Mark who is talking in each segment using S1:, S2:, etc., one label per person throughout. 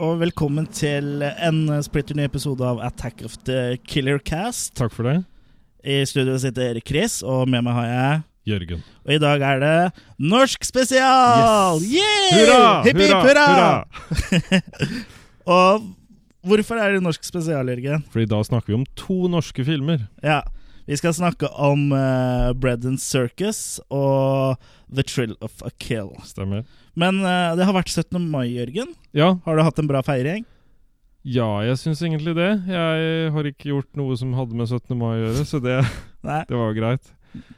S1: og velkommen til en eh, splitter ny episode av Attack of the Killer Cast.
S2: Takk for det,
S1: I studio sitter Chris, og med meg har jeg
S2: Jørgen.
S1: Og i dag er det norsk spesial!
S2: Yes.
S1: Yeah! Hipp, hipp, Og hvorfor er det norsk spesial, Jørgen?
S2: Fordi da snakker vi om to norske filmer.
S1: Ja, vi skal snakke om eh, Bread and Circus og The Trill of a Kill.
S2: Stemmer.
S1: Men eh, det har vært 17. mai, Jørgen.
S2: Ja,
S1: Har du hatt en bra feiring?
S2: ja jeg syns egentlig det. Jeg har ikke gjort noe som hadde med 17. mai å gjøre, så det,
S1: Nei,
S2: det var greit.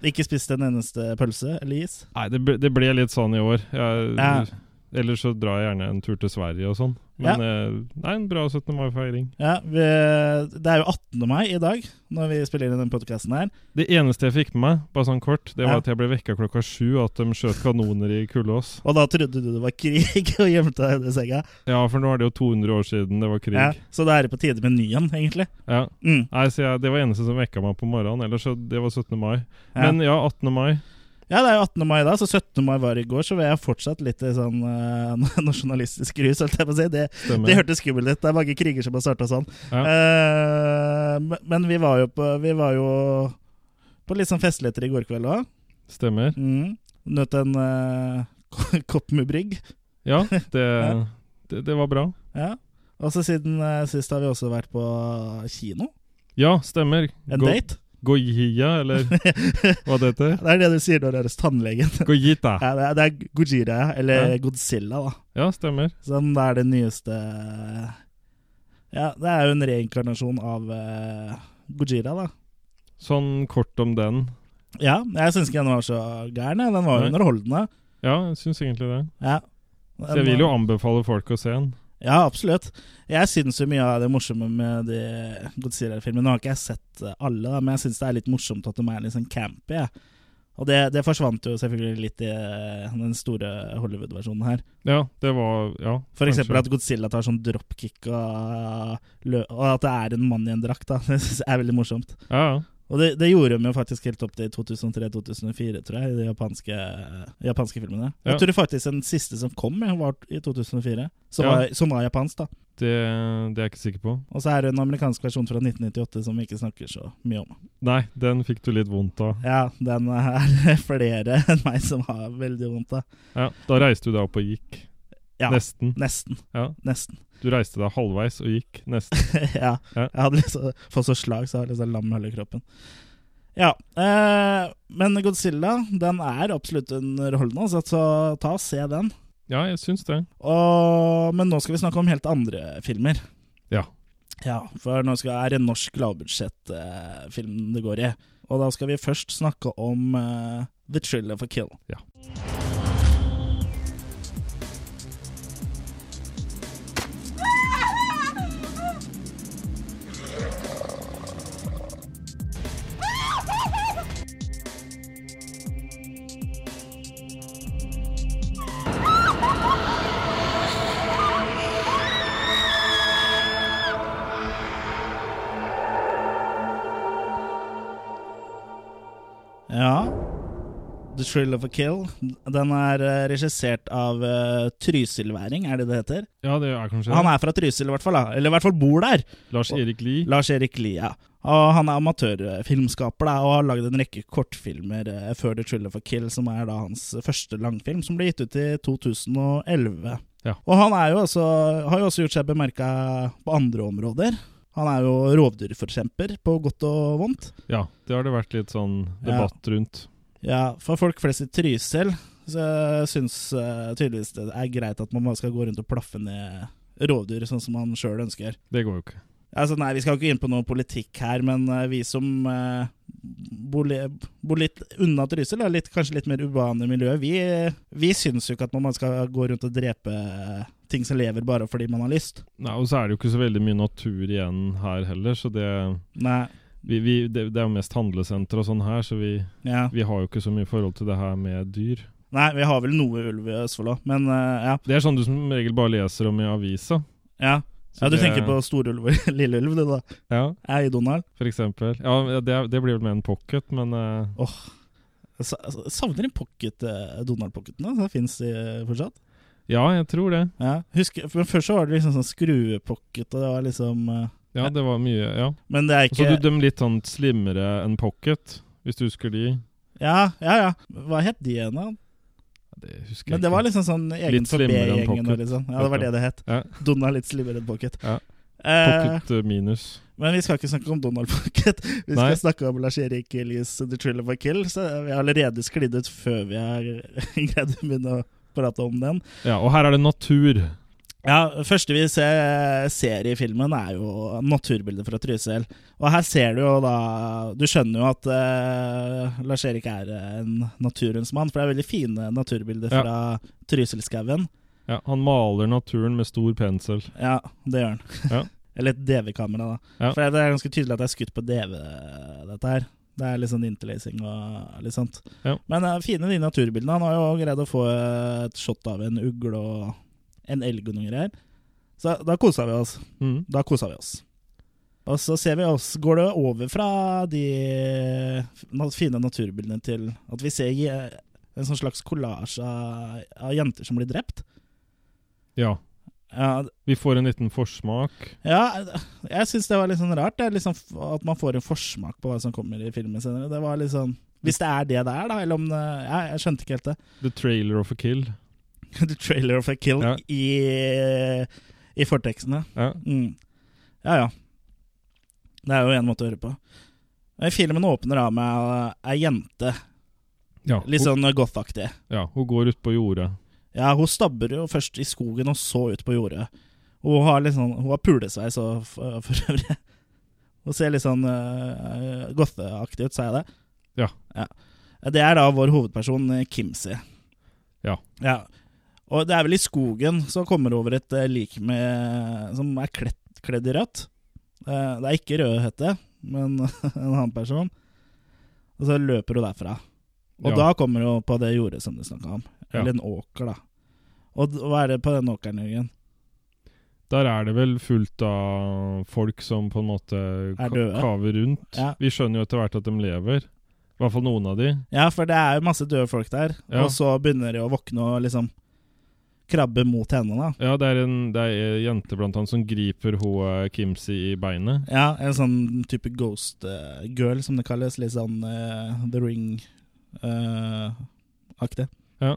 S1: ikke spist en eneste pølse eller is?
S2: Nei, det ble, det ble litt sånn i år. Jeg,
S1: Ja.
S2: Ellers så drar jeg gjerne en tur til Sverige og sånn.
S1: Ja.
S2: Men eh, nei, en bra 17. mai-feiring.
S1: Ja, vi, Det er jo 18. mai i dag, når vi spiller inn den podkasten her.
S2: Det eneste jeg fikk med meg, bare sånn kort, det
S1: Ja.
S2: var at jeg ble vekka klokka sju, og at de skjøt kanoner i Kullås.
S1: Og da trodde du det var krig og gjemte deg under senga.
S2: Ja, for nå er det jo 200 år siden det var krig.
S1: Ja, så da er det på tide med en ny en, egentlig.
S2: Ja.
S1: Mm,
S2: Nei, så jeg, Det var eneste som vekka meg på morgenen. Ellers så det var 17. mai.
S1: ja.
S2: Men ja, 18. mai.
S1: ja, det er jo 18. mai da, så 17. mai var i går, så vi er fortsatt litt i sånn eh, nasjonalistisk rus, holdt jeg på å si. Det,
S2: Stemmer.
S1: det hørtes skummelt ut. Det er mange kriger som har starta sånn.
S2: Ja.
S1: Eh, men- men vi var jo på, vi var jo på litt sånn festligheter i går kveld òg.
S2: Stemmer.
S1: Mm. Nøt en eh, kopp med brygg.
S2: Ja, det,
S1: Ja.
S2: det, det var bra.
S1: Ja. Og så siden eh, sist har vi også vært på kino.
S2: Ja, stemmer.
S1: En
S2: Go-
S1: date.
S2: Gojia, eller hva det heter.
S1: Det er det du sier når du er hos tannlegen.
S2: Gojita.
S1: Ja, det, er, det er Gojira, eller
S2: Ja.
S1: Godzilla, da.
S2: Ja, stemmer.
S1: Som da er det nyeste Ja, det er jo en reinkarnasjon av eh, Gojira, da.
S2: Sånn kort om den.
S1: Ja, jeg syns ikke den var så gæren. jeg. Den var
S2: Nei.
S1: jo underholdende.
S2: Ja, jeg syns egentlig det.
S1: Ja.
S2: Så jeg
S1: eh,
S2: vil jo anbefale folk å se den.
S1: Ja, absolutt. Jeg syns jo mye av det morsomme med de Godzilla-filmene Nå har ikke jeg sett eh, alle, da, men jeg syns det er litt morsomt at de er litt sånn campy. Jeg. Og det, det forsvant jo selvfølgelig litt i eh, den store Hollywood-versjonen her.
S2: Ja, det var Ja.
S1: For
S2: kanskje.
S1: eksempel at Godzilla tar sånn dropkick, og, eh, lø- og at det er en mann i en drakt. da Det synes jeg er veldig morsomt.
S2: Ja, ja.
S1: Og det, det gjorde de jo faktisk helt opp til 2003-2004, tror jeg, i de japanske, japanske filmene.
S2: Ja.
S1: Jeg tror faktisk den siste som kom, ja, var i 2004, som,
S2: Ja.
S1: var, som var japansk. da
S2: Det, det er jeg ikke sikker på.
S1: Og så er det en amerikansk versjon fra 1998 som vi ikke snakker så mye om.
S2: Nei, den fikk du litt vondt av.
S1: Ja, den er flere enn meg som har veldig vondt av.
S2: Ja, Da reiste du deg opp og gikk.
S1: Ja.
S2: Nesten.
S1: Nesten.
S2: Ja.
S1: Nesten.
S2: Du reiste deg halvveis og gikk. Nesten.
S1: ja.
S2: Ja.
S1: Jeg hadde liksom fått så slag, så jeg hadde liksom lam hele kroppen. Ja. Eh, men Godzilla, den er absolutt underholdende, altså, så ta og se den.
S2: Ja, jeg syns det.
S1: Og, men nå skal vi snakke om helt andre filmer.
S2: Ja.
S1: Ja, For nå skal, er det en norsk lavbudsjettfilm eh, film det går i. Og da skal vi først snakke om eh, The Trill of a Kill. Ja. The Trill of a Kill. Den er eh, regissert av eh, Trysilværing, er det det heter?
S2: Ja, det er kanskje
S1: Han er fra Trysil, i hvert fall. da. Eller i hvert fall bor der.
S2: Lars-Erik Lie.
S1: Lars-Erik Lia. Og han er amatørfilmskaper da, og har lagd en rekke kortfilmer eh, før The Trill of a Kill, som er da hans første langfilm, som ble gitt ut i 2011.
S2: Ja.
S1: Og han er jo også, har jo også gjort seg bemerka på andre områder. Han er jo rovdyrforkjemper, på godt og vondt.
S2: Ja, det har det vært litt sånn
S1: Ja.
S2: debatt rundt.
S1: Ja, for folk flest i Trysil så syns eh, tydeligvis det er greit at man bare skal gå rundt og plaffe ned rovdyr, sånn som man sjøl ønsker.
S2: Det går jo ikke.
S1: Altså, nei, vi skal ikke inn på noe politikk her, men eh, vi som eh, bor, li bor litt unna Trysil, og litt, kanskje litt mer urbane miljø, vi, vi syns jo ikke at man bare skal gå rundt og drepe eh, ting som lever bare fordi man har lyst.
S2: Nei, Og så er det jo ikke så veldig mye natur igjen her heller, så det
S1: Nei.
S2: vi, vi, det, det er jo mest handlesenter og sånn her, så vi,
S1: Ja.
S2: vi har jo ikke så mye forhold til det her med dyr.
S1: Nei, vi har vel noe ulv i Østfold òg, men eh, ja.
S2: Det er sånn du som regel bare leser om i avisa.
S1: ja.
S2: Så
S1: Ja, Du
S2: det-
S1: tenker på storulv og lilleulv, du da?
S2: Ja,
S1: Jeg er i Donald.
S2: for eksempel. Ja, det, det blir vel med en pocket, men eh,
S1: altså, Jeg sa- jeg savner en pocket, eh, Donald-pocketen da, som fins fortsatt.
S2: Ja, jeg tror det.
S1: Ja. Husker, men før så var det liksom sånn skruepocket, og det var liksom eh,
S2: Ja, det var mye ja.
S1: Men det er
S2: Så
S1: ikke
S2: du dem litt sånn slimmere enn pocket, hvis du husker de?
S1: Ja, ja, ja. Hva het de igjen, da?
S2: Det husker
S1: Men det var liksom sånn egen
S2: Litt
S1: for
S2: slimmere enn
S1: B-gjengen. og
S2: pocket.
S1: Liksom. Ja, det var det det het.
S2: Ja.
S1: Donald litt slimmere enn pocket.
S2: Ja.
S1: Eh,
S2: Pocket eh, minus.
S1: men vi skal ikke snakke om Donald Pocket. Vi skal
S2: Nei.
S1: snakke om Lars Erik Elias The Thriller for Kill. Så vi har allerede sklidd ut før vi har greid å begynne å prate om den.
S2: Ja, og her er det natur.
S1: Ja, første vi ser, ser i filmen er jo naturbildet fra Trysil. Og her ser du jo da Du skjønner jo at eh, Lars-Erik er en naturens mann, for det er veldig fine naturbilder
S2: Ja.
S1: fra Trysilskauen.
S2: Ja, han maler naturen med stor pensel.
S1: Ja, det gjør han.
S2: Ja.
S1: Eller et DV-kamera, da.
S2: Ja.
S1: For det er ganske tydelig at det er skutt på DV, dette her. Det er litt sånn interlacing og litt sånt.
S2: Ja.
S1: Men eh, fine de naturbildene. Han har jo greid å få et shot av en ugle og en elg og noen greier. Så da kosa vi oss.
S2: Mm.
S1: Da kosa vi oss. Og så ser vi oss, går det over fra de na- fine naturbildene til at vi ser je- en sånn slags kollasj av, av jenter som blir drept.
S2: Ja.
S1: Ja,
S2: Vi får en liten forsmak.
S1: ja jeg syns det var litt sånn rart. Det er liksom f- at man får en forsmak på hva som kommer i filmen senere. Det var litt sånn Hvis det er det det er, da, eller om det Jeg, jeg skjønte ikke helt det.
S2: The trailer of a kill.
S1: The trailer of a kill
S2: Ja.
S1: i, i fortekstene.
S2: Ja.
S1: Mm. Ja, ja. Det er jo én måte å høre på. Eh, Filmen åpner av med eh, ei jente,
S2: Ja,
S1: litt
S2: hun,
S1: sånn goth-aktig.
S2: ja, hun går ut på jordet.
S1: Ja, hun stabber jo først i skogen og så ut på jordet. Hun har litt sånn, hun har pulesveis og f- for øvrig. Hun ser litt sånn uh, goth-aktig ut, sa jeg det?
S2: Ja.
S1: Det er da vår hovedperson, eh, Kimsey.
S2: Ja.
S1: ja. Og det er vel i skogen så kommer det over et eh, lik med, som er kledd, kledd i rødt. Eh, det er ikke Rødhette, men en annen person. Og så løper hun derfra. Og
S2: Ja.
S1: da kommer hun på det jordet som du snakka om.
S2: Ja.
S1: Eller en åker, da. Og d- hva er det på den åkeren, Jørgen?
S2: Der er det vel fullt av folk som på en måte ka-
S1: døde.
S2: kaver rundt.
S1: Ja.
S2: Vi skjønner jo etter hvert at de lever. I hvert fall noen av de.
S1: Ja, for det er jo masse døde folk der.
S2: Ja.
S1: Og så begynner de å våkne og liksom krabbe mot henne, da.
S2: Ja, det er en, det er ei jente blant annet som griper hun eh, Kimsi i beinet.
S1: Ja, en sånn type ghost eh, girl, som det kalles. Litt sånn eh, The eh, Ring-aktig.
S2: Ja.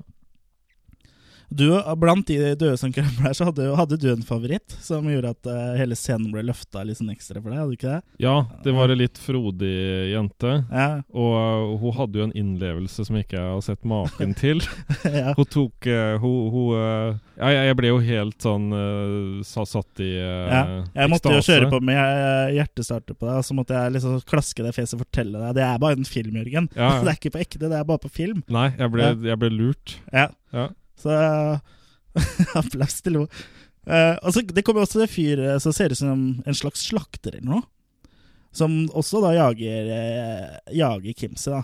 S1: Du, blant de døde som krabber der, så hadde, hadde du en favoritt som gjorde at eh, hele scenen ble løfta litt sånn ekstra for deg, hadde du ikke det?
S2: Ja, det var ei litt frodig jente.
S1: Ja,
S2: Og uh, hun hadde jo en innlevelse som ikke jeg har sett maken til.
S1: ja.
S2: Hun tok eh, Hun, hun eh, ja, jeg- jeg ble jo helt sånn eh, sa- satt i eh,
S1: Ja, Jeg måtte jo
S2: ekstase.
S1: kjøre på med eh, hjertestarter på deg, og så måtte jeg liksom klaske deg i fjeset og fortelle deg det er bare en film, Jørgen.
S2: Ja,
S1: Det
S2: ja.
S1: er ikke på ekte, det er bare på film.
S2: Nei, jeg ble, jeg ble lurt.
S1: Ja.
S2: Ja.
S1: Så applaus til henne. Eh, og så det kommer også en fyr eh, som ser ut som en slags slakter eller noe. Som også da jager, eh, jager Kimsey, da.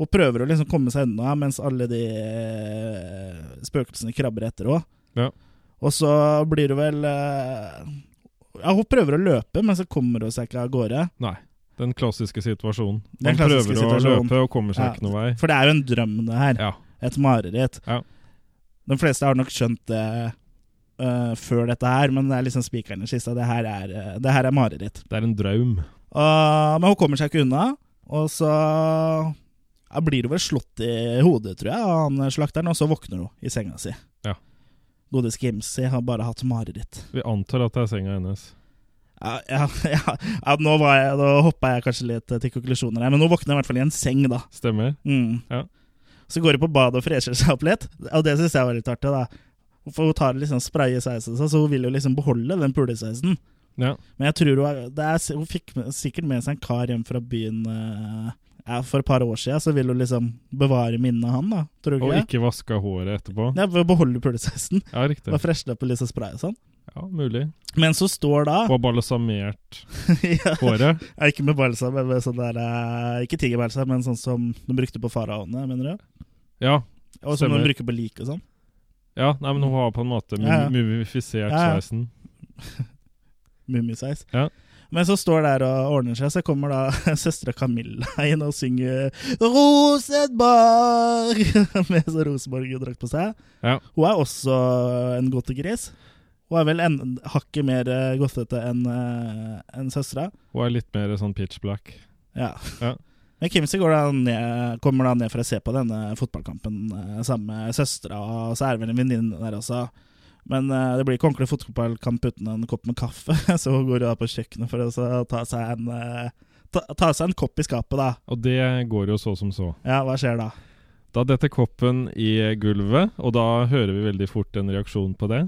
S1: Og prøver å liksom komme seg unna mens alle de eh, spøkelsene krabber etter henne.
S2: Ja.
S1: Og så blir det vel eh, Ja, hun prøver å løpe, men så kommer hun seg ikke av gårde.
S2: Den klassiske situasjonen.
S1: Den
S2: Man
S1: klassiske
S2: prøver
S1: situasjonen.
S2: å løpe og kommer seg
S1: Ja.
S2: ikke noen vei.
S1: For det er jo en drøm, det her.
S2: Ja.
S1: et mareritt.
S2: Ja.
S1: De fleste har nok skjønt det eh, før dette her, men det er liksom spikeren i kista. Det her er, eh, det her er mareritt.
S2: Det er en drøm.
S1: Og- men hun kommer seg ikke unna, og så ja, blir hun vel slått i hodet, tror jeg, av han slakteren, og så våkner hun i senga si.
S2: Ja.
S1: Godeste Kimsey har bare hatt mareritt.
S2: Vi antar at det er senga hennes.
S1: Ja, ja, ja, ja, nå, var jeg- nå hoppa jeg kanskje litt eh, til konklusjoner her, men hun våkner i hvert fall i en seng, da.
S2: Stemmer?
S1: Mm.
S2: Ja.
S1: Så går hun på badet og fresher seg opp litt, og det syns jeg var litt artig. da For Hun tar liksom spray i sveisen, så hun vil jo liksom beholde den pulesveisen.
S2: Ja.
S1: Men jeg tror hun, er, det er, hun fikk med- sikkert med seg en kar hjem fra byen eh, ja, for et par år siden, så vil hun liksom bevare minnet av han, da. Tror du ikke
S2: Og
S1: det?
S2: ikke vaska håret etterpå.
S1: Ja, for å beholde pulesveisen.
S2: Ja, riktig.
S1: Bare freshe opp med litt sånn spray og sånn.
S2: Ja, mulig.
S1: Mens hun står da
S2: Og balsamert
S1: ja,
S2: håret.
S1: Ikke med balsam, men med sånn der eh, Ikke tigerbalsam, men sånn som de brukte på faraoene, mener du?
S2: Ja.
S1: Og som
S2: Stemmer.
S1: de bruker på lik og sånn.
S2: ja. Nei, men hun har på en måte
S1: Ja, ja.
S2: mumifisert
S1: Ja, ja.
S2: sveisen.
S1: Mummisveis.
S2: Ja.
S1: Men så står der og ordner seg, så kommer da søstera Camilla inn og synger 'Rosenborg' med så Rosenborg-drakt på seg.
S2: Ja.
S1: Hun er også en godtegris. Hun er vel en, hakket mer eh, godtete enn uh, søstera.
S2: Hun er litt mer sånn pitch black.
S1: Ja.
S2: Ja.
S1: Men Kimsey går da ned, kommer da ned for å se på denne fotballkampen eh, sammen med søstera, og så er det vel en venninne der også. Men eh, det blir ikke ordentlig fotballkamp uten en kopp med kaffe, så hun går da på kjøkkenet for å så ta seg en eh, Ta, ta seg en kopp i skapet, da.
S2: Og det går jo så som så.
S1: Ja, hva skjer da?
S2: Da detter koppen i gulvet, og da hører vi veldig fort en reaksjon på det.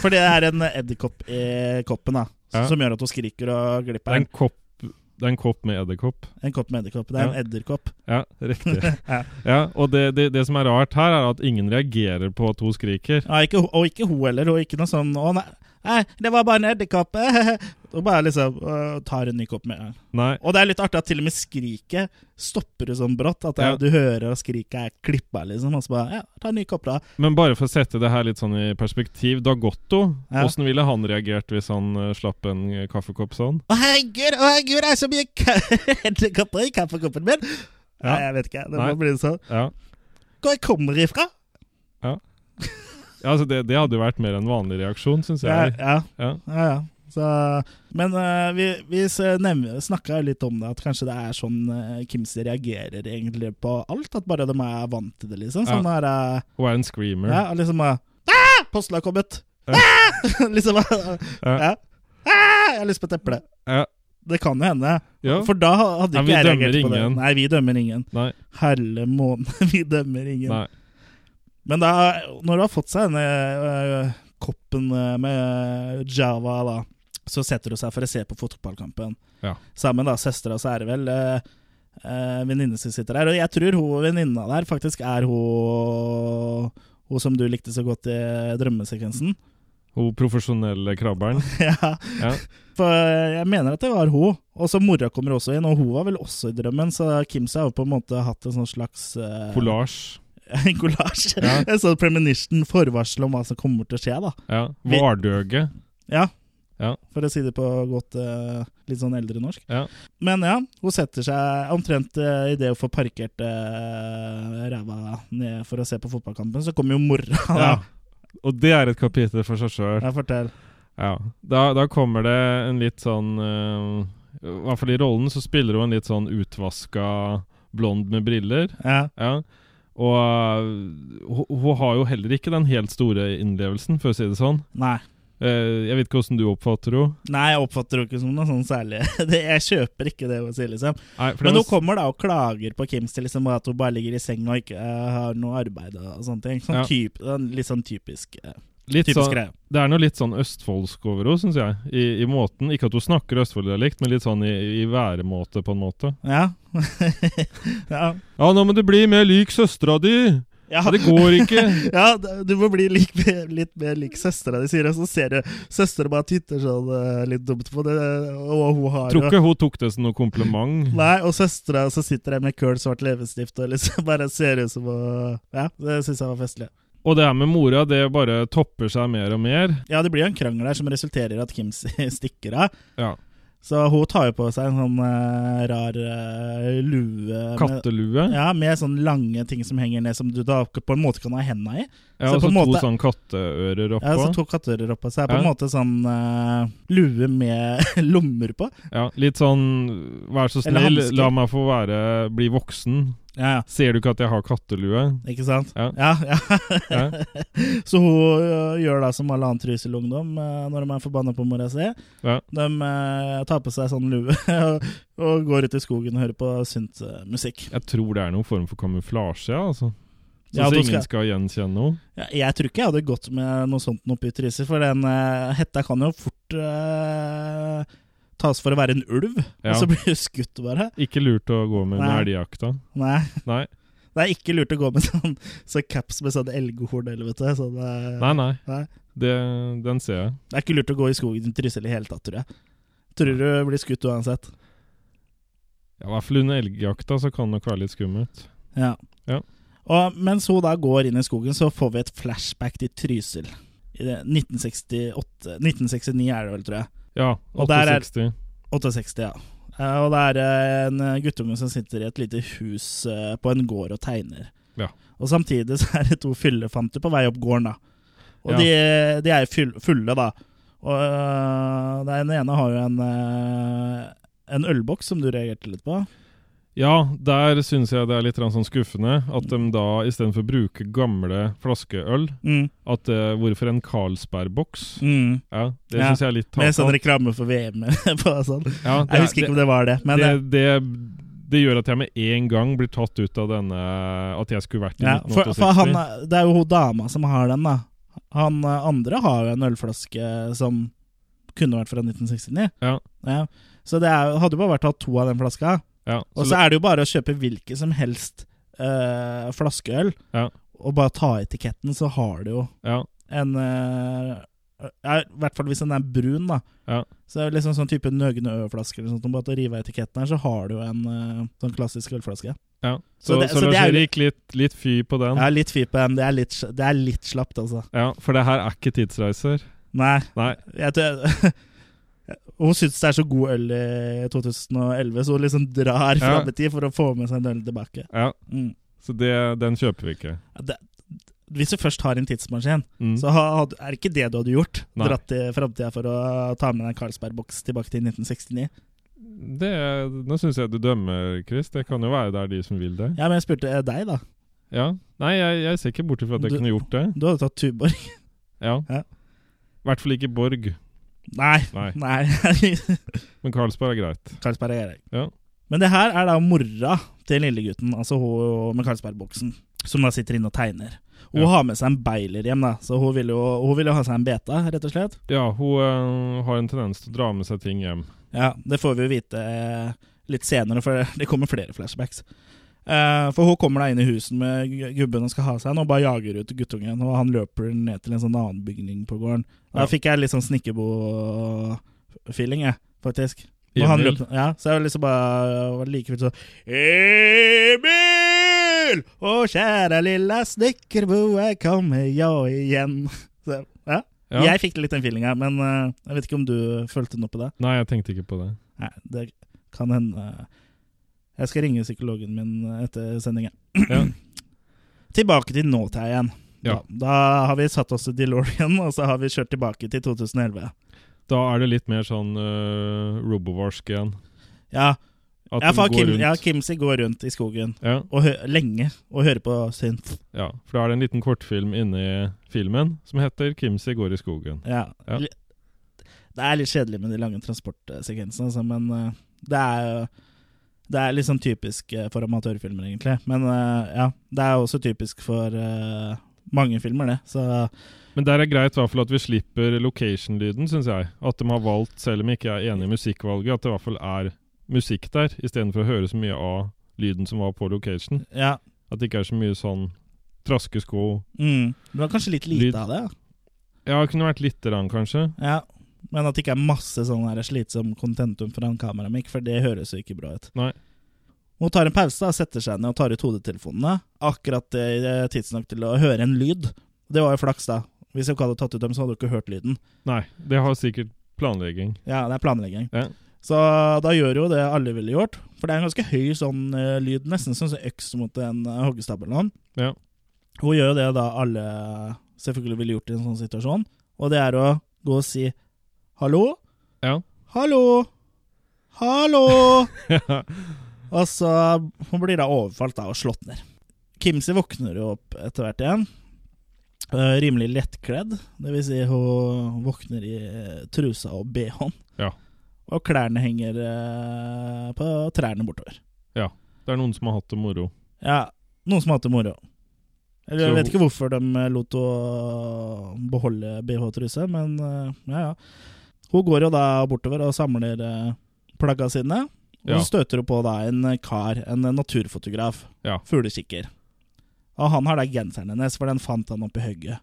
S1: For det er en edderkopp i koppen, da.
S2: Ja.
S1: Som gjør at hun skriker og
S2: Det er
S1: glipper.
S2: en kopp, det er en kopp med edderkopp.
S1: En kopp med edderkopp. Det er en edderkopp.
S2: Ja, riktig.
S1: Ja.
S2: ja, og det, det, det som er rart her, er at ingen reagerer på at hun skriker.
S1: Ja, ikke, ho- og ikke hun heller. Og ikke noe sånn 'Å, nei, nei det var bare en edderkopp'. Og bare liksom øh, tar en ny kopp med en gang.
S2: Nei.
S1: Og det er litt artig at til og med skriket stopper du sånn brått. At det,
S2: Ja.
S1: du hører og skriket er klippa, liksom. Og så bare 'Ja, ta en ny kopp, da'.
S2: Men bare for å sette det her litt sånn i perspektiv, Dagotto,
S1: Ja.
S2: åssen ville han reagert hvis han eh, slapp en eh, kaffekopp sånn?
S1: Å, herregud, å, herregud, det er så mye ka- edderkopper i kaffekoppen min!
S2: Ja.
S1: Nei, jeg vet ikke. Det
S2: Nei.
S1: må bli sånn.
S2: Ja,
S1: Hvor jeg kommer ifra?
S2: ja altså det, det hadde jo vært mer en vanlig reaksjon, syns
S1: Ja,
S2: jeg.
S1: ja.
S2: Ja.
S1: Ja, ja. Så, men eh, vi, vi snakka jo litt om det, at kanskje det er sånn uh, Kimsey reagerer egentlig på alt. At bare de er vant til det, liksom. Sånn er eh,
S2: Hun er en screamer.
S1: Ja, og liksom uh, ah! Posten har kommet!
S2: Ja.
S1: Ah! liksom eh,
S2: Ja.
S1: ja. ah! Jeg har lyst på et eple.
S2: Ja.
S1: Det kan jo hende.
S2: Ja.
S1: For da ha- hadde
S2: Ja,
S1: ikke
S2: vi
S1: jeg reagert
S2: dømmer
S1: på det.
S2: ingen.
S1: Nei, vi dømmer ingen.
S2: Nei.
S1: Herre måne, vi dømmer ingen.
S2: Nei.
S1: Men da, når du har fått seg denne øh, koppen øh, med Java, da, så setter du seg for å se på fotballkampen.
S2: Ja.
S1: Sammen da, søstera, så er det vel øh, øh, venninne som sitter der. Og jeg tror hun venninna der faktisk er hun hun som du likte så godt i eh, drømmesekvensen.
S2: Hun profesjonelle krabberen.
S1: ja.
S2: Ja.
S1: For eh, jeg mener at det var hun. Og så mora kommer også inn, og hun var vel også i drømmen, så Kimsa har jo på en måte hatt en sånn slags øh,
S2: Collage.
S1: en kollasj.
S2: Ja.
S1: En sånn premonition, forvarsel om hva som kommer til å skje, da.
S2: Ja.
S1: Vi-
S2: Vardøge.
S1: Ja.
S2: Ja.
S1: For å si det på godt eh, litt sånn eldre norsk.
S2: Ja.
S1: Men ja, hun setter seg omtrent eh, i idet hun får parkert eh, ræva ned for å se på fotballkampen, så kommer jo mora. Da.
S2: Ja. Og det er et kapittel for seg sjøl.
S1: Jeg forteller.
S2: Ja. Da, da kommer det en litt sånn eh, I hvert fall i rollen så spiller hun en litt sånn utvaska blond med briller.
S1: Ja.
S2: Ja. Og eh, hun, hun har jo heller ikke den helt store innlevelsen, for å si det sånn.
S1: Nei.
S2: Eh, jeg vet ikke åssen du oppfatter henne.
S1: Nei, jeg oppfatter henne ikke som noe sånn særlig. Det, jeg kjøper ikke det hun sier, liksom.
S2: Nei, for det
S1: Men
S2: var
S1: hun kommer da og klager på Kims til liksom at hun bare ligger i seng og ikke eh, har noe arbeid og sånne ting. Sånn
S2: Ja.
S1: typ, en litt sånn typisk, eh,
S2: litt
S1: typisk
S2: sånn,
S1: greie.
S2: Det er noe litt sånn østfoldsk over henne, syns jeg. I, I måten. Ikke at hun snakker østfolddialekt, men litt sånn i, i væremåte, på en måte.
S1: Ja. ja.
S2: Ja, nå må du bli mer lik søstera di!
S1: Ja.
S2: Det går ikke!
S1: ja, d- du må bli lik, litt mer lik søstera di, sier jeg. Så ser du søstera bare titter sånn eh, litt dumt på det, og hun har
S2: Tror
S1: jo
S2: ikke hun tok det som noe kompliment.
S1: Nei, og søstera så sitter der med køl svart leppestift og liksom bare ser ut som å Ja, det syns jeg var festlig.
S2: Og det her med mora, det bare topper seg mer og mer.
S1: Ja, det blir jo en krangel her som resulterer i at Kim stikker av.
S2: Ja.
S1: Så hun tar jo på seg en sånn eh, rar eh, lue med-
S2: Kattelue. Ja,
S1: Ja, med sånne lange ting som henger ned, som du da på en måte kan ha henda i. så
S2: og
S1: på
S2: så
S1: en
S2: to
S1: måte-
S2: sånn katteører
S1: Ja,
S2: oppå.
S1: så to kattører oppå seg. På
S2: Ja.
S1: en måte sånn eh, lue med lommer på.
S2: Ja, litt sånn Vær så
S1: Eller
S2: snill,
S1: hansker.
S2: la meg få være Bli voksen.
S1: Ja, ja.
S2: Ser du ikke at jeg har kattelue?
S1: Ikke sant?
S2: Ja.
S1: ja, ja.
S2: Ja.
S1: Så hun eh, gjør da som alle annen trussel ungdom eh, når de er forbanna på mora si.
S2: Ja.
S1: De eh, tar på seg sånn lue og, og går ut i skogen og hører på synt eh, musikk.
S2: Jeg tror det er noen form for kamuflasje, ja, altså. Så,
S1: Ja,
S2: så
S1: du
S2: ingen skal gjenkjenne henne.
S1: Ja, jeg tror ikke jeg hadde gått med noe sånt oppe i Trysil, for den eh, hetta kan jo fort eh, tas for å være en ulv,
S2: Ja.
S1: og så blir du skutt bare.
S2: Ikke lurt å gå med under
S1: Nei.
S2: elgjakta.
S1: Nei.
S2: Nei,
S1: Det er ikke lurt å gå med sånn så caps med sånn elghorn, eller vet du. Sånn, eh,
S2: nei. nei.
S1: Nei.
S2: Det, den ser jeg.
S1: det er ikke lurt å gå i skogen i Trysil i hele tatt, tror jeg. Tror du blir skutt uansett.
S2: Ja, I hvert fall under elgjakta så kan det nok være litt skummelt.
S1: Ja.
S2: Ja.
S1: Og mens hun da går inn i skogen, så får vi et flashback til Trysil. I det 1968 1969 er det vel, tror jeg.
S2: Ja,
S1: Og der er-
S2: 860.
S1: 68, ja. Eh, Og det er eh, en guttunge som sitter i et lite hus eh, på en gård og tegner.
S2: Ja.
S1: Og samtidig så er det to fyllefanter på vei opp gården, da. Og
S2: Ja.
S1: de, de er fyll- fulle, da. Og eh, den ene har jo en eh, en ølboks som du reagerte litt på.
S2: Ja, der syns jeg det er litt grann sånn skuffende at de da istedenfor å bruke gamle flaskeøl
S1: Mm,
S2: at eh, Hvorfor en Carlsberg-boks?
S1: mm.
S2: Ja, det
S1: Ja,
S2: syns jeg er litt
S1: Med sånn
S2: tafatt.
S1: reklame for VM på sånn.
S2: Ja, det er-
S1: Jeg husker ikke om det var det, men
S2: det,
S1: eh,
S2: det, det gjør at jeg med en gang blir tatt ut av denne At jeg skulle vært i
S1: ja, for,
S2: 1968.
S1: for han, er- det er jo hun dama som har den, da. Han eh, andre har jo en ølflaske som kunne vært fra 1969.
S2: Ja.
S1: Så det er, jo- hadde jo bare vært å ha to av den flaska.
S2: ja,
S1: Og så er det jo bare å kjøpe hvilken som helst eh, flaskeøl,
S2: Ja.
S1: og bare ta etiketten, så har du jo
S2: ja,
S1: en eh, ja, I hvert fall hvis den er brun, da.
S2: Ja.
S1: Så det er jo liksom sånn type Nøgne Ø-flaske eller sånt. Om bare å rive av etiketten her, så har du jo en eh, sånn klassisk ølflaske.
S2: ja.
S1: Så
S2: Så, så,
S1: det- så det er jo-
S2: Lars-Erik, litt, litt fy på den.
S1: Jeg er litt fyr på den. Det er litt, det er litt slapt, altså.
S2: Ja, For det her er ikke tidsreiser.
S1: Nei.
S2: Nei.
S1: Jeg tror Hun syns det er så god øl i 2011, så hun liksom drar
S2: Ja.
S1: fram i tid for å få med seg en øl tilbake.
S2: Ja,
S1: Mm.
S2: Så det, den kjøper vi ikke.
S1: Det, hvis du først har en tidsmaskin,
S2: Mm.
S1: så ha- had- er det ikke det du hadde gjort.
S2: Nei.
S1: Dratt til framtida for å ta med deg en Carlsberg-boks tilbake til 1969.
S2: Det, nå syns jeg du dømmer, Chris. Det kan jo være det er de som vil det.
S1: Ja, men jeg spurte eh, deg, da.
S2: Ja. Nei, jeg, jeg ser ikke bort ifra at jeg
S1: Du-
S2: kunne gjort det.
S1: Du hadde tatt Tuborg.
S2: Ja.
S1: Ja.
S2: I hvert fall ikke Borg.
S1: Nei.
S2: Nei.
S1: Nei.
S2: Men Carlsberg er greit.
S1: Carlsberg er greit.
S2: Ja.
S1: Men det her er da mora til lillegutten, altså hun med Carlsberg-boksen, som da sitter inne og tegner. Hun
S2: Ja.
S1: har med seg en beiler hjem, da, så hun vil, jo, hun vil jo ha seg en beta, rett og slett.
S2: Ja, hun eh, har en tendens til å dra med seg ting hjem.
S1: Ja, Det får vi jo vite eh, litt senere, for det kommer flere flashbacks. Eh, for hun kommer da inn i huset med gu- gubben og skal ha seg en, og bare jager ut guttungen. Og han løper ned til en sånn annen bygning på gården. Da
S2: Ja.
S1: fikk jeg litt sånn Snikkebo-feeling, jeg, faktisk. Og han
S2: Emil.
S1: løp, ja, så jeg var liksom bare var like fullt sånn Emil! Å, kjære lille snekkerboe, kommer jeg igjen? Så, ja.
S2: Ja.
S1: Jeg fikk litt den feelinga, men eh, jeg vet ikke om du følte noe på det.
S2: Nei, jeg tenkte ikke på det.
S1: Nei, det kan hende Jeg skal ringe psykologen min etter sendingen.
S2: Ja.
S1: Tilbake til nåtida igjen.
S2: Ja.
S1: Da, da har vi satt oss til DeLorean, og så har vi kjørt tilbake til 2011.
S2: Da er det litt mer sånn eh, Robovarsk igjen.
S1: Ja,
S2: At
S1: ja,
S2: de
S1: for
S2: går
S1: Kim,
S2: rundt.
S1: ja Kimsey går rundt i skogen
S2: Ja,
S1: og hø lenge og hører på synth.
S2: ja, for da er det en liten kortfilm inni filmen som heter 'Kimsey går i skogen'.
S1: Ja.
S2: Ja.
S1: Li- Det er litt kjedelig med de lange transportsekvensene, altså, men eh, det er jo det er liksom typisk eh, for amatørfilmer, egentlig. Men eh, ja, det er også typisk for eh, mange filmer, det. Så
S2: Men der er greit i hvert fall at vi slipper location-lyden, syns jeg. At de har valgt, selv om jeg ikke er enig i musikkvalget, at det i hvert fall er musikk der, istedenfor å høre så mye av lyden som var på location.
S1: ja.
S2: At det ikke er så mye sånn traskesko
S1: Mm. Det var kanskje litt
S2: Lyd.
S1: lite av det.
S2: Ja, det kunne vært lite grann, kanskje.
S1: ja. Ja. Men at det ikke er masse sånn her slitsom contentum fra en kameramikk, for det høres jo ikke bra ut.
S2: Nei.
S1: Hun tar en pause, da, setter seg ned og tar ut hodetelefonene. Akkurat eh, tidsnok til å høre en lyd. Det var jo flaks, da. Hvis jeg ikke hadde tatt ut dem, så hadde du ikke hørt lyden.
S2: Nei, det har sikkert planlegging.
S1: Ja, det er planlegging.
S2: Ja.
S1: Så da gjør jo det alle ville gjort. For det er en ganske høy sånn eh, lyd, nesten som en øks mot en uh, hoggestabel. nå.
S2: Ja.
S1: Hun gjør jo det da alle selvfølgelig ville gjort i en sånn situasjon. Og det er å gå og si hallo,
S2: Ja.
S1: hallo, hallo.
S2: ja.
S1: Og så hun blir da overfalt da, og slått ned. Kimsey våkner jo opp etter hvert igjen. Eh, rimelig lettkledd. Det vil si, hun våkner i eh, trusa og bh-en.
S2: Ja.
S1: Og klærne henger eh, på trærne bortover.
S2: Det er noen som har hatt det moro.
S1: Ja, noen som har hatt det moro. Eller
S2: Så
S1: jeg vet
S2: hun-
S1: ikke hvorfor de eh, lot å beholde bh-truse, men eh, ja, ja. Hun går jo da bortover og samler eh, plagga sine. Og
S2: Ja.
S1: så støter hun på da en eh, kar, en naturfotograf.
S2: Ja.
S1: Fuglekikker. Og han har da genseren hennes, for den fant han oppi hugget.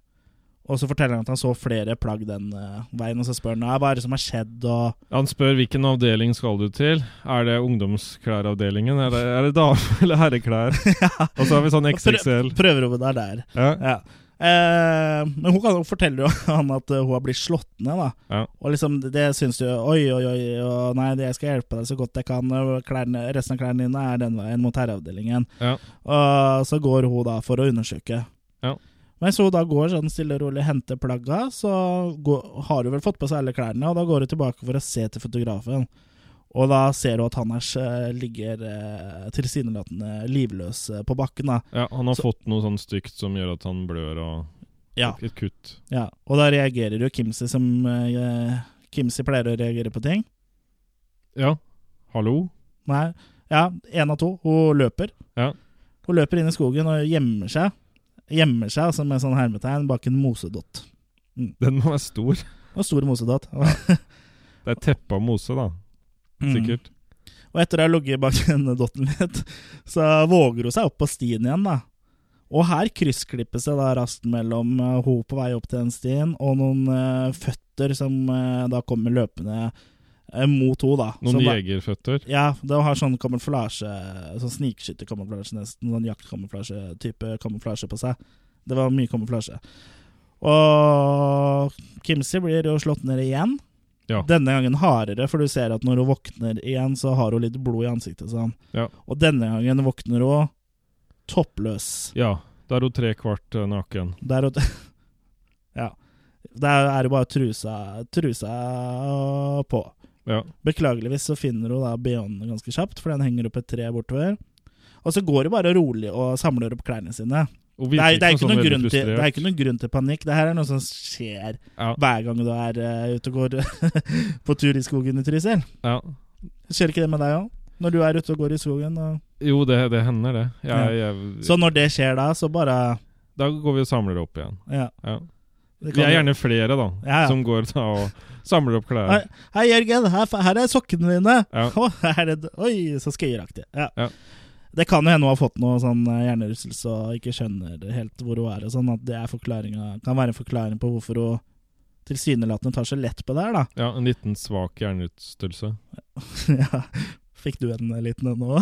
S1: Og så forteller han at han så flere plagg den eh, veien, og så spør han "Ja, hva er det som har skjedd, og
S2: Han spør hvilken avdeling skal du til. Er det ungdomsklæravdelingen? Er det, er det dame- eller herreklær? Og så har vi sånn XXL.
S1: prøver hun det der.
S2: Ja.
S1: Ja. Eh, men hun, kan, hun forteller jo han at eh, hun har blitt slått ned, da.
S2: Ja.
S1: Og liksom, det- det syns du Oi, oi, oi, og nei, det- jeg skal hjelpe deg så godt jeg kan. og Klærne, resten av klærne dine er den veien mot herreavdelingen.
S2: Ja.
S1: Og så går hun da for å undersøke.
S2: Ja.
S1: Mens hun da går sånn stille og rolig, henter plagga, så går, har hun vel fått på seg alle klærne, og da går hun tilbake for å se til fotografen. Og da ser hun at han er, s- ligger eh, tilsynelatende livløs eh, på bakken, da.
S2: Ja, han har
S1: Så-
S2: fått noe sånn stygt som gjør at han blør og
S1: Ja.
S2: et, et kutt.
S1: Ja, og da reagerer jo Kimsey som eh, Kimsey pleier å reagere på ting.
S2: Ja, hallo?
S1: Nei, ja, én av to. Hun løper.
S2: Ja.
S1: Hun løper inn i skogen og gjemmer seg. Gjemmer seg altså med sånn hermetegn bak en mosedott.
S2: Den må være stor.
S1: Og stor mosedott.
S2: Det er teppe av mose, da. Sikkert.
S1: Mm. Og etter å ha ligget bak denne dotten litt, så våger hun seg opp på stien igjen, da. Og her kryssklippes det da raskt mellom eh, hun på vei opp til den stien, og noen eh, føtter som eh, da kommer løpende eh, mot henne, da.
S2: Noen
S1: Som da-
S2: jegerføtter.
S1: Ja, de har sånn kamuflasje Sånn snikskytterkamuflasje nesten. Sånn jaktkamuflasje-type kamuflasje på seg. Det var mye kamuflasje. Og Kimsey blir jo slått ned igjen.
S2: Ja.
S1: Denne gangen hardere, for du ser at når hun våkner igjen, så har hun litt blod i ansiktet. Sånn.
S2: Ja.
S1: Og denne gangen våkner hun toppløs.
S2: Ja, da er hun tre kvart eh, naken.
S1: Der og Ja. Der er det bare trusa, trusa på.
S2: Ja.
S1: Beklageligvis så finner hun da Beyond ganske kjapt, for den henger opp et tre bortover. Og så går hun bare rolig og samler opp klærne sine. Det
S2: Hun virker
S1: er, det, er ikke
S2: sånn
S1: noen
S2: veldig
S1: grunn til, det er
S2: frustrert.
S1: ikke noen grunn til panikk. Det her er noe som skjer
S2: Ja,
S1: hver gang du er eh, ute og går på tur i skogen i Trysil.
S2: ja.
S1: Skjer ikke det med deg òg? Når du er ute og går i skogen? Og...
S2: Jo, det, det hender, det. Jeg, jeg,
S1: Så når det skjer da, så bare
S2: Da går vi og samler opp igjen.
S1: ja,
S2: Ja.
S1: det
S2: Vi
S1: kan-
S2: er gjerne flere, da,
S1: Ja, ja.
S2: som går da, og samler opp klær.
S1: Nei. Hei, Jørgen, her, her er sokkene dine!
S2: Ja.
S1: Å, her er det, oi, så skøyeraktig. Ja.
S2: Ja.
S1: Det kan jo hende hun har fått noe sånn eh, hjernerystelse og ikke skjønner helt hvor hun er. og sånn, At det er forklaringa- kan være en forklaring på hvorfor hun tilsynelatende tar så lett på det her, da.
S2: Ja, en liten svak hjernerystelse.
S1: ja. Fikk du en liten en nå?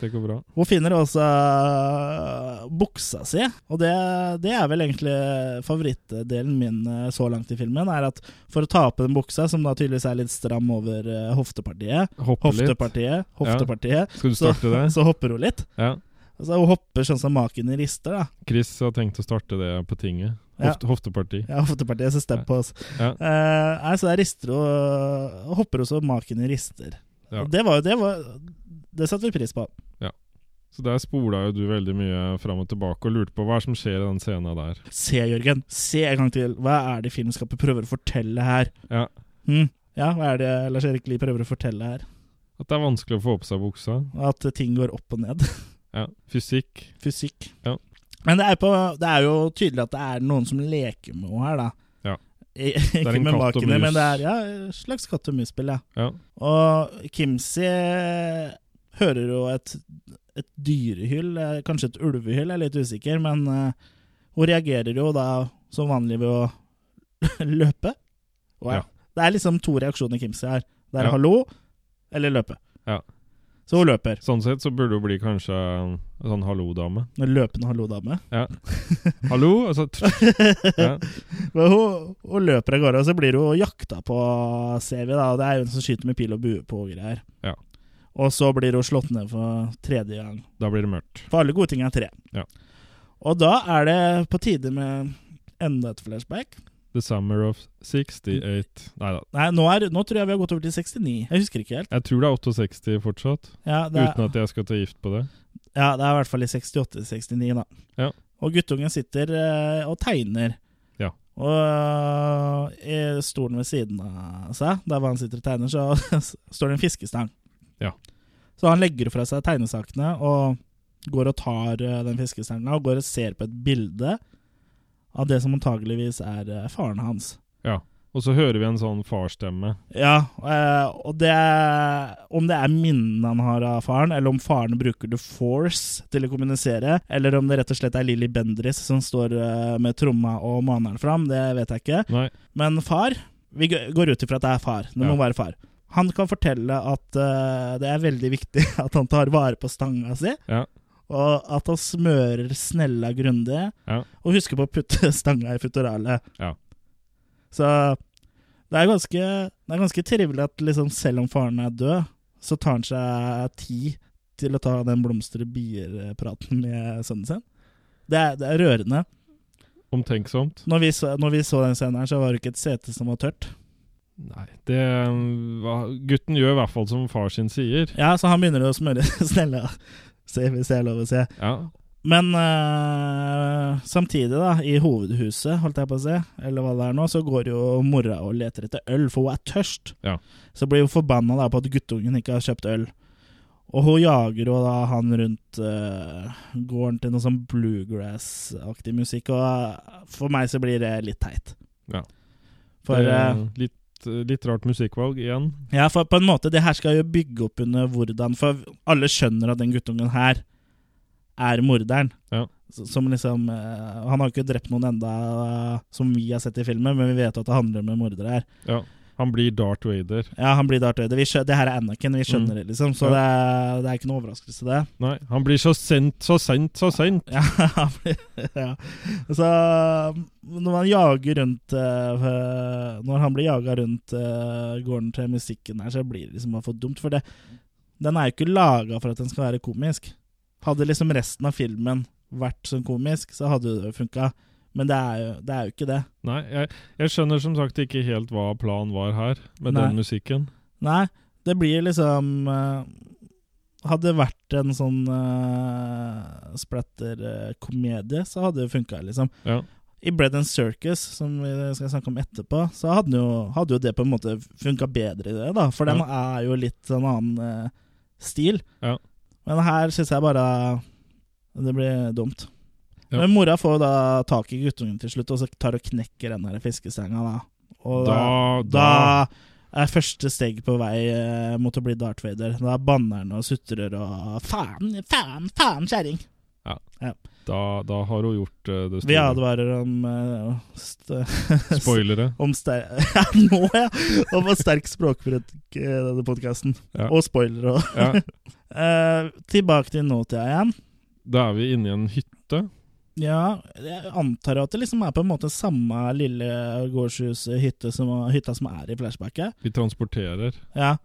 S2: Det går bra.
S1: Hun finner også eh, buksa si, og det, det er vel egentlig favorittdelen min eh, så langt i filmen. er at For å ta på den buksa, som da tydeligvis er litt stram over eh, hoftepartiet,
S2: Hoppe litt.
S1: Hoftepartiet, hoftepartiet.
S2: Skal du
S1: Så,
S2: starte det?
S1: så hopper hun litt.
S2: Ja.
S1: Altså, hun hopper sånn som maken i rister, da.
S2: Chris har tenkt å starte det på tinget.
S1: Ja.
S2: Hofte, Hofteparti.
S1: Ja, hoftepartiet, så stem på oss.
S2: Ja.
S1: Eh, nei, så der rister hun og hopper hun som maken i rister.
S2: Ja.
S1: Og Det var jo det var, Det satte vi pris på.
S2: Så der spola jo du veldig mye fram og tilbake og lurte på hva er som skjer i den scenen der.
S1: Se, Jørgen, se en gang til. Hva er det filmskapet prøver å fortelle her?
S2: Ja.
S1: Hm? Ja, hva er det Lars Erik Lie prøver å fortelle her?
S2: At det er vanskelig å få på seg buksa.
S1: At ting går opp og ned.
S2: Ja. Fysikk.
S1: Fysikk.
S2: Ja.
S1: Men det er, på, det er jo tydelig at det er noen som leker med henne her, da.
S2: Ja.
S1: Ikke
S2: en
S1: med
S2: katt og
S1: makene,
S2: mus.
S1: men det er ja, et slags katt og mus-spill, ja.
S2: Ja.
S1: Og Kimsey hører jo et, et dyrehyll, eh, kanskje et ulvehyll, jeg er litt usikker, men eh, hun reagerer jo da som vanlig ved å løpe. Og,
S2: Ja.
S1: Det er liksom to reaksjoner Kimsey har. Det er
S2: Ja.
S1: hallo eller løpe.
S2: Ja.
S1: Så hun løper.
S2: Sånn sett så burde hun bli kanskje en sånn hallo-dame.
S1: En løpende hallo-dame.
S2: Hallo! Og så tr- ja.
S1: Men hun, hun løper av gårde, og så blir hun jakta på, ser vi da. Og det er jo en som skyter med pil og bue på og greier.
S2: Ja.
S1: Og så blir hun slått ned for tredje gang.
S2: Da blir det mørkt.
S1: For alle gode ting er tre.
S2: Ja.
S1: Og da er det på tide med enda et flashback.
S2: The summer of 68 Nei da.
S1: Nei, nå, er, nå tror jeg vi har gått over til 69. Jeg husker ikke helt.
S2: Jeg tror det er 68 fortsatt,
S1: Ja, det er,
S2: uten at jeg skal ta gift på det.
S1: ja, det er i hvert fall i 68-69, da.
S2: Ja.
S1: Og guttungen sitter eh, og tegner.
S2: Ja.
S1: Og eh, i stolen ved siden av seg, der hvor han sitter og tegner, så står det en fiskestang.
S2: Ja.
S1: Så han legger fra seg tegnesakene og går og tar eh, den fiskestanga og går og ser på et bilde av det som antageligvis er eh, faren hans.
S2: Og så hører vi en sånn farstemme.
S1: Ja, eh, og det Om det er minnene han har av faren, eller om faren bruker the force til å kommunisere, eller om det rett og slett er Lilly Bendriss som står eh, med tromma og maner fram, det vet jeg ikke.
S2: Nei,
S1: Men far Vi g- går ut ifra at det er far. Det må
S2: Ja.
S1: være far. Han kan fortelle at eh, det er veldig viktig at han tar vare på stanga si.
S2: Ja.
S1: Og Og at han smører snella grundig.
S2: Ja.
S1: Og husker på å putte stanga i futuralet.
S2: Ja.
S1: Så det er ganske, det er ganske trivelig at liksom, selv om faren er død, så tar han seg tid til å ta den blomstre bier-praten med sønnen sin. Det er, det er rørende.
S2: Omtenksomt.
S1: Når vi, så, når vi så den scenen her, så var det ikke et sete som var tørt.
S2: Nei, det hva- Gutten gjør i hvert fall som far sin sier.
S1: Ja, så han begynner å smøre snella, se hvis det er lov å si.
S2: Ja.
S1: Men eh, samtidig, da, i hovedhuset, holdt jeg på å si, eller hva det er nå, så går jo mora og leter etter øl, for hun er tørst.
S2: Ja.
S1: Så blir hun forbanna da på at guttungen ikke har kjøpt øl. Og hun jager jo da han rundt eh, gården til noe sånn bluegrass-aktig musikk, og eh, for meg så blir det litt teit.
S2: Ja.
S1: For
S2: det,
S1: eh,
S2: litt, litt rart musikkvalg igjen.
S1: Ja, for på en måte, det her skal jo bygge opp under hvordan For alle skjønner at den guttungen her er morderen.
S2: Ja.
S1: S- Som liksom eh, Han har jo ikke drept noen enda eh, som vi har sett i filmen, men vi vet jo at det handler om en morder her.
S2: Ja. Han blir Darth Vader.
S1: Ja, han blir Darth Vader. Vi skjø- Det her er Anakin, vi skjønner det, liksom. Så
S2: Mm. Ja.
S1: det, er, det er ikke noe overraskelse, det.
S2: Nei, han blir så sent, så sent, så sent.
S1: Ja, han blir- ja. Så når man jager rundt eh, Når han blir jaga rundt eh, gården til musikken her, så blir det liksom bare for dumt. For det, den er jo ikke laga for at den skal være komisk. Hadde liksom resten av filmen vært sånn komisk, så hadde det funka. Men det er, jo, det er jo ikke det.
S2: Nei, jeg, jeg skjønner som sagt ikke helt hva planen var her med
S1: Nei.
S2: den musikken.
S1: Nei, det blir liksom eh, Hadde det vært en sånn uh, splatter-komedie, så hadde det funka, liksom.
S2: Ja.
S1: I Bread and Circus, som vi skal snakke om etterpå, så hadde den jo, hadde jo det på en måte funka bedre i det, da. For den er jo litt en annen eh, stil.
S2: Ja.
S1: Men her syns jeg bare det blir dumt.
S2: Ja.
S1: Men mora får da tak i guttungen til slutt, og så tar og knekker den her fiskestanga, da. Og
S2: Da, da
S1: da er første steg på vei eh, mot å bli Darth Vader. Da banner han og sutrer og Faen, faen, faen, kjerring!
S2: Da, da har hun gjort eh, det
S1: Vi
S2: store.
S1: advarer om eh, st
S2: Spoilere.
S1: om ster Nå, ja! Om å sterk språkbruk i denne podkasten.
S2: Ja.
S1: Og spoilere òg.
S2: Ja.
S1: tilbake til nåtida igjen.
S2: Da er vi inne i en hytte.
S1: Ja, jeg antar at det liksom er på en måte samme lille gårdshushytte som, hytta som er i flashbacket.
S2: Vi transporterer
S1: Ja,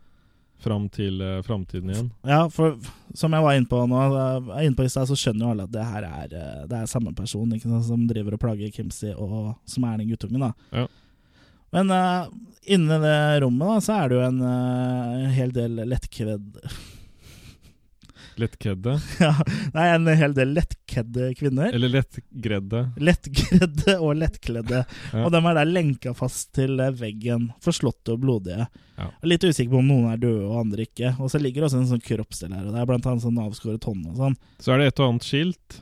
S2: fram til eh, framtiden igjen.
S1: Ja, for som jeg var inne på nå jeg er inne på i sted, så skjønner jo alle at det her er, eh, det er samme person ikke sant, som driver og plager Kimsey, og som er den guttungen. da.
S2: Ja.
S1: Men eh, inne i det rommet da, så er det jo en eh, hel del lettkvedd...
S2: Lettkedde.
S1: ja, nei, en hel del lettkedde kvinner.
S2: Eller lettgredde.
S1: Lettgredde og lettkledde.
S2: Ja.
S1: Og de er der lenka fast til eh, veggen, forslåtte og blodige.
S2: Ja.
S1: Litt usikker på om noen er døde og andre ikke. Og så ligger det også en sånn kroppsdel her og der, blant annet sånn avskåret hånd og sånn.
S2: Så er det et og annet skilt.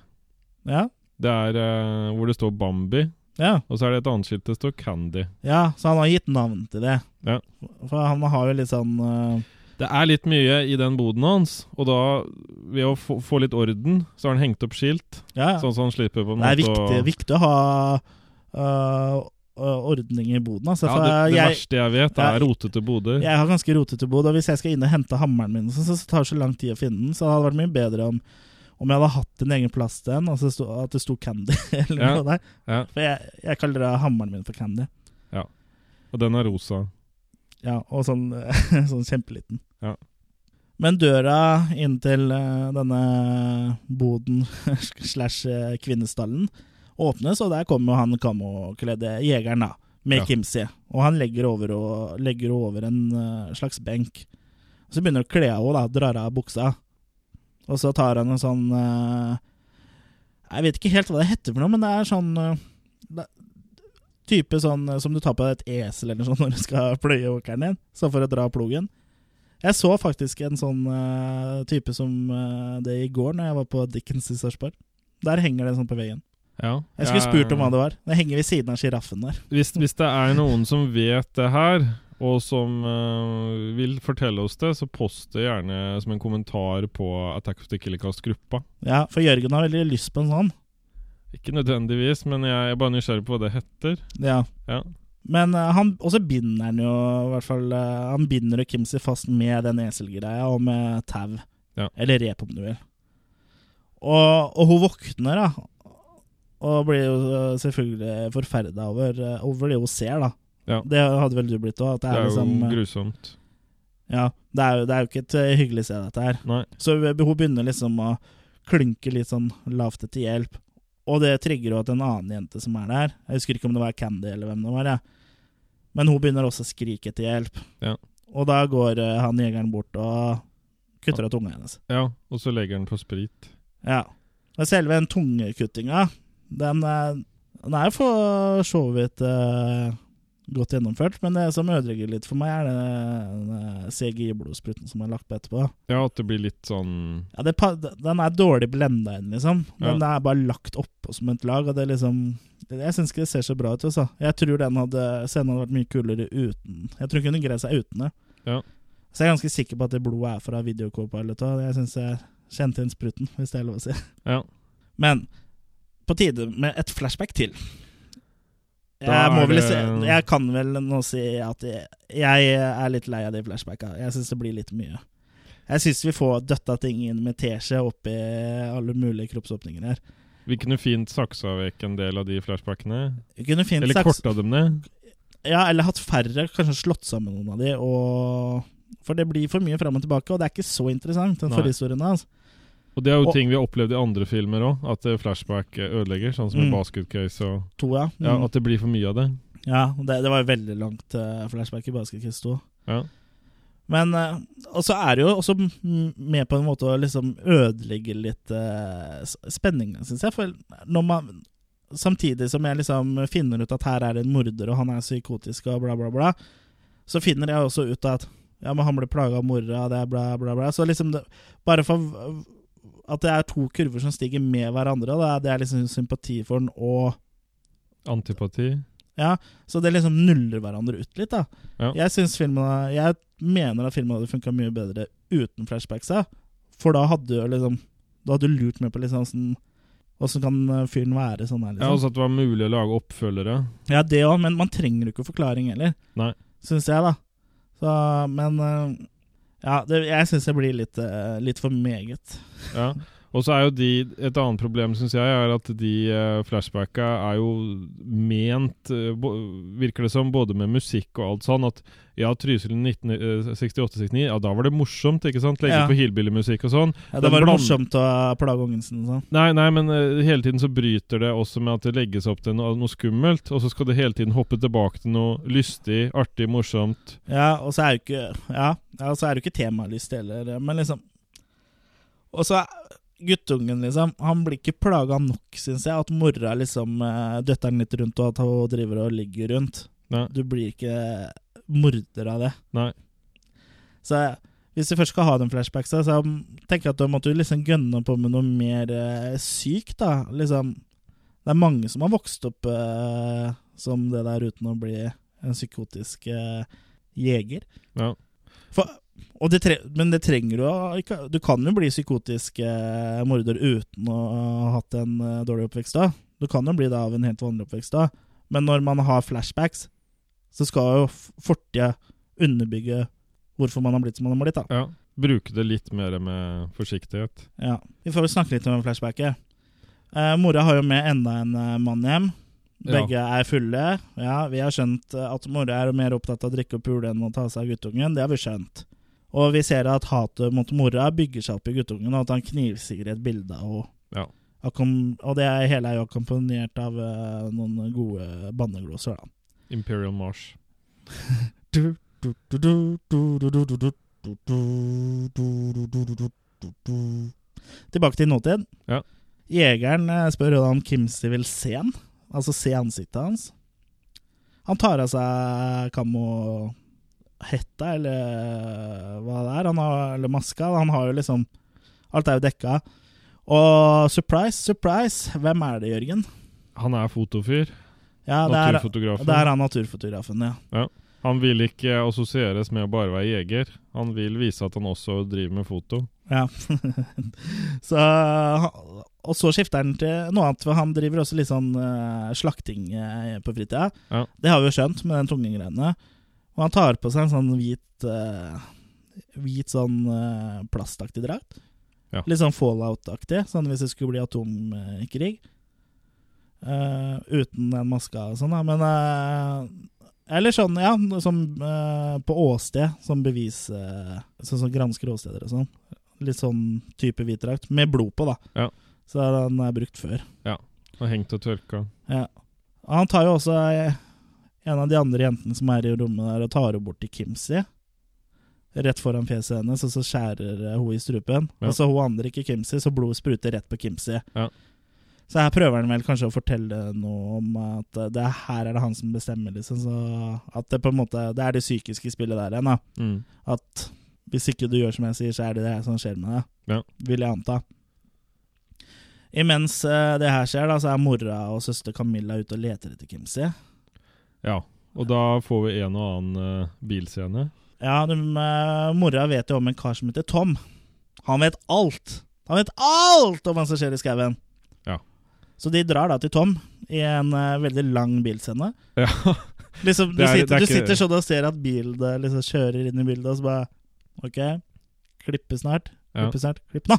S1: Ja,
S2: Det er eh, hvor det står Bambi.
S1: ja.
S2: Og så er det et annet skilt det står Candy.
S1: Ja, så han har gitt navn til det.
S2: Ja.
S1: For han har jo litt sånn øh,
S2: Det er litt mye i den boden hans, og da, ved å få, få litt orden, så har han hengt opp skilt,
S1: Ja, ja.
S2: sånn at han slipper på en
S1: det er
S2: måte
S1: viktig,
S2: å
S1: viktig å ha øh, øh, ordning i boden. Altså,
S2: Ja,
S1: for
S2: det, det
S1: jeg,
S2: verste jeg vet,
S1: Ja.
S2: er rotete boder.
S1: jeg har ganske rotete bod, og hvis jeg skal inn og hente hammeren min, så, så tar det så lang tid å finne den. Så det hadde vært mye bedre om, om jeg hadde hatt en egen plass til den, og så sto, at det sto Candy eller
S2: Ja,
S1: noe der.
S2: ja.
S1: For jeg, jeg kaller det hammeren min for Candy.
S2: Og den er rosa.
S1: Ja, og sånn, sånn kjempeliten.
S2: Ja.
S1: Men døra inn til eh, denne boden slash eh, kvinnestallen åpnes, og der kommer jo han kamokledde jegeren, da, med
S2: Ja.
S1: Kimsey. Og han legger over, og, legger over en eh, slags benk. Så begynner han å kle av henne, da, drar av buksa. Og så tar han en sånn eh, Jeg vet ikke helt hva det heter for noe, men det er sånn eh, det- Type sånn eh, som du tar på et esel eller sånn når du skal pløye åkeren din, så for å dra plogen. Jeg så faktisk en sånn eh, type som eh, det i går når jeg var på Dickens i Sarpsborg. Der henger det sånn på veggen.
S2: Ja.
S1: Jeg skulle spurt om hva det var. Det henger ved siden av sjiraffen der.
S2: Hvis, hvis det er noen som vet det her, og som eh, vil fortelle oss det, så post det gjerne som en kommentar på Attack of the Killercast-gruppa.
S1: Ja, for Jørgen har veldig lyst på en sånn.
S2: Ikke nødvendigvis, men jeg er bare nysgjerrig på hva det heter.
S1: Ja.
S2: Ja.
S1: Men eh, han, og så binder han jo i hvert fall eh, Han binder jo Kimsey fast med den eselgreia og med tau.
S2: Ja.
S1: Eller rep, om du vil. Og, og hun våkner, da. Og blir jo eh, selvfølgelig forferda over, eh, over det hun ser, da.
S2: Ja.
S1: Det hadde vel du blitt òg. Det,
S2: Det
S1: er
S2: er
S1: liksom,
S2: jo grusomt.
S1: ja, det, er jo- det er jo ikke et eh, hyggelig sted, dette her.
S2: Nei.
S1: Så hun hun begynner liksom å klynke litt sånn lavt etter hjelp. Og det trigger jo at en annen jente som er der Jeg husker ikke om det var Candy eller hvem det var. Ja. Men hun begynner også å skrike etter hjelp.
S2: Ja.
S1: Og da går eh, han jegeren bort og kutter av tunga hennes.
S2: Ja, og så legger den på sprit.
S1: Ja. Og selve den tungekuttinga, den, eh, den er jo for så vidt eh, godt gjennomført, men det som ødelegger litt for meg, er den eh, CGI-blodspruten som er lagt på etterpå.
S2: Ja, at det blir litt sånn
S1: Ja, det, pa- den er dårlig blenda inn, liksom.
S2: Ja.
S1: Den er bare lagt oppå som et lag, og det er liksom Jeg syns ikke det ser så bra ut, altså. Jeg tror den hadde, scenen hadde vært mye kulere uten Jeg tror hun kunne greid seg uten det.
S2: Ja.
S1: Så jeg er ganske sikker på at det blodet er fra videocopilot, og jeg syns jeg kjente inn spruten, hvis det er lov å si.
S2: Ja.
S1: Men på tide med et flashback til.
S2: Da
S1: Jeg, må
S2: er
S1: vel
S2: det-
S1: si, jeg kan vel nå si at jeg, jeg er litt lei av de flashbacka. Jeg syns det blir litt mye. Jeg syns vi får døtta ting inn med teskje oppi alle mulige kroppsåpninger her.
S2: Vi kunne fint saksa vekk en del av de flashbackene.
S1: Vi kunne fint
S2: Eller
S1: saks-
S2: korta dem ned.
S1: Ja, eller hatt færre, kanskje slått sammen noen av de, og For det blir for mye fram og tilbake, og det er ikke så interessant, den altså.
S2: Nei.
S1: forhistorien hans.
S2: Og det er jo
S1: Og-
S2: ting vi har opplevd i andre filmer òg, at eh, flashback eh, ødelegger. Sånn som
S1: Mm.
S2: i Basket Case og
S1: To, ja. Mm.
S2: Ja, at det blir for mye av det.
S1: ja og det, det var jo veldig langt eh, flashback i Basketkiss 2.
S2: Ja.
S1: Men eh, Og så er det jo også m- med på en måte å liksom ødelegge litt eh, s- spenningen, syns jeg. For når man Samtidig som jeg liksom finner ut at her er det en morder, og han er psykotisk og bla, bla, bla, så finner jeg også ut at ja, men han ble plaga av mora, det er bla, bla, bla. Så liksom det, Bare for v- at det er to kurver som stiger med hverandre, og det er- det er liksom sympati for den og
S2: Antipati.
S1: så det liksom nuller hverandre ut litt, da.
S2: Ja.
S1: Jeg, synes filmen, jeg mener at filmen hadde funka mye bedre uten flashbacksa. For da hadde du liksom Da hadde du lurt meg på liksom sånn Åssen kan fyren være sånn her,
S2: Ja,
S1: liksom.
S2: altså at det var mulig å lage oppfølgere.
S1: Ja, det òg, men man trenger jo ikke forklaring heller.
S2: Nei.
S1: Syns jeg, da. Så, men eh, Ja, det, jeg syns det blir litt, eh, litt for meget.
S2: Ja. Og så er jo de Et annet problem, syns jeg, er at de eh, flashbacka er jo ment eh, bo, Virker det som, både med musikk og alt sånn, at ja, Trysil 1968-69, ja, da var det morsomt, ikke sant? Legge
S1: Ja.
S2: på hillbillymusikk og sånn.
S1: Ja, det
S2: Den
S1: var
S2: bland-
S1: morsomt å plage ungen sin og sånn.
S2: Nei, nei, men eh, hele tiden så bryter det også med at det legges opp til noe, noe skummelt, og så skal det hele tiden hoppe tilbake til noe lystig, artig, morsomt.
S1: Ja, og så er jo ikke Ja, ja, og så er det jo ikke temalyst heller, men liksom Og så er- guttungen, liksom. Han blir ikke plaga nok, syns jeg. At mora liksom eh, døtter han litt rundt, og at hun driver og ligger rundt.
S2: Nei.
S1: Du blir ikke morder av det.
S2: Nei.
S1: Så hvis du først skal ha den flashbacksa, så tenker jeg at da måtte du liksom gønne på med noe mer eh, sykt, da. Liksom Det er mange som har vokst opp eh, som det der uten å bli en psykotisk eh, jeger.
S2: Ja.
S1: For, og det tre men det trenger du å- ikke. Du kan jo bli psykotisk eh, morder uten å ha hatt en eh, dårlig oppvekst da. Du kan jo bli det av en helt vanlig oppvekst da. Men når man har flashbacks, så skal jo f- fortida underbygge hvorfor man har blitt som man har blitt. da.
S2: Ja. Bruke det litt mer med forsiktighet.
S1: Ja. Vi får vel snakke litt om flashbacket. Eh, mora har jo med enda en eh, mann hjem. Begge er fulle. Ja, Vi har skjønt eh, at mora er mer opptatt av å drikke og pule enn å ta seg av guttungen. Det har vi skjønt. Og vi ser at hatet mot mora bygger seg opp i guttungen, og at han knivstikker et bilde av henne.
S2: Ja.
S1: Akkom- Og det er- hele er jo akkompagnert av eh, noen gode banneglåser, da.
S2: Imperial Marsh.
S1: Tilbake til nåtid.
S2: Ja.
S1: Jegeren eh, spør jo da om Kimsey vil se han, altså se ansiktet hans. Han tar av seg kamohetta, eller eh, hva det er, han har, eller maska. Han har jo liksom Alt er jo dekka. Og surprise, surprise, hvem er det, Jørgen?
S2: Han er fotofyr.
S1: Ja, det er,
S2: Naturfotografen.
S1: det er han naturfotografen, ja.
S2: Han vil ikke assosieres med å bare være jeger. Han vil vise at han også driver med foto.
S1: Ja. så, og så skifter han til noe annet, for han driver også litt sånn eh, slakting eh, på fritida.
S2: Ja.
S1: Det har vi jo skjønt med den tungegreiene. Og han tar på seg en sånn hvit eh, Hvit sånn eh, plastaktig drakt.
S2: Ja.
S1: Litt sånn fallout-aktig, sånn hvis det skulle bli atomkrig. Eh, uten den maska og sånn, da. Men eh, Eller sånn, ja, som eh, på åsted, som bevis eh, Sånn som gransker åsteder og sånn. Litt sånn type hvit drakt, med blod på, da.
S2: Ja.
S1: Så den er eh, brukt før.
S2: Og hengt og tørka.
S1: Ja. Han tar jo også eh, en av de andre jentene som er i rommet der, og tar henne bort til Kimsey. Rett foran fjeset hennes, og så skjærer eh, hun i strupen.
S2: Ja.
S1: Og så hun andre ikke Kimsey, så blodet spruter rett på Kimsey.
S2: Ja.
S1: Så her prøver han vel kanskje å fortelle noe om at eh, det er- her er det han som bestemmer, liksom. Så at det på en måte Det er det psykiske spillet der igjen, da.
S2: Mm.
S1: At hvis ikke du gjør som jeg sier, så er det det her som skjer med deg.
S2: Ja.
S1: Vil jeg anta. Imens eh, det her skjer, da, så er mora og søster Camilla ute og leter etter Kimsey.
S2: Ja. Og da får vi en og annen eh, bilscene.
S1: Ja, de, eh, mora vet jo om en kar som heter Tom. Han vet alt! Han vet alt om hva som skjer i skauen!
S2: Ja.
S1: Så de drar da til Tom i en eh, veldig lang bilscene.
S2: Ja.
S1: Liksom, du,
S2: Det er- det
S1: sitter,
S2: er
S1: du
S2: ikke-
S1: sitter sånn og ser at bilen eh, liksom kjører inn i bildet, og så bare OK, klippe snart.
S2: Ja.
S1: Klippe snart. Klipp nå!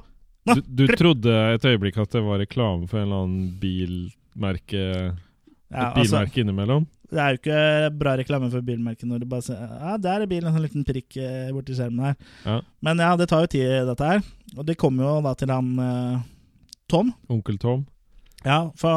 S2: Du, du trodde et øyeblikk at det var reklame for en eller annen bilmerke,
S1: Ja,
S2: et
S1: altså,
S2: bilmerke innimellom?
S1: det er jo ikke bra reklame for bilmerket når du bare ser Ja, der er bilen, en sånn liten prikk eh, borti skjermen her.
S2: Ja.
S1: Men ja, det tar jo tid, dette her. Og det kommer jo da til han eh, Tom.
S2: Onkel Tom?
S1: Ja, fra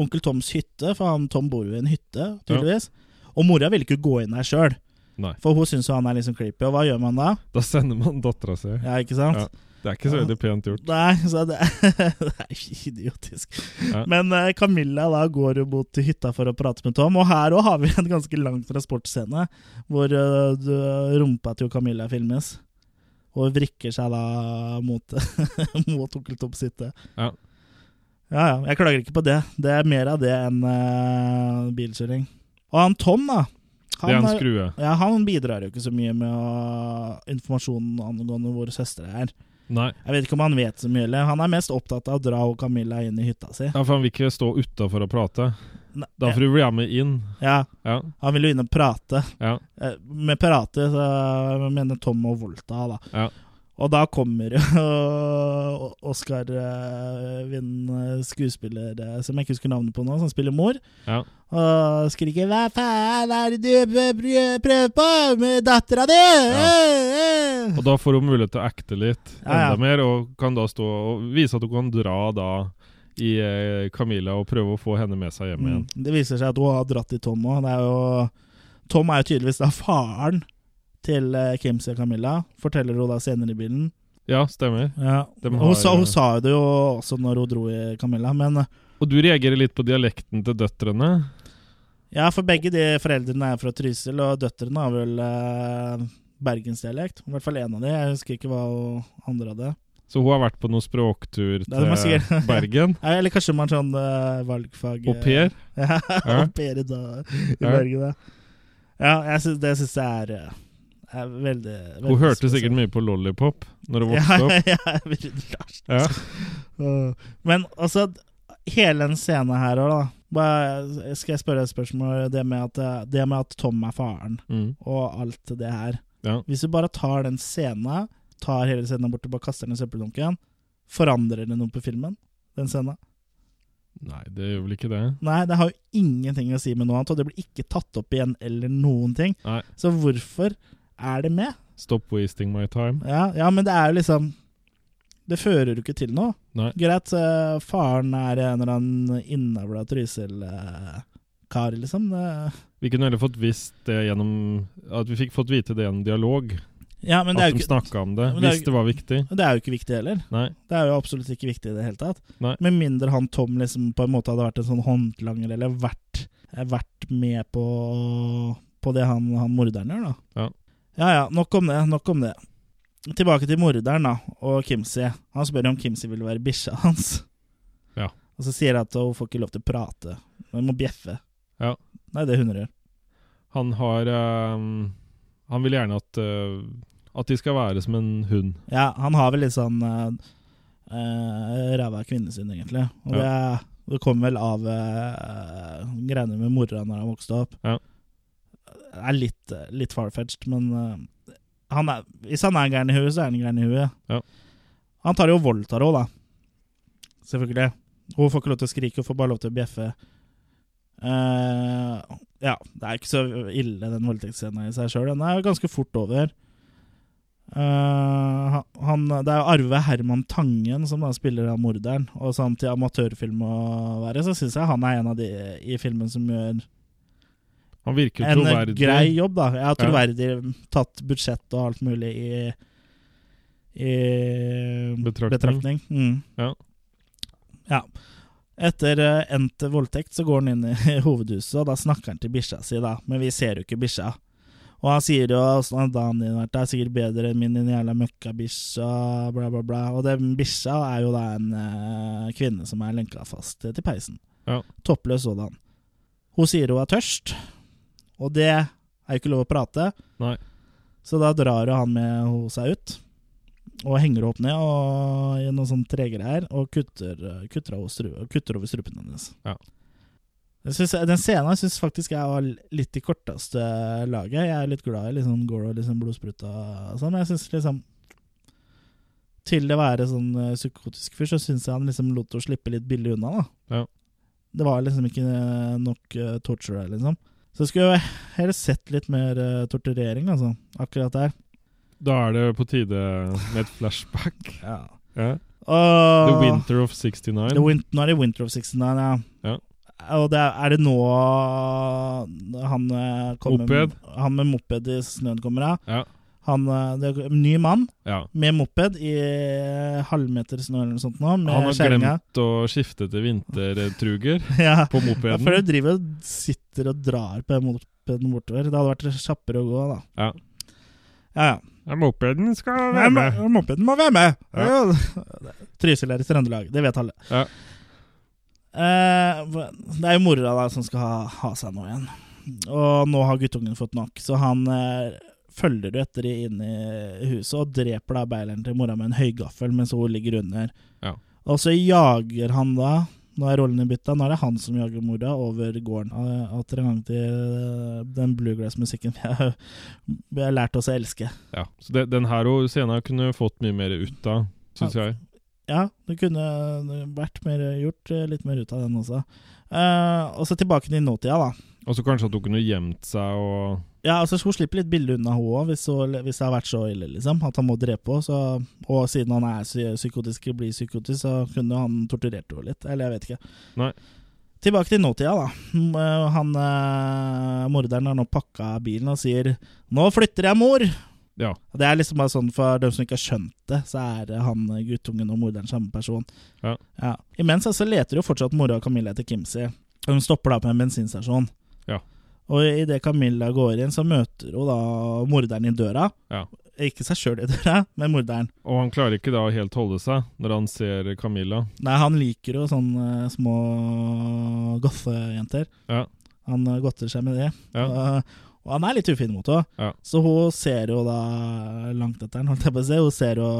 S1: onkel Toms hytte, for han Tom bor jo i en hytte, tydeligvis. Og mora ville ikke gå inn der sjøl,
S2: Nei.
S1: for hun syns jo han er litt sånn creepy. Og hva gjør man da?
S2: Da sender man dattera si.
S1: Ja, ikke sant?
S2: Ja. Det er ikke så
S1: Ja.
S2: veldig pent gjort.
S1: Nei, så det, det er ikke idiotisk.
S2: Ja.
S1: Men eh, Camilla da går jo mot hytta for å prate med Tom, og her òg har vi en ganske lang transportscene hvor eh, du- rumpa til Camilla filmes. Og vrikker seg da mot, mot onkel Toms hytte.
S2: Ja.
S1: ja ja, jeg klager ikke på det. Det er mer av det enn eh, bilkjøring. Og han Tom, da.
S2: det er en
S1: er-
S2: skrue.
S1: ja, han bidrar jo ikke så mye med å, informasjonen angående hvor søstre er.
S2: Nei.
S1: Jeg vet ikke om han vet så mye. eller Han er mest opptatt av å dra og Camilla inn i hytta si.
S2: Ja, for han vil ikke stå utafor og prate.
S1: Ne-
S2: Da får du bli med inn.
S1: Ja,
S2: Ja,
S1: Han vil jo inn og prate.
S2: ja.
S1: Eh, Med prate så mener Tom og Volta, da.
S2: Ja.
S1: Og da kommer jo Oskar Vind, skuespiller eh, som jeg ikke husker navnet på nå, som spiller mor,
S2: Ja.
S1: og skriker 'Hva faen er det du prø- prøver på med dattera di?' Eh, eh.
S2: Og da får hun mulighet til å acte litt
S1: Ja, ja.
S2: enda mer, og kan da stå og vise at hun kan dra da i eh, Camilla og prøve å få henne med seg hjem igjen.
S1: Mm. Det viser seg at hun har dratt i Tom òg. Tom er jo tydeligvis da faren til eh, Kimsey og Camilla, forteller hun da senere i bilen.
S2: Ja, stemmer.
S1: Ja.
S2: De
S1: Hun,
S2: har-
S1: sa, hun sa jo det jo også når hun dro i Camilla, men eh,
S2: Og du reagerer litt på dialekten til døtrene.
S1: ja, for begge de foreldrene er fra Trysil, og døtrene har vel eh, bergensdialekt. I hvert fall én av de. Jeg husker ikke hva hun andre hadde.
S2: Så hun har vært på noen språktur
S1: Ja, det må
S2: til
S1: jeg sikkert-
S2: Bergen.
S1: Eh, Eller kanskje man sånn eh, valgfag eh,
S2: Au pair.
S1: Ja,
S2: Ja.
S1: au pair i, dag, i
S2: Ja.
S1: Bergen, ja. Ja, jeg syns, det syns jeg er, eh, er veldig, veldig
S2: Hun hørte
S1: spesielt.
S2: sikkert mye på Lollipop når hun vokste opp.
S1: sånn. Ja, ja, Vidar Larsen.
S2: Ja.
S1: Åh. Men altså, hele den scenen her òg, da. Bare, skal jeg spørre et spørsmål? Det med, at, det med at Tom er faren,
S2: Mm.
S1: og alt det her.
S2: Ja.
S1: Hvis du bare tar den scenen, tar hele scenen bort og bare kaster den i søppeldunken, forandrer det noe på filmen? Den scenen?
S2: Nei, det gjør vel ikke det.
S1: Nei, det har jo ingenting å si med noe annet, og det blir ikke tatt opp igjen eller noen ting.
S2: Nei.
S1: Så hvorfor er det med?
S2: Stop wasting my time.
S1: Ja, ja, men det er jo liksom Det fører jo ikke til noe.
S2: Nei.
S1: Greit, eh, faren er en eller annen innavla Trysil-kar, liksom. Det-
S2: Vi kunne heller fått visst det gjennom At vi fikk fått vite det gjennom dialog.
S1: ja, men det er,
S2: At
S1: jo
S2: de
S1: ikke,
S2: snakka om det,
S1: Men det er jo
S2: hvis det var viktig.
S1: det er jo ikke viktig heller.
S2: Nei.
S1: Det er jo absolutt ikke viktig i det hele tatt.
S2: Nei.
S1: Med mindre han Tom liksom på en måte hadde vært en sånn håndlanger, eller vært, eh, vært med på, på det han, han morderen gjør, da.
S2: Ja.
S1: ja ja, nok om det. Nok om det. Tilbake til morderen da, og Kimsey. Han spør om Kimsey vil være bikkja hans.
S2: Ja.
S1: Og så sier han at hun får ikke lov til å prate, men må bjeffe.
S2: Ja.
S1: Nei, det er hunder gjør.
S2: Han har ehm, Han vil gjerne at eh, At de skal være som en hund.
S1: Ja, han har vel litt sånn uh, ræva kvinnesyn, egentlig. Og det, det kommer vel av eh, greiene med mora når han vokste opp.
S2: Ja.
S1: Det er litt, litt eh, farfetched, men eh, han er, hvis han er gæren i huet, så er han gæren i huet.
S2: Ja.
S1: Han tar jo og voldtar henne, da. Selvfølgelig. Hun får ikke lov til å skrike, hun får bare lov til å bjeffe. Eh, ja, det er ikke så ille, den voldtektsscenen i seg sjøl. Den er jo ganske fort over. Eh, han, det er jo Arve Herman Tangen som da spiller av morderen. Og sånn til amatørfilm å være, så syns jeg han er en av de i filmen som gjør
S2: Han virker
S1: en
S2: troverdig.
S1: grei jobb, da. Jeg har troverdig tatt budsjett og alt mulig i, i
S2: Betraktning.
S1: betraktning. Mm.
S2: Ja.
S1: Ja. Etter eh, endt voldtekt så går han inn i hovedhuset, og da snakker han til bikkja si, da. Men vi ser jo ikke bikkja. Og han sier jo at dagen din har vært der, sikkert bedre enn min din jævla møkkabikkja, bla, bla, bla. Og den bikkja er jo da en eh, kvinne som er lenka fast til peisen.
S2: Ja.
S1: Toppløs sådan. Hun sier hun er tørst, og det er jo ikke lov å prate.
S2: Nei.
S1: Så da drar jo han med henne seg ut, og henger henne opp ned og, i noen sånne tregreier, og kutter, eh, kutter, av henne stru- kutter over strupen hennes.
S2: Ja.
S1: Jeg synes, den scenen syns faktisk jeg var litt i korteste laget. Jeg er litt glad i liksom gore og liksom blodspruta og sånn, men jeg syns liksom Til det å være sånn eh, psykotisk fyr, så syns jeg han liksom lot henne slippe litt billig unna, da.
S2: Ja.
S1: Det var liksom ikke eh, nok eh, torture, her, liksom. Så jeg skulle jo heller sett litt mer eh, torturering, altså. Akkurat der.
S2: Da er det på tide med et flashback.
S1: Ja.
S2: Ja.
S1: Og,
S2: The Winter of 69.
S1: The Win- nå er det Winter of 69, ja.
S2: Ja.
S1: Og det er, er det nå han eh, kommer
S2: Moped.
S1: Han med moped i snøen kommer av.
S2: Ja.
S1: Han, eh, det er en ny mann
S2: ja.
S1: med moped i eh, halvmeter snø eller noe sånt nå,
S2: Han
S1: med
S2: har
S1: skjerminga.
S2: glemt å skifte til vintertruger
S1: Ja.
S2: på
S1: Ja, for
S2: mopeden.
S1: du driver og sitter og drar på den mopeden bortover. Det hadde vært kjappere å gå, da.
S2: Ja.
S1: Ja, ja.
S2: Ja, mopeden skal
S1: Nei, mo- mopeden må være med!
S2: Ja.
S1: Ja. Trysil er i Trøndelag, det vet alle.
S2: Ja.
S1: Eh, det er jo mora da som skal ha, ha seg nå igjen. Og nå har guttungen fått nok, så han eh, følger jo etter de inn i huset og dreper da beileren til mora med en høygaffel mens hun ligger under.
S2: Ja.
S1: Og så jager han da Nå er rollene bytta, nå er det han som jager mora over gården. Og- Og atter en gang til eh, den bluegrass-musikken vi har vi har lært oss å elske.
S2: Ja, så det, den her og scenen kunne fått mye mer ut av, syns jeg.
S1: Ja, det kunne vært mer gjort eh, litt mer ut av den også. Eh, og så tilbake til nåtida, da.
S2: Og så kanskje at hun kunne gjemt seg og
S1: Ja, altså Hun slipper litt billig unna, hun òg, hvis, hun- hvis det har vært så ille. liksom At han må drepe henne. så- Og siden han er psy- psykotisk, blir psykotisk, så kunne han torturert henne litt. Eller jeg vet ikke.
S2: Nei.
S1: Tilbake til nåtida, da. Mm, eh, Han eh, Morderen har nå pakka bilen og sier 'Nå flytter jeg, mor'.
S2: Ja.
S1: Og Det er liksom bare sånn For dem som ikke har skjønt det, så er eh, han eh, guttungen og morderen samme person.
S2: Ja.
S1: Imens altså leter jo fortsatt mora og Camilla etter Kimsey. Hun stopper da på en bensinstasjon.
S2: Ja.
S1: Og idet Camilla går inn, så møter hun da morderen i døra.
S2: Ja.
S1: Ikke seg sjøl i døra, men morderen.
S2: Og han klarer ikke da å helt holde seg når han ser Camilla.
S1: Nei, han liker jo sånne eh, små gothejenter.
S2: Ja.
S1: Han eh, godter seg med det.
S2: Ja,
S1: Og, eh, og han er litt ufin mot henne.
S2: Ja.
S1: Så hun ser jo da langt etter han, holdt jeg på å si. Hun ser jo,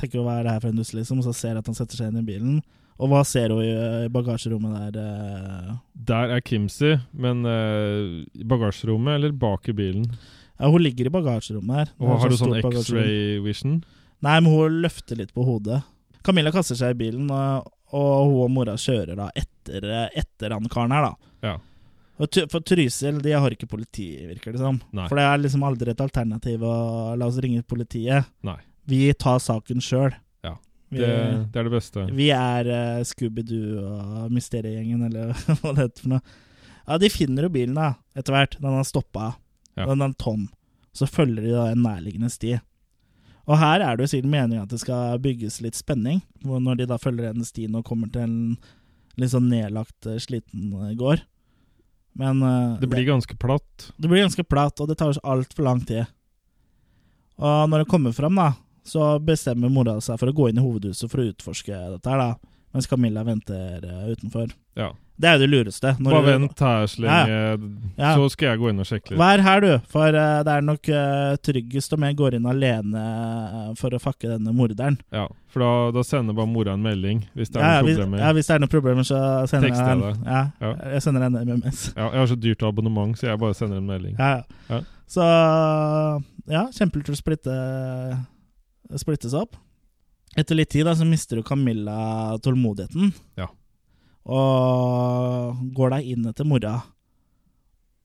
S1: tenker jo hva er det her for en dust, liksom, og så ser hun at han setter seg inn i bilen. Og hva ser hun i, i bagasjerommet der? eh?
S2: Der er Kimsey, men eh, i bagasjerommet eller bak i bilen?
S1: Ja, hun ligger i bagasjerommet her. Det er
S2: Og har du sånn
S1: stort bagasjerom.
S2: X-ray vision?
S1: Nei, men hun løfter litt på hodet. Camilla kaster seg i bilen, og, og hun og mora kjører da etter, eh, etter han karen her, da.
S2: Ja.
S1: Og Try- For Trysil de har ikke politi, virker det som.
S2: Nei.
S1: For det er liksom aldri et alternativ å la oss ringe politiet.
S2: Nei.
S1: Vi tar saken sjøl.
S2: Ja,
S1: Vi,
S2: Det, det er det beste.
S1: vi er eh, Scooby-Doo og mysteriegjengen, eller hva det heter for noe. Ja, de finner jo bilen da, etter hvert. Den har stoppa.
S2: Ja.
S1: Den er tom. Så følger de da en nærliggende sti. Og her er det jo sikkert meningen at det skal bygges litt spenning, hvor når de da følger den stien og kommer til en litt sånn nedlagt, eh, sliten eh, gård. Men eh,
S2: Det blir ganske platt.
S1: det blir ganske platt, og det tar altfor lang tid. Og når det kommer fram, da, så bestemmer mora seg for å gå inn i hovedhuset for å utforske dette her, da. Mens Camilla venter eh, utenfor.
S2: Ja.
S1: Det er jo det lureste. Når
S2: Bare
S1: du-
S2: vent her så lenge,
S1: Ja.
S2: så skal jeg gå inn og sjekke litt.
S1: Vær her, du, for eh, det er nok eh, tryggest om jeg går inn alene eh, for å fakke denne morderen.
S2: Ja, For da, da sender bare mora en melding hvis det er
S1: Ja, ja,
S2: noen
S1: hvis,
S2: problemer.
S1: ja, hvis det er noen problemer, så sender jeg
S2: Tekster jeg
S1: en, ja,
S2: Ja.
S1: jeg sender en MMS.
S2: Ja, jeg har så dyrt abonnement, så jeg bare sender en melding.
S1: Ja, ja.
S2: Ja.
S1: Så ja, kjempelurt å splitte splittes opp. Etter litt tid da, så mister jo Camilla tålmodigheten.
S2: Ja.
S1: Og går da inn etter mora.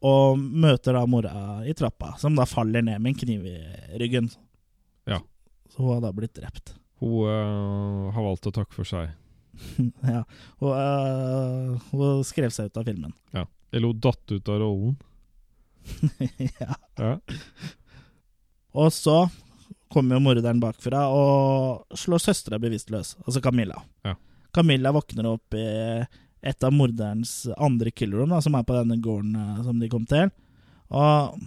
S1: Og møter da mora i trappa, som da faller ned med en kniv i ryggen.
S2: Ja.
S1: Så hun har da blitt drept.
S2: Hun eh, har valgt å takke for seg.
S1: ja. Hun, øh, hun skrev seg ut av filmen.
S2: Eller hun datt ut av rollen.
S1: ja.
S2: Ja.
S1: Og så kommer jo morderen bakfra og slår søstera bevisst løs, altså Camilla.
S2: Ja.
S1: Camilla våkner opp i et av morderens andre killroom, da, som er på denne gården eh, som de kom til. Og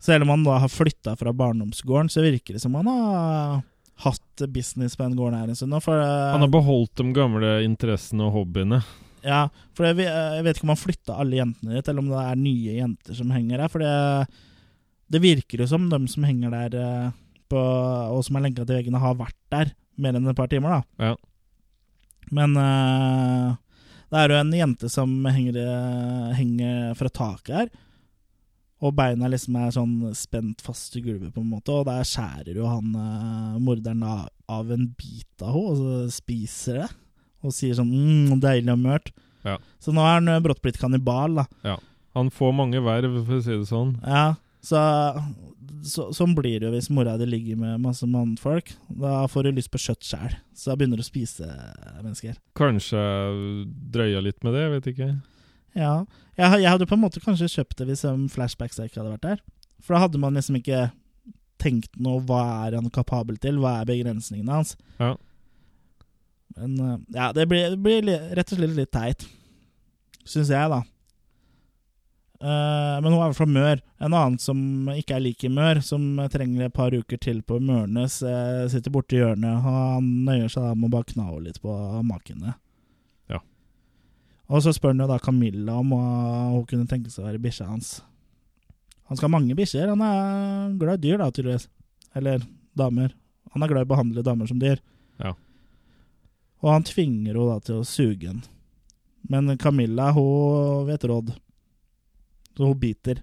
S1: selv om han da har flytta fra barndomsgården, så virker det som han har hatt business på den gården her en stund nå. For, eh,
S2: Han har beholdt de gamle interessene og hobbyene.
S1: ja, for jeg, ve- jeg vet ikke om han flytta alle jentene dit, eller om det er nye jenter som henger der. For det, det virker jo som de som henger der, eh, på, og som er lenka til veggene, har vært der mer enn et par timer. da.
S2: Ja.
S1: Men eh, det er jo en jente som henger, eh, henger fra taket her. Og beina liksom er sånn spent fast i gulvet, på en måte, og der skjærer jo han eh, morderen av, av en bit av henne, og så spiser det. Og sier sånn mm, 'deilig og mørkt'.
S2: Ja.
S1: Så nå er han eh, brått blitt kannibal, da.
S2: Han får mange verv, for å si det sånn.
S1: Ja, så, så, sånn blir det jo hvis mora di ligger med masse mannfolk. Da får du lyst på kjøtt sjæl, så da begynner du å spise mennesker.
S2: Kanskje drøya litt med det, jeg vet ikke.
S1: Ja. Jeg, ha- jeg hadde på en måte kanskje kjøpt det hvis um, flashbacks ikke hadde vært der. For da hadde man liksom ikke tenkt noe Hva er han kapabel til? Hva er begrensningene hans?
S2: Ja.
S1: Men uh, ja, det blir, det blir li- rett og slett litt teit. Syns jeg, da. Eh, men hun er fra Mør. En annen som ikke er like mør, som trenger et par uker til på Mørnes, eh, sitter borti hjørnet. og Han nøyer seg da med å bare kna henne litt på makene. Og så spør han jo da Camilla om uh, hun kunne tenke seg å være bikkja hans. Han skal ha mange bikkjer. Han er glad i dyr, da, tydeligvis. Eller damer. Han er glad i å behandle damer som dyr.
S2: Ja.
S1: Og han tvinger henne da til å suge den. Men Camilla, hun vet råd. Så hun biter.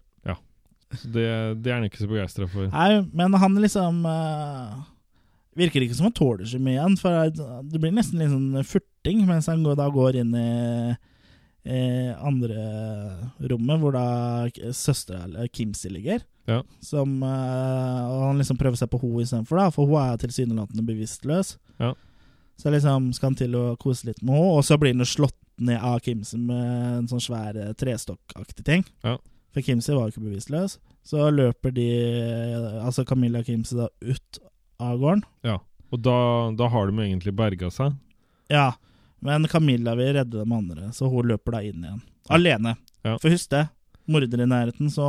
S2: Så det, det er han ikke så begeistra for.
S1: Nei, men han liksom eh, Virker ikke som han tåler så mye igjen, for det blir nesten litt sånn furting mens han går, da går inn i eh, andre rommet, hvor da søstera eller Kimsi ligger.
S2: Ja.
S1: Som, eh, og han liksom prøver seg på henne istedenfor, da, for hun er tilsynelatende bevisstløs.
S2: Ja.
S1: Så liksom skal han til å kose litt med henne, og så blir han jo slått ned av Kimsi med en sånn svær eh, trestokkaktig ting.
S2: Ja.
S1: For Kimsi var jo ikke bevisstløs. Så løper de, altså Camilla og Kimse da, ut av gården.
S2: Og da, da har de egentlig berga seg.
S1: Ja, men Camilla vil redde de andre, så hun løper da inn igjen. Alene.
S2: Ja.
S1: For husk det, morder i nærheten, så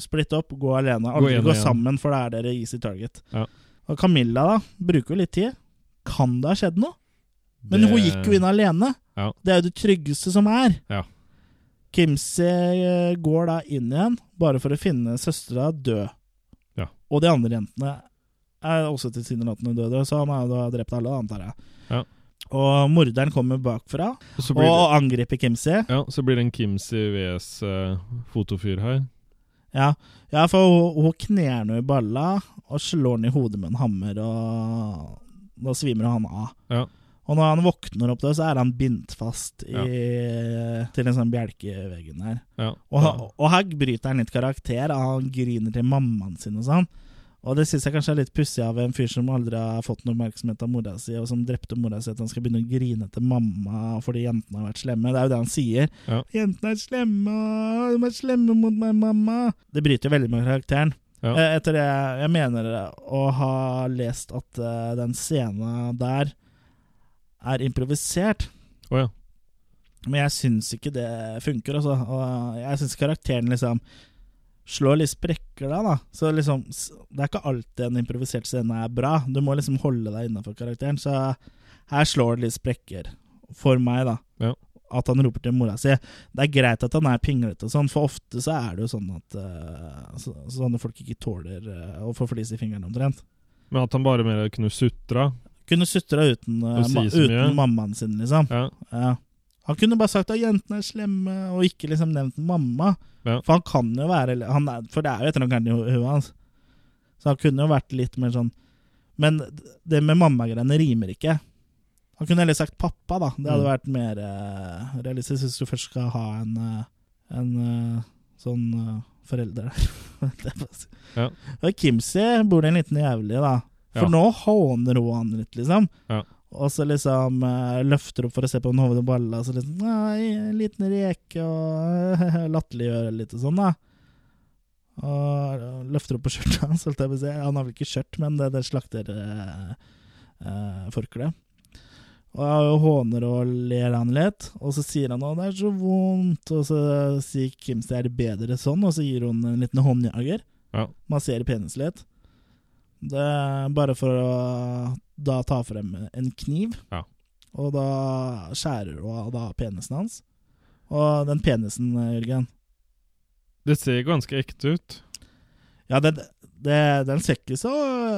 S1: splitt opp, gå alene.
S2: Gå
S1: Aldri
S2: ene
S1: gå,
S2: igjen.
S1: sammen, for da er dere easy target.
S2: Ja.
S1: Og Camilla da, bruker jo litt tid. Kan det ha skjedd noe? Men hun gikk jo inn alene.
S2: Ja.
S1: Det er jo det tryggeste som er.
S2: Ja.
S1: Kimsey eh, går da inn igjen, bare for å finne søstera død.
S2: Ja.
S1: Og de andre jentene er også tilsynelatende døde, så han har jo da drept alle, antar jeg.
S2: Ja.
S1: Og morderen kommer bakfra
S2: Og så
S1: og
S2: blir det,
S1: angriper Kimsey.
S2: ja, så blir det en Kimsi VS eh, fotofyr her.
S1: Ja. ja, for hun, hun kner nå i balla og slår han i hodet med en hammer, og da svimer han av.
S2: Ja.
S1: Og når han våkner opp, da, så er han bindt fast i, til en sånn bjelkeveggen her.
S2: Ja.
S1: Og, og her bryter han litt karakter. Han griner til mammaen sin og sånn. Og det syns jeg kanskje er litt pussig av en fyr som aldri har fått noen oppmerksomhet av mora si, og som drepte mora si, at han skal begynne å grine til mamma fordi jentene har vært slemme. Det er jo det han sier.
S2: Ja.
S1: 'Jentene er slemme, og de er slemme mot meg, mamma'. Det bryter jo veldig med karakteren.
S2: Ja.
S1: Eh, Etter det jeg mener å ha lest at eh, den scenen der er improvisert.
S2: Å ja.
S1: Men jeg syns ikke det funker, altså. Og jeg syns karakteren liksom slår litt sprekker da, da. Så liksom s- Det er ikke alltid en improvisert scene er bra. Du må liksom holde deg innafor karakteren. Så her slår det litt sprekker. For meg, da.
S2: Ja.
S1: At han roper til mora si. Det er greit at han er pinglete og sånn, for ofte så er det jo sånn at eh, så, sånne folk ikke tåler eh, å få flis i fingrene, omtrent.
S2: Men at han bare mer kunne sutra.
S1: Kunne sutra uten, eh,
S2: Og si
S1: ma
S2: så mye.
S1: uten mammaen sin, liksom.
S2: Ja.
S1: Ja. Han kunne bare sagt at jentene er slemme, og ikke liksom nevnt mamma.
S2: Ja.
S1: For han kan jo være han er, For det er jo et eller annet gærent i ho- hodet hans. Så han kunne jo vært litt mer sånn Men det med mammagreiene rimer ikke. Han kunne heller sagt pappa, da. Det
S2: Mm.
S1: hadde vært mer eh, realistisk hvis du først skal ha en, eh, en eh, sånn eh, forelder der.
S2: Ja.
S1: Og Kimsey bor det en liten jævlig, da. For
S2: Ja.
S1: nå håner hun han litt, liksom.
S2: Ja.
S1: Og så liksom eh, løfter opp for å se på den hodet og balla, og så liksom Nei, en liten reke, og latterliggjøre litt og sånn, da. Og løfter opp på skjørtet hans, holdt jeg på å si. Han har vel ikke skjørt, men det, eh, det slakterforkleet. forkle og håner og ler han litt, og så sier han 'Å, det er så vondt', og så sier Kims 'Det er bedre sånn', og så gir hun en liten håndjager.
S2: Ja.
S1: Masserer penis litt. Det er bare for å da ta frem en kniv,
S2: Ja.
S1: og da skjærer hun av da penisen hans. Og den penisen, Jørgen
S2: Det ser ganske ekte ut.
S1: Ja, det, det, den ser ikke så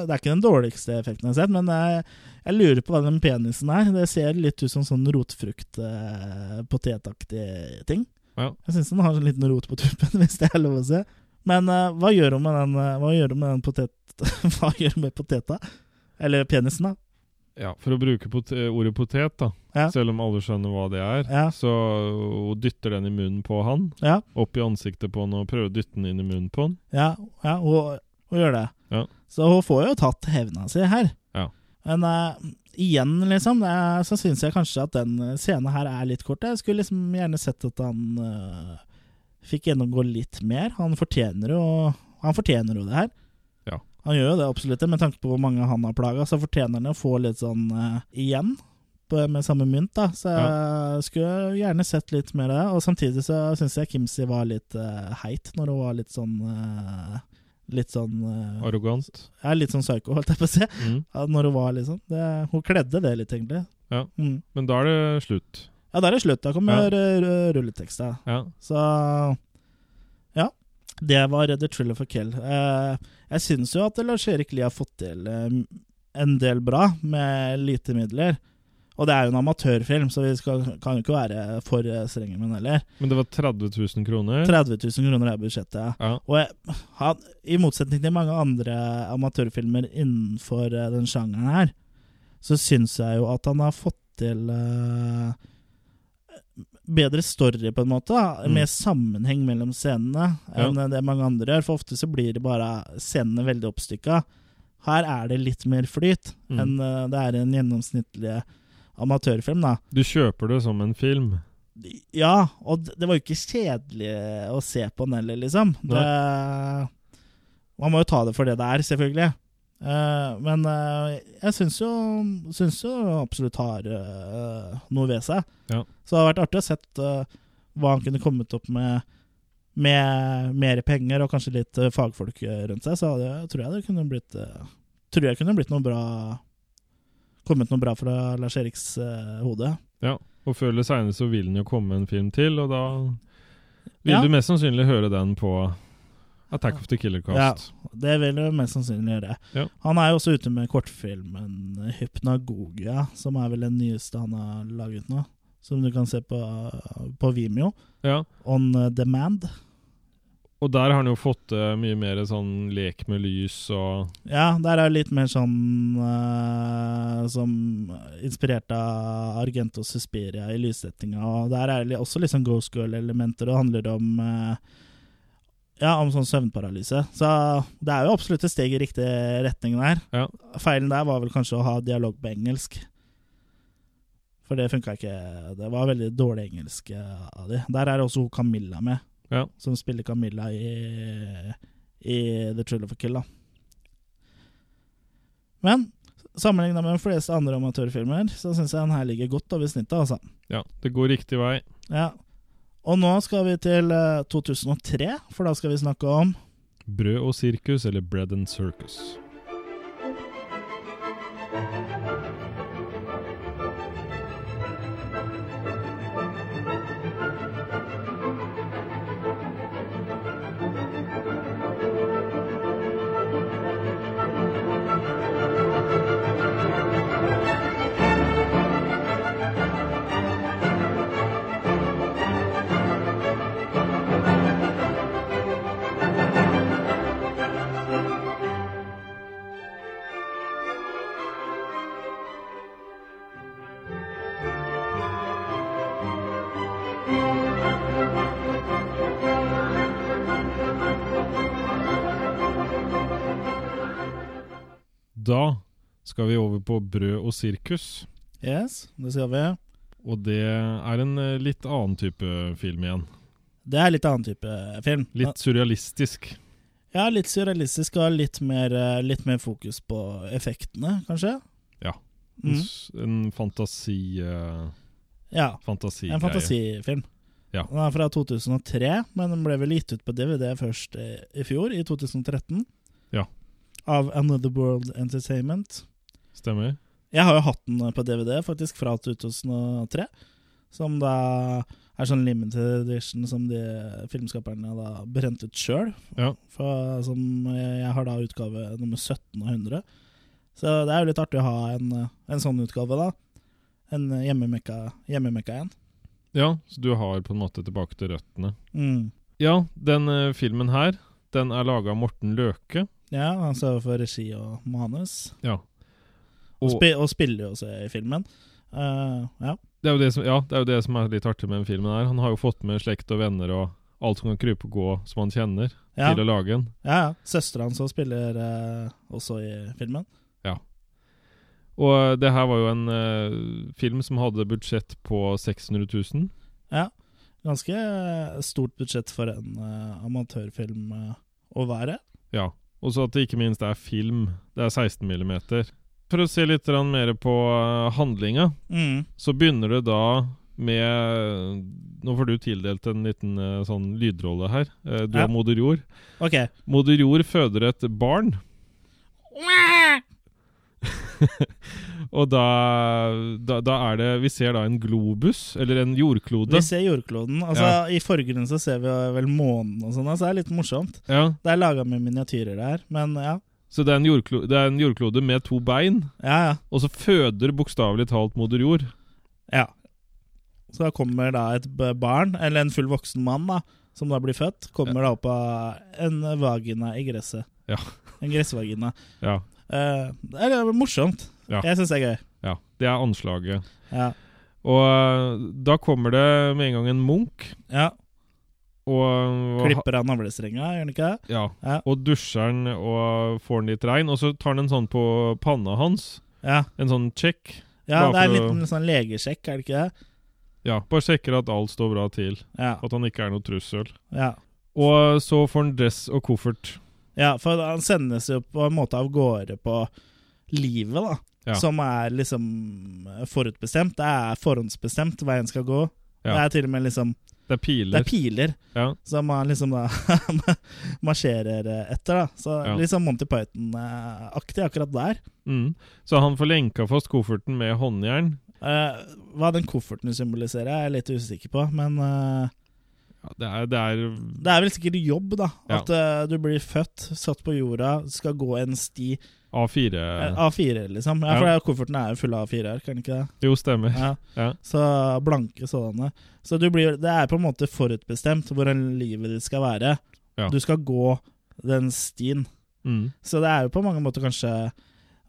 S1: Det er ikke den dårligste effekten jeg har sett, men jeg, jeg lurer på hva den penisen er. Det ser litt ut som sånn rotfrukt, eh, potetaktig ting.
S2: Ja.
S1: Jeg syns den har en liten rot på tuppen, hvis det er lov å se. Men eh, hva gjør hun med den, eh, hva gjør hun med den potet... hva gjør hun med poteta? Eller penisen, da.
S2: Ja, For å bruke pot ordet potet, da.
S1: Ja.
S2: Selv om alle skjønner hva det er.
S1: Ja.
S2: Så hun dytter den i munnen på han.
S1: Ja.
S2: Opp i ansiktet på han og prøver å dytte den inn i munnen på han.
S1: Ja, ja hun, hun gjør det.
S2: Ja.
S1: Så hun får jo tatt hevna si her.
S2: Ja.
S1: Men eh, igjen, liksom, det er- så syns jeg kanskje at den eh, scenen her er litt kort. Jeg skulle liksom gjerne sett at han eh, fikk gjennomgå litt mer. Han fortjener jo, han fortjener jo det her.
S2: Ja.
S1: Han gjør jo det absolutt, med tanke på hvor mange han har plaga, så fortjener han å få litt sånn eh, igjen. på- Med samme mynt, da. Så jeg skulle gjerne sett litt mer av det. Og samtidig så syns jeg Kimsi var litt eh, heit når hun var litt sånn eh, Litt sånn eh,
S2: Arrogant.
S1: ja, litt sånn psyko, holdt jeg på å si.
S2: Mm.
S1: Ja, Når hun var liksom det, Hun kledde det litt, egentlig.
S2: Ja.
S1: Mm.
S2: Men da er det slutt.
S1: ja da er det slutt. Da kommer eh, ja. rulleteksta.
S2: Ja.
S1: Så Ja. Det var The Thriller for Kell. Eh, jeg syns jo at Lars-Erik Lie har fått til eh, en del bra med lite midler. Og det er jo en amatørfilm, så vi skal, kan jo ikke være for eh, strenge med den heller.
S2: Men det var 30 000 kroner.
S1: 30 000 kroner er budsjettet.
S2: Ja.
S1: Og jeg, han, i motsetning til mange andre amatørfilmer innenfor eh, den sjangeren her, så syns jeg jo at han har fått til eh, bedre story, på en måte. Da.
S2: Mm.
S1: Mer sammenheng mellom scenene
S2: Ja.
S1: enn det mange andre gjør. For ofte så blir det bare scenene veldig oppstykka. Her er det litt mer flyt
S2: Mm.
S1: enn eh, det er i en gjennomsnittlig amatørfilm, da.
S2: Du kjøper det som en film.
S1: Ja, og d- det var jo ikke kjedelig eh, å se på den heller, liksom. Det, man må jo ta det for det det er, selvfølgelig. Eh, men eh, jeg syns jo, syns jo absolutt har eh, noe ved seg.
S2: Ja.
S1: Så det har vært artig å sett eh, hva han kunne kommet opp med med mer penger og kanskje litt eh, fagfolk rundt seg. Så det, tror jeg det kunne blitt eh, Tror jeg kunne blitt noe bra Kommet noe bra fra Lars Eriks eh, hode.
S2: Ja. Og før eller seinere så vil den jo komme en film til, og da vil
S1: Ja.
S2: du mest sannsynlig høre den på Attack of the Killer Cast.
S1: Det vil du mest sannsynlig gjøre.
S2: Ja.
S1: Han er jo også ute med kortfilmen eh, 'Hypnagogia', som er vel den nyeste han har laget nå. Som du kan se på, på Vimeo.
S2: Ja.
S1: On eh, demand.
S2: Og der har han jo fått til mye mer sånn lek med lys og
S1: Ja, der er det litt mer sånn eh, Som inspirert av Argento Suspiria i lyssettinga. Og der er det også litt sånn Ghost Girl-elementer, og handler om eh, Ja, om sånn søvnparalyse. Så det er jo absolutt et steg i riktig retning der.
S2: Ja.
S1: Feilen der var vel kanskje å ha dialog på engelsk. For det funka ikke. Det var veldig dårlig engelsk eh, av de. Der er også hun Camilla med,
S2: Ja.
S1: som spiller Camilla i, i The Thriller for Kill. da. Men sammenligna med de fleste andre amatørfilmer, så syns jeg den her ligger godt over snittet, altså.
S2: Ja, det går riktig vei.
S1: Ja. Og nå skal vi til eh, 2003, for da skal vi snakke om
S2: Brød og sirkus, eller Bread and Circus. Da skal vi over på brød og sirkus.
S1: Yes, det skal vi.
S2: Og det er en eh, litt annen type film igjen.
S1: Det er litt annen type eh, film.
S2: Litt surrealistisk.
S1: Ja, litt surrealistisk og litt mer, eh, litt mer fokus på effektene, kanskje.
S2: Ja. En
S1: Mm.
S2: s- En fantasi... eh,
S1: Ja,
S2: fantasigreie.
S1: en fantasifilm.
S2: Ja.
S1: Den er fra 2003, men den ble vel gitt ut på DVD først i, i fjor, i 2013.
S2: Ja.
S1: Av Another World Entertainment.
S2: Stemmer.
S1: Jeg har jo hatt den på DVD, faktisk, fra 2003. Som da er sånn limited edition som de filmskaperne da brente ut sjøl.
S2: Ja.
S1: Som jeg jeg har da utgave nummer 17 av 100. Så det er jo litt artig å ha en, en sånn utgave, da. En hjemmemekka, hjemmemekka en.
S2: Ja, så du har på en måte tilbake til røttene.
S1: Mm.
S2: Ja, den eh, filmen her, den er laga av Morten Løke.
S1: Ja, han står for regi og manus.
S2: Ja.
S1: Og,
S2: Og
S1: spi og spiller jo også i filmen. Eh, ja.
S2: det er, jo det, som, ja, det er jo det som er litt artig med den filmen her. Han har jo fått med slekt og venner og alt som kan krype og gå som han kjenner,
S1: Ja,
S2: til å lage den.
S1: ja, ja. Søstera hans også spiller eh, også i filmen.
S2: Og eh, det her var jo en eh, film som hadde budsjett på 600 000.
S1: Ja. Ganske eh, stort budsjett for en eh, amatørfilm eh, å være.
S2: Ja. Og så at det ikke minst er film. Det er 16 millimeter. For å se litt grann mer på eh, handlinga,
S1: Mm.
S2: Så begynner det da med Nå får du tildelt en liten eh, sånn lydrolle her. Eh, Du
S1: Ja.
S2: er moder jord.
S1: OK.
S2: Moder jord føder et barn, og da, da, da er det Vi ser da en globus, eller en jordklode.
S1: Vi ser jordkloden. Altså,
S2: Ja.
S1: I forgrunnen så ser vi jo vel månen og sånn, altså, det er litt morsomt.
S2: Ja,
S1: Det er laga med miniatyrer der, men ja.
S2: så det er, en jordklo, det er en jordklode med to bein,
S1: Ja, ja.
S2: og så føder bokstavelig talt moder jord.
S1: Ja. Så da kommer da et b- barn, eller en full voksen mann, da, som da blir født, kommer da opp av en vagina i gresset.
S2: Ja.
S1: En gressvagina.
S2: Ja.
S1: Eh, det er det er morsomt.
S2: Ja.
S1: Jeg syns det er gøy.
S2: ja. Det er anslaget.
S1: Ja.
S2: Og eh, da kommer det med en gang en munk.
S1: ja.
S2: Og,
S1: Klipper av navlestrenga, gjør han ikke det?
S2: Ja.
S1: Ja.
S2: Og dusjer han og får han litt regn, og så tar han en sånn på panna hans.
S1: Ja.
S2: En sånn check.
S1: ja,
S2: Bare
S1: det er en
S2: for å-
S1: liten sånn legesjekk, er det ikke det?
S2: Ja, bare sjekker at alt står bra til.
S1: Ja.
S2: At han ikke er noe trussel.
S1: ja.
S2: Og eh, så får han dress og koffert.
S1: Ja, for han sendes jo på en måte av gårde på livet, da.
S2: Ja.
S1: Som er liksom forutbestemt. Det er forhåndsbestemt veien skal gå.
S2: Ja.
S1: Det er til og med liksom
S2: Det er
S1: Det
S2: piler.
S1: er piler
S2: ja.
S1: som man liksom da marsjerer etter, da. Så
S2: Ja.
S1: litt sånn Monty Python-aktig akkurat der.
S2: mm. Så han får lenka fast kofferten med håndjern.
S1: Eh, hva den kofferten symboliserer, er jeg litt usikker på, men eh,
S2: Ja, det er, det er
S1: det er vel sikkert jobb, da.
S2: Ja.
S1: At eh, du blir født, satt på jorda, skal gå en sti
S2: A4
S1: Eh, A4, liksom. Ja,
S2: Ja.
S1: for det er- kofferten er jo full av A4-ark, er den ikke det?
S2: Jo, stemmer.
S1: Ja.
S2: Ja.
S1: Så blanke sådanne. Så du blir, det er på en måte forutbestemt hvordan livet ditt skal være.
S2: Ja.
S1: Du skal gå den stien.
S2: Mm.
S1: Så det er jo på mange måter kanskje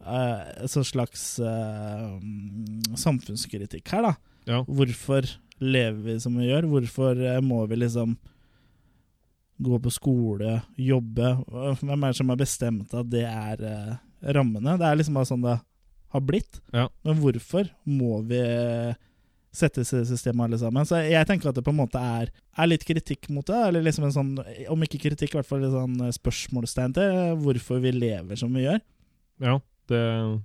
S1: eh, et sånt slags eh, mm, samfunnskritikk her, da.
S2: Ja.
S1: Hvorfor lever vi som vi gjør? Hvorfor eh, må vi liksom gå på skole, jobbe? Hvem er det som har bestemt at det er eh, rammene? Det er liksom bare sånn det har blitt.
S2: Ja.
S1: Men hvorfor må vi settes i systemet alle sammen? Så jeg tenker at det på en måte er, er litt kritikk mot det, eller liksom en sånn, om ikke kritikk, i hvert fall et sånn spørsmålstegn til eh, hvorfor vi lever som vi gjør.
S2: Ja, det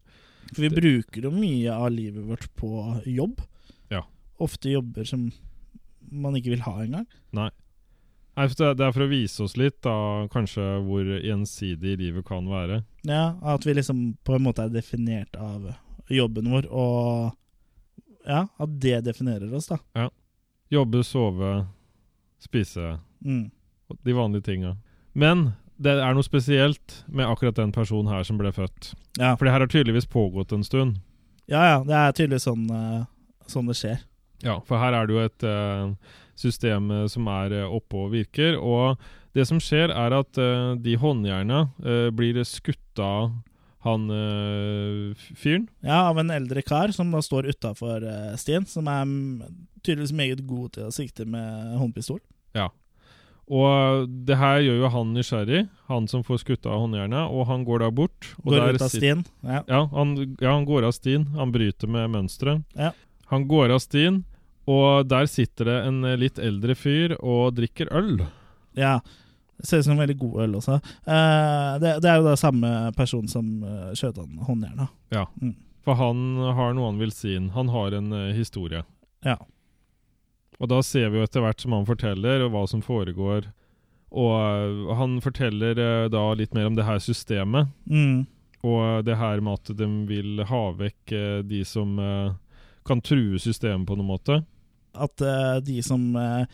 S1: For vi
S2: Det-
S1: bruker jo mye av livet vårt på jobb.
S2: Ja.
S1: Ofte jobber som man ikke vil ha engang.
S2: Nei, for det- det er for å vise oss litt, da, kanskje, hvor gjensidig livet kan være.
S1: Ja, at vi liksom på en måte er definert av jobben vår, og ja, at det definerer oss, da.
S2: Jobbe, sove, spise.
S1: Mm.
S2: De vanlige tinga. Men det er noe spesielt med akkurat den personen her som ble født.
S1: Ja.
S2: For det her har tydeligvis pågått en stund.
S1: ja, ja, det er tydeligvis sånn, eh, sånn det skjer.
S2: Ja, For her er det jo et eh, system eh, som er eh, oppe og virker. Og det som skjer, er at eh, de håndjerna eh, blir skutt av han eh, f- fyren.
S1: Ja, av en eldre kar som da står utafor eh, stien, som er mm, tydeligvis meget god til å sikte med håndpistol.
S2: Og det her gjør jo han nysgjerrig, han som får skutt av håndjernet, og han går da bort. Og
S1: Går
S2: der
S1: ut av
S2: sit-
S1: stien. Ja.
S2: Ja han, ja, han går av stien. Han bryter med mønsteret.
S1: Ja.
S2: Han går av stien, og der sitter det en eh, litt eldre fyr og drikker øl.
S1: ja. Ser ut som en veldig god øl også. Eh, det, det er jo da samme person som uh, skjøt han håndjernet.
S2: For han har noe han vil si inn. Han har en eh, historie.
S1: Ja.
S2: Og da ser vi jo etter hvert som han forteller, og hva som foregår. Og eh, han forteller eh, da litt mer om det her systemet,
S1: Mm.
S2: og det her med at de vil ha vekk eh, de som eh, kan true systemet på noen måte.
S1: At eh, de som eh,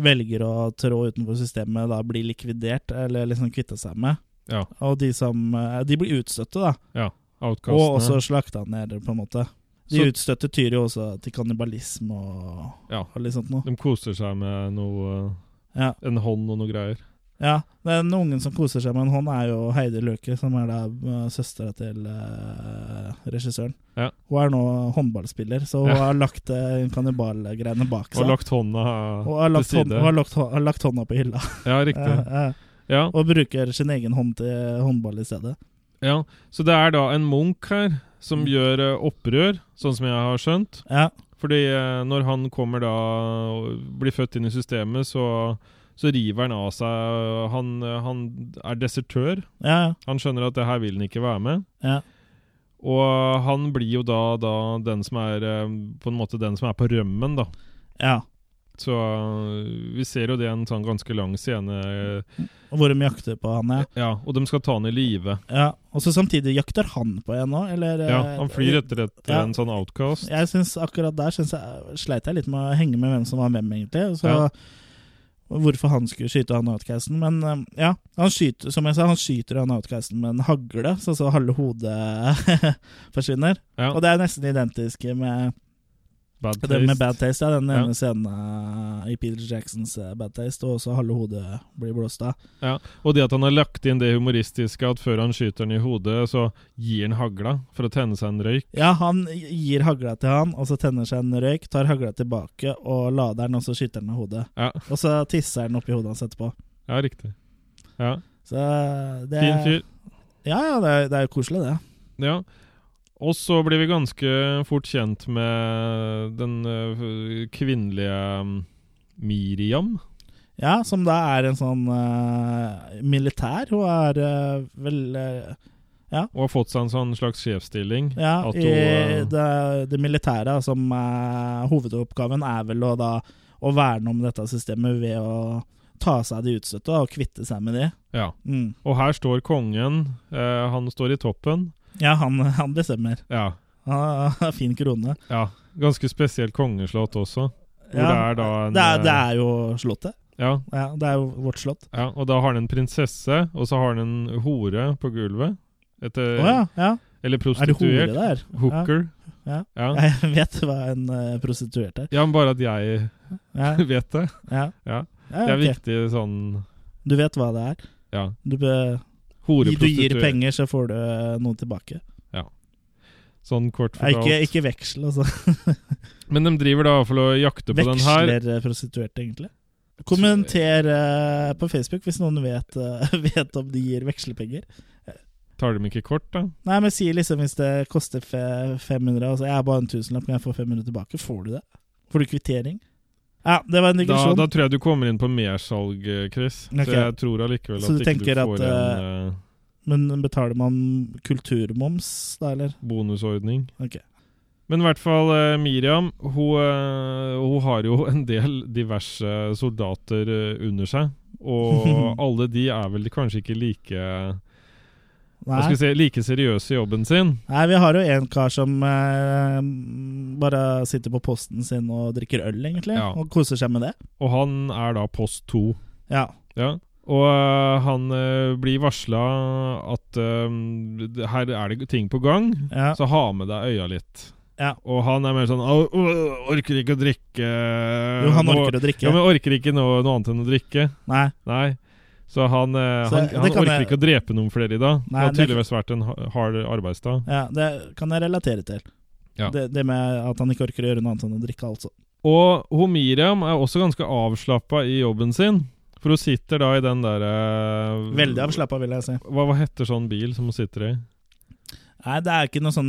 S1: velger å trå utenfor systemet, da blir likvidert, eller liksom kvitte seg med.
S2: Ja.
S1: Og de som eh, De blir utstøtte, da.
S2: Outcastene.
S1: Og også slakta ned, på en måte. De
S2: Så-
S1: utstøtte tyr jo også til kannibalisme og,
S2: Ja.
S1: og litt sånt noe.
S2: De koser seg med noe eh,
S1: Ja.
S2: En hånd og noe greier.
S1: ja. Den ungen som koser seg med en hånd, er jo Heidi Løke, som er da eh, søstera til eh, regissøren.
S2: Ja.
S1: Hun er nå håndballspiller, så hun
S2: Ja.
S1: har lagt eh, kannibalgreiene bak
S2: Og
S1: seg.
S2: lagt hånda
S1: og har
S2: til
S1: lagt, hånd,
S2: side.
S1: og har lagt, hå- har lagt hånda på hylla.
S2: Ja, riktig.
S1: Ja, ja.
S2: Ja.
S1: og bruker sin egen hånd til håndball i stedet.
S2: ja. Så det er da en munk her
S1: Mm.
S2: som gjør eh, opprør, sånn som jeg har skjønt.
S1: Ja,
S2: Fordi eh, når han kommer da og blir født inn i systemet, så, så river han av seg han, eh, han er desertør.
S1: ja,
S2: Han skjønner at det her vil han ikke være med.
S1: ja.
S2: Og han blir jo da, da den som er eh, På en måte den som er på rømmen, da.
S1: ja.
S2: Så eh, vi ser jo det i en sånn ganske lang scene. eh,
S1: Og hvor de jakter på han, ja.
S2: Ja, og de skal ta han i live.
S1: ja. Og så samtidig jakter han på en òg, eller
S2: Ja,
S1: eh,
S2: han flyr etter et,
S1: Ja.
S2: en sånn outcast.
S1: Jeg synes akkurat der synes jeg, sleit jeg litt med å henge med hvem som var hvem, egentlig. og Så
S2: Ja.
S1: Hvorfor han skulle skyte han outcasten. Men eh, ja, han skyter, som jeg sa, han skyter han outcasten med en hagle, så, så halve hodet forsvinner.
S2: Ja,
S1: Og det er nesten identisk med
S2: bad
S1: det med
S2: taste.
S1: Bad Taste. Ja, den
S2: Ja.
S1: ene scenen eh, i Peter Jacksons eh, Bad Taste, og også halve hodet blir blåst av.
S2: Og det at han har lagt inn det humoristiske at før han skyter den i hodet, så gir han hagla for å tenne seg en røyk.
S1: Ja, han gir hagla til han, og så tenner seg en røyk, tar hagla tilbake og lader den, og så skyter han med hodet.
S2: Ja.
S1: Og så tisser han oppi hodet hans etterpå.
S2: Ja, riktig. Ja,
S1: Så det
S2: Fin fyr.
S1: Ja, ja, det er, det er jo koselig, det.
S2: Ja. Og så blir vi ganske fort kjent med den øh, kvinnelige mm, Miriam.
S1: Ja, som da er en sånn eh, militær. Hun er eh, vel eh,
S2: Og har fått seg en sånn slags sjefsstilling.
S1: Ja,
S2: At
S1: i
S2: hun, eh,
S1: det, det militære, da, som eh, hovedoppgaven er vel å da å verne om dette systemet ved å ta seg av de utstøtte da, og kvitte seg med de.
S2: Ja.
S1: Mm.
S2: Og her står kongen. eh, han står i toppen.
S1: Ja, han, han bestemmer.
S2: Ja.
S1: Han har fin krone.
S2: ja. Ganske spesielt kongeslott også. Hvor det er eh? da en
S1: det, er, det er jo slottet.
S2: Ja,
S1: Ja, det er jo vårt slott.
S2: ja, og da har han en prinsesse, og så har han en hore på gulvet. Etter,
S1: Å ja, ja.
S2: Eller
S1: Er det hore
S2: Eh, prostituert.
S1: der?
S2: Hooker.
S1: Ja.
S2: Ja.
S1: Jeg vet hva en eh, prostituert er.
S2: ja, men bare at jeg
S1: Ja,
S2: vet det.
S1: ja.
S2: Ja.
S1: Ja,
S2: Det er
S1: ok.
S2: viktig sånn
S1: Du vet hva det er.
S2: Ja.
S1: Du, be, du
S2: Hore,
S1: gir
S2: prostituert.
S1: penger, så får du eh, noe tilbake.
S2: Sånn kort
S1: Nei,
S2: fortalt.
S1: ikke, ikke veksel, altså.
S2: Men de driver da for å jakte på den her.
S1: Veksler eh, prostituerte, egentlig. Kommenter eh, på Facebook hvis noen vet, eh, vet om de gir vekslepenger.
S2: Tar de ikke kort, da?
S1: Nei, men si liksom hvis det koster fe- 500, altså jeg har bare en tusenlapp, kan jeg få 500 tilbake? Får du det? Får du kvittering? Ja, det var en
S2: Da,
S1: digresjon.
S2: da tror jeg du kommer inn på mersalg, eh, Chris.
S1: Ok.
S2: Så jeg tror allikevel
S1: Så du
S2: at ikke du
S1: tenker at,
S2: får en eh,
S1: Men betaler man kulturmoms da, eller?
S2: bonusordning.
S1: Ok.
S2: Men i hvert fall eh, Miriam, hun, eh, hun har jo en del diverse soldater eh, under seg. Og alle de er vel kanskje ikke like, hva
S1: Nei,
S2: skal jeg si, like seriøse i jobben sin.
S1: Nei vi har jo en kar som eh, bare sitter på posten sin og drikker øl, egentlig,
S2: Ja.
S1: og koser seg med det.
S2: Og han er da post 2.
S1: Ja.
S2: Ja. Og eh, han eh, blir varsla at eh, det- her er det ting på gang,
S1: ja.
S2: så ha med deg øya litt.
S1: Ja.
S2: Og han er mer sånn «Au, øh, Orker ikke å drikke
S1: Jo, han
S2: eh, nå-
S1: orker å drikke.
S2: Ja, men orker ikke noe, noe annet enn å drikke.
S1: Nei,
S2: Nei. Så han, eh,
S1: Så
S2: han,
S1: det
S2: han
S1: kan
S2: orker
S1: jeg-
S2: ikke å drepe noen flere i dag.
S1: Nei,
S2: det har
S1: det-
S2: tydeligvis vært en ha- hard arbeidsdag.
S1: ja, det kan jeg relatere til.
S2: Ja.
S1: Det, det med at han ikke orker å gjøre noe annet enn å drikke, altså.
S2: Og hun Miriam er også ganske avslappa i jobben sin. For hun sitter da i den derre
S1: Veldig avslappa, vil jeg si.
S2: Hva, hva heter sånn bil som hun sitter i?
S1: Nei, det er ikke noe sånn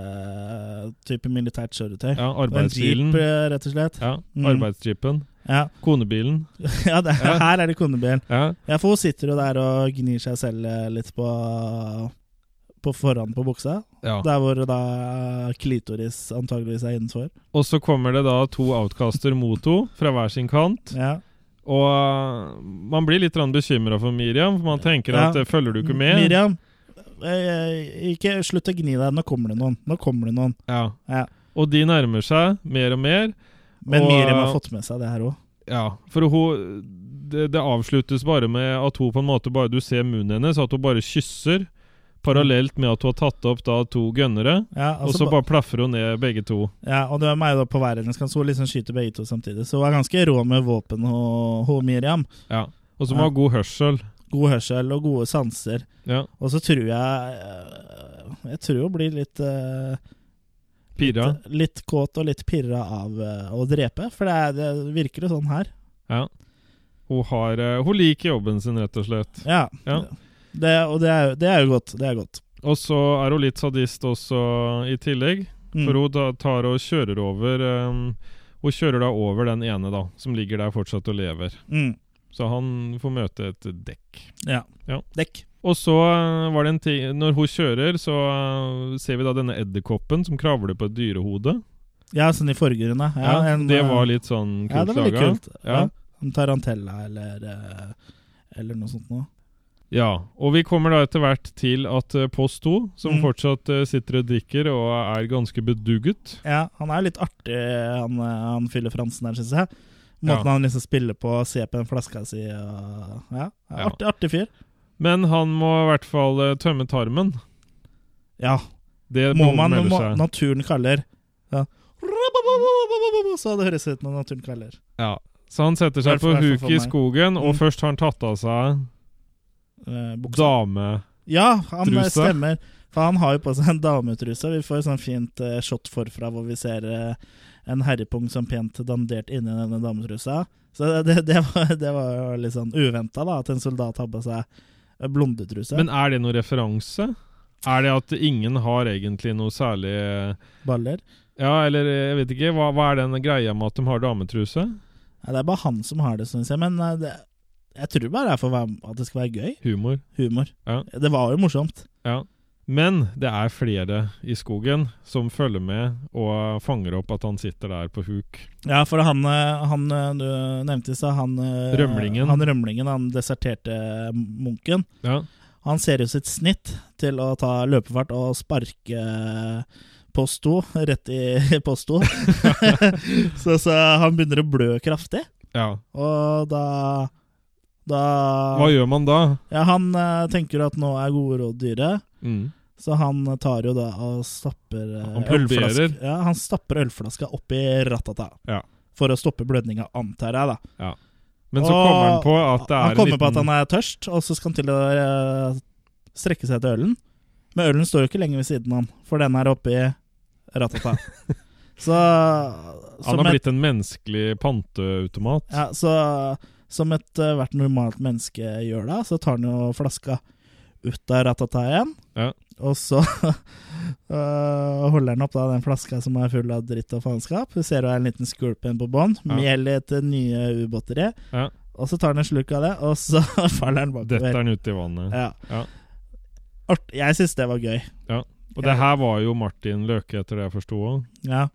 S1: Mercedes-type militært kjøretøy.
S2: Ja,
S1: en
S2: arbeidsbilen.
S1: jeep, eh, rett og slett.
S2: Ja,
S1: Mm.
S2: arbeidsjeepen.
S1: Ja,
S2: Konebilen.
S1: ja, det,
S2: Ja.
S1: her er det kondebil.
S2: Ja.
S1: Ja, for hun sitter jo der og gnir seg selv eh, litt på på forhånd på buksa,
S2: ja.
S1: der hvor da klitoris antageligvis er innenfor.
S2: Og så kommer det da to outcaster mot henne fra hver sin kant.
S1: Ja.
S2: Og øh, man blir litt bekymra for Miriam, for man tenker
S1: Ja.
S2: at øh, følger du ikke med?
S1: Miriam, eh, ikke slutt å gni deg. Nå kommer det noen. Nå kommer det noen.
S2: Ja.
S1: Ja.
S2: Og de nærmer seg mer og mer.
S1: Men
S2: Og- eh,
S1: Miriam har fått med seg det her òg.
S2: Ja, for hun det, det avsluttes bare med at hun på en måte bare Du ser munnen hennes, at hun bare kysser. Parallelt med at hun har tatt opp da to gønnere.
S1: Ja,
S2: og
S1: altså,
S2: så bare plaffer hun ned begge to.
S1: ja, og de er jo da på hver deres kant, så hun liksom skyter begge to samtidig. Så hun er ganske rå med våpen, hun hun Miriam.
S2: Ja. Og så
S1: Ja.
S2: må hun ha god hørsel.
S1: God hørsel og gode sanser.
S2: Ja.
S1: Og så tror jeg eh, Jeg tror hun blir litt eh,
S2: Pira.
S1: Litt kåt og litt pirra av eh, å drepe, for det, er, det virker jo sånn her.
S2: Ja. Hun, har, eh, hun liker jobben sin, rett og slett.
S1: Ja.
S2: Ja.
S1: Det, og det er, jo- det er jo godt. Det er godt.
S2: Og så er hun litt sadist også, i tillegg.
S1: Mm.
S2: For hun da tar og kjører over eh, Hun kjører da over den ene, da, som ligger der fortsatt og lever.
S1: Mm.
S2: Så han får møte et dekk.
S1: Ja.
S2: Ja.
S1: Dekk.
S2: Og så eh, var det en ting Når hun kjører, så eh, ser vi da denne edderkoppen som kravler på et dyrehode.
S1: Ja, sånn i forgrunnen. Ja,
S2: Ja,
S1: en,
S2: det
S1: eh,
S2: var litt sånn
S1: Ja,
S2: kult
S1: det var litt
S2: laga.
S1: kult.
S2: Ja.
S1: Ja. En tarantella eller eh, Eller noe sånt noe.
S2: Ja, og vi kommer da etter hvert til at eh, Post 2, som
S1: Mm.
S2: fortsatt eh, sitter og drikker og er ganske bedugget
S1: Ja, han er litt artig, han, eh, han fyller Fransen der, syns jeg. Måten
S2: Ja.
S1: han liksom spiller på, ser på den flaska si og Ja,
S2: Ja.
S1: artig, artig fyr.
S2: Men han må i hvert fall eh, tømme tarmen.
S1: Ja.
S2: Det
S1: Må man
S2: melde
S1: må,
S2: seg.
S1: Naturen kaller. Ja. Så det høres ut når naturen kaller.
S2: Ja. Så han setter seg på
S1: Hvertfall- hvertfall
S2: huk
S1: for
S2: i
S1: meg.
S2: skogen, og
S1: Mm.
S2: først har han tatt av seg
S1: Eh, buksa.
S2: dame...
S1: Ja, han eh,
S2: Truse.
S1: stemmer. For han har jo på seg en dametruse. Vi får et sånn fint eh, shot forfra hvor vi ser eh, en herrepung som pent dandert inni denne dametrusa. Så det, det, var, det var jo litt sånn uventa, da, at en soldat har på seg eh, blondetruse.
S2: Men er det noen referanse? Er det at ingen har egentlig noe særlig eh,
S1: baller.
S2: Ja, eller eh, jeg vet ikke. Hva, hva er den greia med at de har dametruse?
S1: Nei, det er bare han som har det, syns jeg. Men eh, det, jeg tror bare det er for å være, at det skal være gøy.
S2: Humor.
S1: Humor.
S2: Ja.
S1: Det var jo morsomt.
S2: Ja. Men det er flere i skogen som følger med og fanger opp at han sitter der på huk.
S1: Ja, for han, eh, han eh, du nevnte i stad, han eh,
S2: Rømlingen.
S1: Han rømlingen, han deserterte eh, munken.
S2: Ja.
S1: Han ser jo sitt snitt til å ta løpefart og sparke post 2 rett i post 2. så, så han begynner å blø kraftig,
S2: ja.
S1: og da Da Ah.
S2: Hva gjør man da?
S1: Ja, han eh, tenker at nå er gode råd dyre,
S2: Mm.
S1: så han tar jo da og stapper eh,
S2: Han plomberer.
S1: ølflask- Ja, han stapper ølflaska opp i ratata.
S2: Ja.
S1: For å stoppe blødninga, antar jeg, da.
S2: Men så
S1: Og
S2: kommer han på at det er
S1: Han kommer
S2: en liten
S1: på at han er tørst, og så skal han til å eh, strekke seg etter ølen. Men ølen står jo ikke lenge ved siden av han, for den er oppi ratata. så
S2: Han
S1: som,
S2: har
S1: et,
S2: blitt en menneskelig panteautomat.
S1: ja, så som et eh, hvert normalt menneske gjør da, så tar han jo flaska ut av ratata igjen.
S2: Ja.
S1: Og så eh, holder han opp da den flaska som er full av dritt og faenskap. Du ser jo en liten skulpen på bånn,
S2: Ja.
S1: mel i et nye ubåter i.
S2: Ja.
S1: Og så tar han en slurk av det, og så faller han bakover.
S2: Dette er han ute i vannet.
S1: Ja.
S2: Ja.
S1: Art, jeg syns det var gøy.
S2: Og det her var jo Martin Løke, etter det jeg forsto òg.
S1: Ja.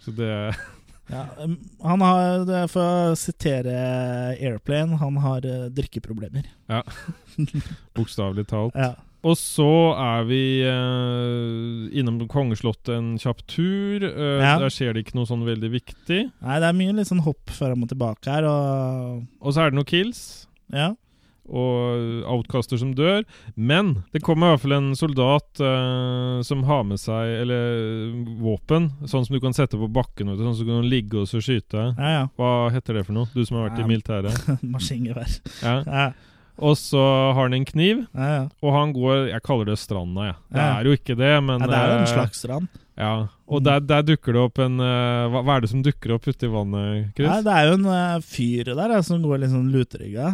S2: Så det
S1: ja. um, Han har, det er for å sitere Airplane, han har eh, drikkeproblemer.
S2: Bokstavelig talt.
S1: Ja.
S2: Og så er vi eh, innom Kongeslottet en kjapp tur. Eh,
S1: Ja.
S2: Der skjer det ikke noe sånn veldig viktig.
S1: Nei, det er mye litt sånn hopp fram og tilbake her, og
S2: Og så er det noen kills
S1: ja.
S2: og outcaster som dør. Men det kommer i hvert fall en soldat eh, som har med seg eller våpen, sånn som du kan sette på bakken, vet du, sånn som du kan ligge og så skyte.
S1: Ja, ja.
S2: Hva heter det for noe? Du som har vært
S1: Ja.
S2: i militæret.
S1: Maskingevær.
S2: Ja.
S1: Ja.
S2: Og så har han en kniv,
S1: Ja, ja.
S2: og han går Jeg kaller det stranda, jeg. Det
S1: Ja.
S2: er jo ikke det, men
S1: ja, det er jo en
S2: eh,
S1: slags strand.
S2: Ja. Og der, der dukker det opp en eh, hva, hva er det som dukker opp uti vannet,
S1: Nei,
S2: Chris?
S1: det er jo en eh, fyr der eh, som går litt sånn lutrygga.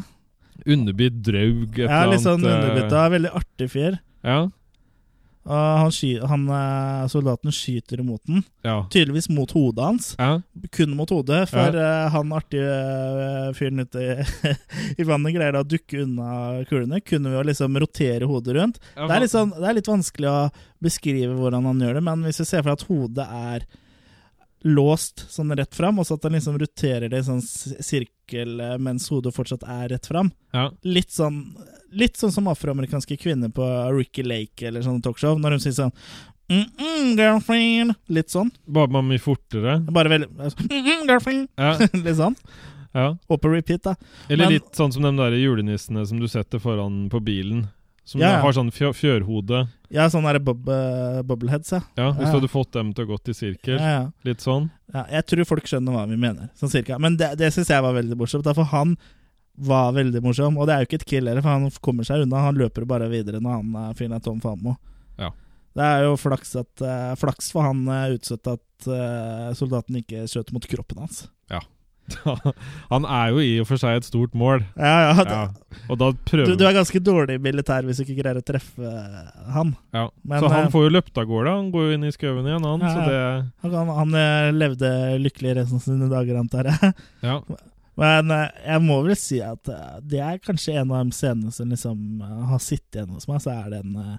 S2: Underbitt draug, et
S1: Ja,
S2: eller
S1: litt sånn
S2: eh,
S1: underbytta. Veldig artig fyr.
S2: Ja.
S1: Og han, sky, han, eh, soldaten skyter mot den.
S2: Ja.
S1: Tydeligvis mot hodet hans.
S2: ja.
S1: Kun mot hodet, for eh, han artige eh, fyren ute i, i vannet greier da å dukke unna kulene. Kunne vi jo liksom rotere hodet rundt. Det er, litt sånn, det er litt vanskelig å beskrive hvordan han gjør det, men hvis vi ser for deg at hodet er låst sånn rett fram, og så at han liksom roterer det i sånn s- sirkel eh, mens hodet fortsatt er rett fram
S2: ja.
S1: Litt sånn, litt sånn som afroamerikanske kvinner på Ricky Lake eller sånne talkshow, når hun sier sånn mm -mm, girlfriend Litt sånn.
S2: Bare man mye fortere.
S1: Bare veldig mm -mm, girlfriend
S2: Ja,
S1: Litt sånn.
S2: ja.
S1: Og på repeat, da.
S2: Eller
S1: Men-
S2: litt sånn som de der julenissene som du setter foran på bilen. Som
S1: Ja, ja.
S2: har sånn fjø fjørhode.
S1: Ja, sånn derre bob eh, bubbleheads, ja.
S2: Ja, Hvis
S1: Ja.
S2: du hadde fått dem til å gått i sirkel.
S1: Ja, ja.
S2: Litt sånn.
S1: Ja, jeg tror folk skjønner hva vi mener, sånn cirka. Men det, det syns jeg var veldig morsomt, da, for han var veldig morsom. Og det er jo ikke et kill heller, for han kommer seg unna. Han løper bare videre når han eh, finner Tom Famo.
S2: Ja.
S1: Det er jo flaks, at, eh, flaks for han uh, utsatt at eh, soldaten ikke skjøt mot kroppen hans.
S2: Han er jo i og for seg et stort mål.
S1: Ja, ja, det,
S2: Ja. Og da
S1: du,
S2: prøver
S1: du er ganske dårlig i militær hvis du ikke greier å treffe eh, han.
S2: ja.
S1: men,
S2: Så
S1: eh,
S2: han får jo løpt av gårde. Han går jo inn i skauen igjen, han.
S1: Ja,
S2: Så
S1: ja.
S2: det
S1: Han, han, han eh, levde lykkelig resten av sine dager, antar jeg.
S2: Ja.
S1: Men eh, jeg må vel si at eh, det er kanskje en av de scenene som liksom eh, har sittet igjen hos meg, så er den eh,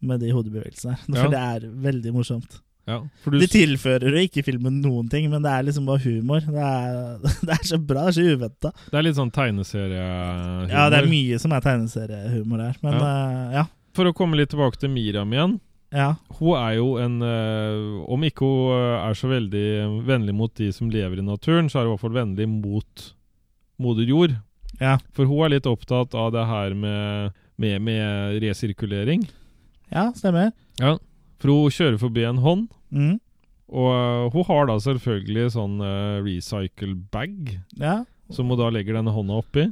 S1: med de hodebevegelsene her. For det er veldig morsomt.
S2: ja. For du
S1: De tilfører jo ikke filmen noen ting, men det er liksom bare humor. Det er, det er så bra, det er så uventa.
S2: Det er litt sånn tegneseriehumor.
S1: Ja, det er mye som er tegneseriehumor her, men eh, ja.
S2: For å komme litt tilbake til Miriam igjen.
S1: ja.
S2: Hun er jo en eh, Om ikke hun eh, er så veldig vennlig mot de som lever i naturen, så er hun i hvert fall vennlig mot moder jord.
S1: Ja.
S2: For hun er litt opptatt av det her med, med, med resirkulering.
S1: Ja, stemmer.
S2: For hun kjører forbi en hånd,
S1: Mm.
S2: og eh, hun har da selvfølgelig sånn eh, recycle bag,
S1: Ja.
S2: som hun da legger denne hånda oppi.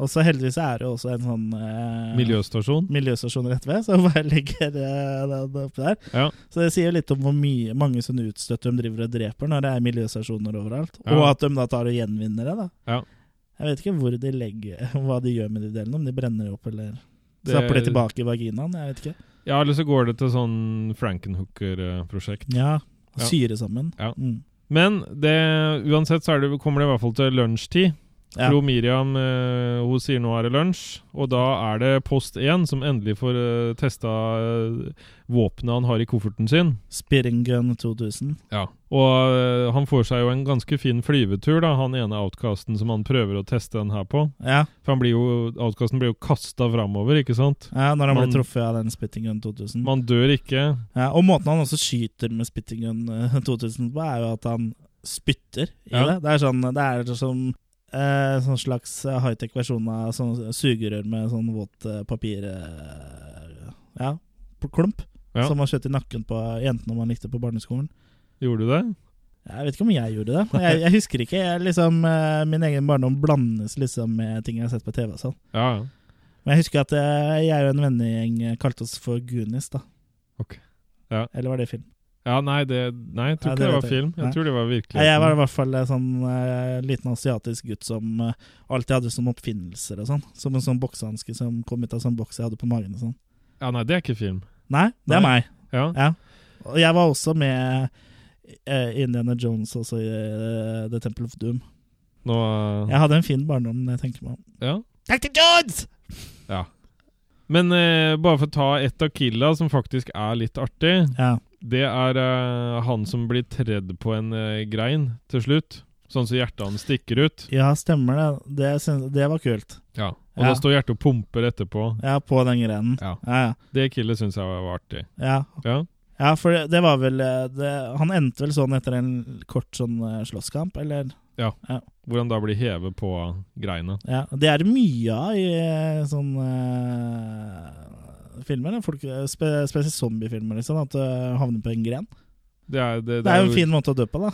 S1: Og så heldigvis er det jo også en sånn eh,
S2: Miljøstasjon.
S1: miljøstasjon rett ved, så jeg bare legger eh, den oppi der.
S2: Ja.
S1: Så det sier jo litt om hvor mye, mange sånne utstøtte de driver og dreper når det er miljøstasjoner overalt.
S2: Ja.
S1: Og at de da tar og gjenvinner det, da.
S2: Ja.
S1: Jeg vet ikke hvor de legger, hva de gjør med de delene, om de brenner det opp eller
S2: Det-
S1: Stapper det tilbake i vaginaen, jeg vet ikke.
S2: Ja, eller så går det til sånn Frankenhooker-prosjekt.
S1: Ja,
S2: Ja.
S1: Syre sammen.
S2: Ja.
S1: Mm.
S2: Men det, uansett så er det, kommer det i hvert fall til lunsjtid.
S1: Ja.
S2: Fru Miriam eh, hun sier nå er det lunsj, og da er det post 1 som endelig får eh, testa eh, våpenet han har i kofferten sin.
S1: Spitting Gun 2000.
S2: Og eh, han får seg jo en ganske fin flyvetur, da, han ene outcasten som han prøver å teste den her på.
S1: Ja,
S2: For han blir jo, outcasten blir jo kasta framover, ikke sant?
S1: ja når han
S2: Man-
S1: ble truffet av den Spitting Gun 2000.
S2: Man dør ikke.
S1: Ja, og måten han også skyter med Spitting Gun eh, 2000 på, er jo at han spytter i
S2: Ja.
S1: det. Det er sånn Det er som eh, sånn slags eh, high-tech versjon av sånn sugerør med sånn våt eh, papir eh, Ja, på klump.
S2: Ja.
S1: Som man skjøt i nakken på jentene man likte på barneskolen.
S2: Gjorde du det?
S1: Jeg vet ikke om jeg gjorde det. Jeg, jeg husker ikke. Jeg, liksom, eh, min egen barndom blandes liksom med ting jeg har sett på TV. og sånn.
S2: Ja, ja.
S1: Men jeg husker at eh, jeg og en vennegjeng eh, kalte oss for Goonies, da.
S2: Ok. Ja.
S1: Eller var det film?
S2: Ja, nei, det, nei, jeg tror
S1: Ja,
S2: ikke
S1: det
S2: det,
S1: vet
S2: var
S1: jeg.
S2: film. Jeg
S1: Nei.
S2: tror det var virkelig.
S1: Nei, jeg var i hvert fall en sånn eh, liten asiatisk gutt som eh, alltid hadde sånne oppfinnelser og sånn. Som en sånn boksehanske som kom ut av sånn boks jeg hadde på magen og sånn.
S2: Ja, nei, det er ikke film.
S1: Nei, det er
S2: Nei.
S1: meg.
S2: Ja.
S1: Og jeg var også med eh, Indiana Jones også i eh, The Temple of Doom.
S2: Nå eh,
S1: Jeg hadde en fin barndom, når jeg tenker meg om.
S2: ja.
S1: Dr. Jones!
S2: Men eh, bare for å ta ett av killa som faktisk er litt artig.
S1: Ja.
S2: Det er eh, han som blir tredd på en eh, grein til slutt. Sånn så hjertet hans stikker ut.
S1: ja, stemmer det. Det, syns- det var kult.
S2: Og
S1: Ja.
S2: da står hjertet og pumper etterpå.
S1: Ja, på den grenen.
S2: Ja.
S1: Ja, ja.
S2: Det killet syns jeg var artig.
S1: ja.
S2: Ja.
S1: ja for det, det var vel eh, det, Han endte vel sånn etter en kort sånn eh, slåsskamp, eller?
S2: Hvor han da blir hevet på greina.
S1: Ja, det er det mye av i eh, sånne eh, filmer. da. Folk, spe, spesielt zombiefilmer, liksom. At du havner på en gren.
S2: Det er, det,
S1: Det er jo en fin måte å dø på, da.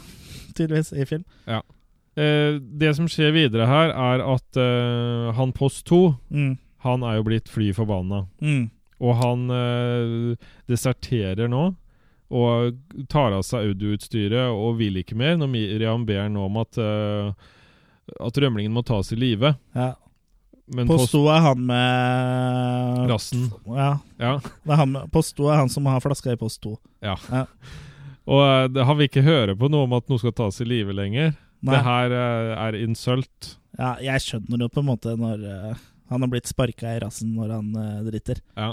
S1: Tydeligvis, i film.
S2: eh, det som skjer videre her, er at eh, han Post 2,
S1: Mm.
S2: han er jo blitt fly forbanna.
S1: Mm.
S2: Og han eh, deserterer nå. Og tar av seg audioutstyret og vil ikke mer. Når Miriam ber han om at, eh, at rømlingen må tas i live.
S1: Ja.
S2: Men Post
S1: Posto er han med
S2: Rassen.
S1: Ja.
S2: Ja.
S1: Det er han med, post 2 er han som har flaska i post 2.
S2: Og eh, det- han vil ikke høre på noe om at noe skal tas i live lenger.
S1: Nei,
S2: Det her eh, er insult.
S1: ja, jeg skjønner jo på en måte når eh, han har blitt sparka i rassen når han eh, driter.
S2: Ja.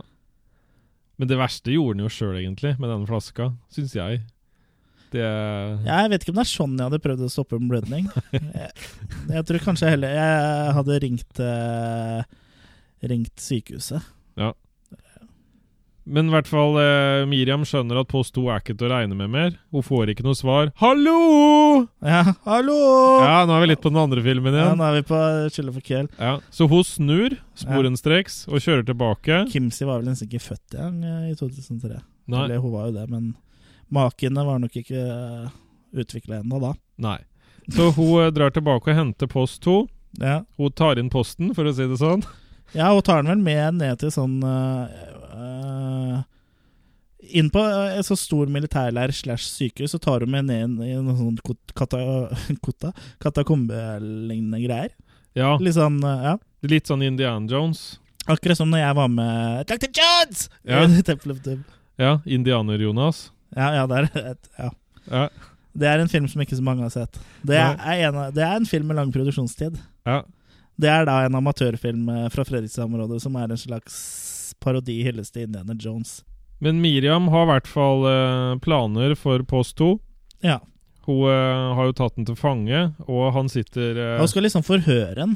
S2: Men det verste gjorde han jo sjøl, egentlig, med denne flaska, syns jeg. Det
S1: Jeg vet ikke om det er sånn jeg hadde prøvd å stoppe en blødning. jeg, jeg tror kanskje heller jeg hadde ringt eh, Ringt sykehuset.
S2: Men i hvert fall, eh, Miriam skjønner at Post 2 er ikke til å regne med mer. Hun får ikke noe svar. Hallo!
S1: Ja, hallo!
S2: Ja, nå er vi litt på den andre filmen
S1: Ja,
S2: igjen.
S1: nå er vi på Skylda for kveld.
S2: Ja. Så hun snur sporenstreks og kjører tilbake.
S1: Kimsi var vel nesten ikke født igjen eh, i 2003.
S2: Nei.
S1: Eller hun var jo det, men makene var nok ikke utvikla ennå da.
S2: Nei. Så hun eh, drar tilbake og henter Post 2.
S1: Ja.
S2: Hun tar inn posten, for å si det sånn.
S1: Ja, og tar den vel med ned til sånn øh, øh, Inn på øh, en så stor militærleir slash sykehus, så tar hun med ned i noen sånn kot- kata, kota, katakombelignende greier.
S2: Ja,
S1: Litt sånn, øh, ja.
S2: litt sånn Indiana Jones.
S1: Akkurat som når jeg var med Dr. Jones!
S2: Ja.
S1: I Temple of Doom.
S2: Ja, Indianer-Jonas.
S1: Ja, ja, det er et ja.
S2: Ja.
S1: Det er en film som ikke så mange har sett. Det er, en, av- det er en film med lang produksjonstid.
S2: Ja.
S1: Det er da en amatørfilm øh, fra Fredrikstad-området som er en slags parodi hyllest til Indiana Jones.
S2: Men Miriam har i hvert fall eh, planer for Post 2.
S1: Ja.
S2: Hun eh, har jo tatt den til fange, og han sitter, eh,
S1: Han skal liksom forhøre den.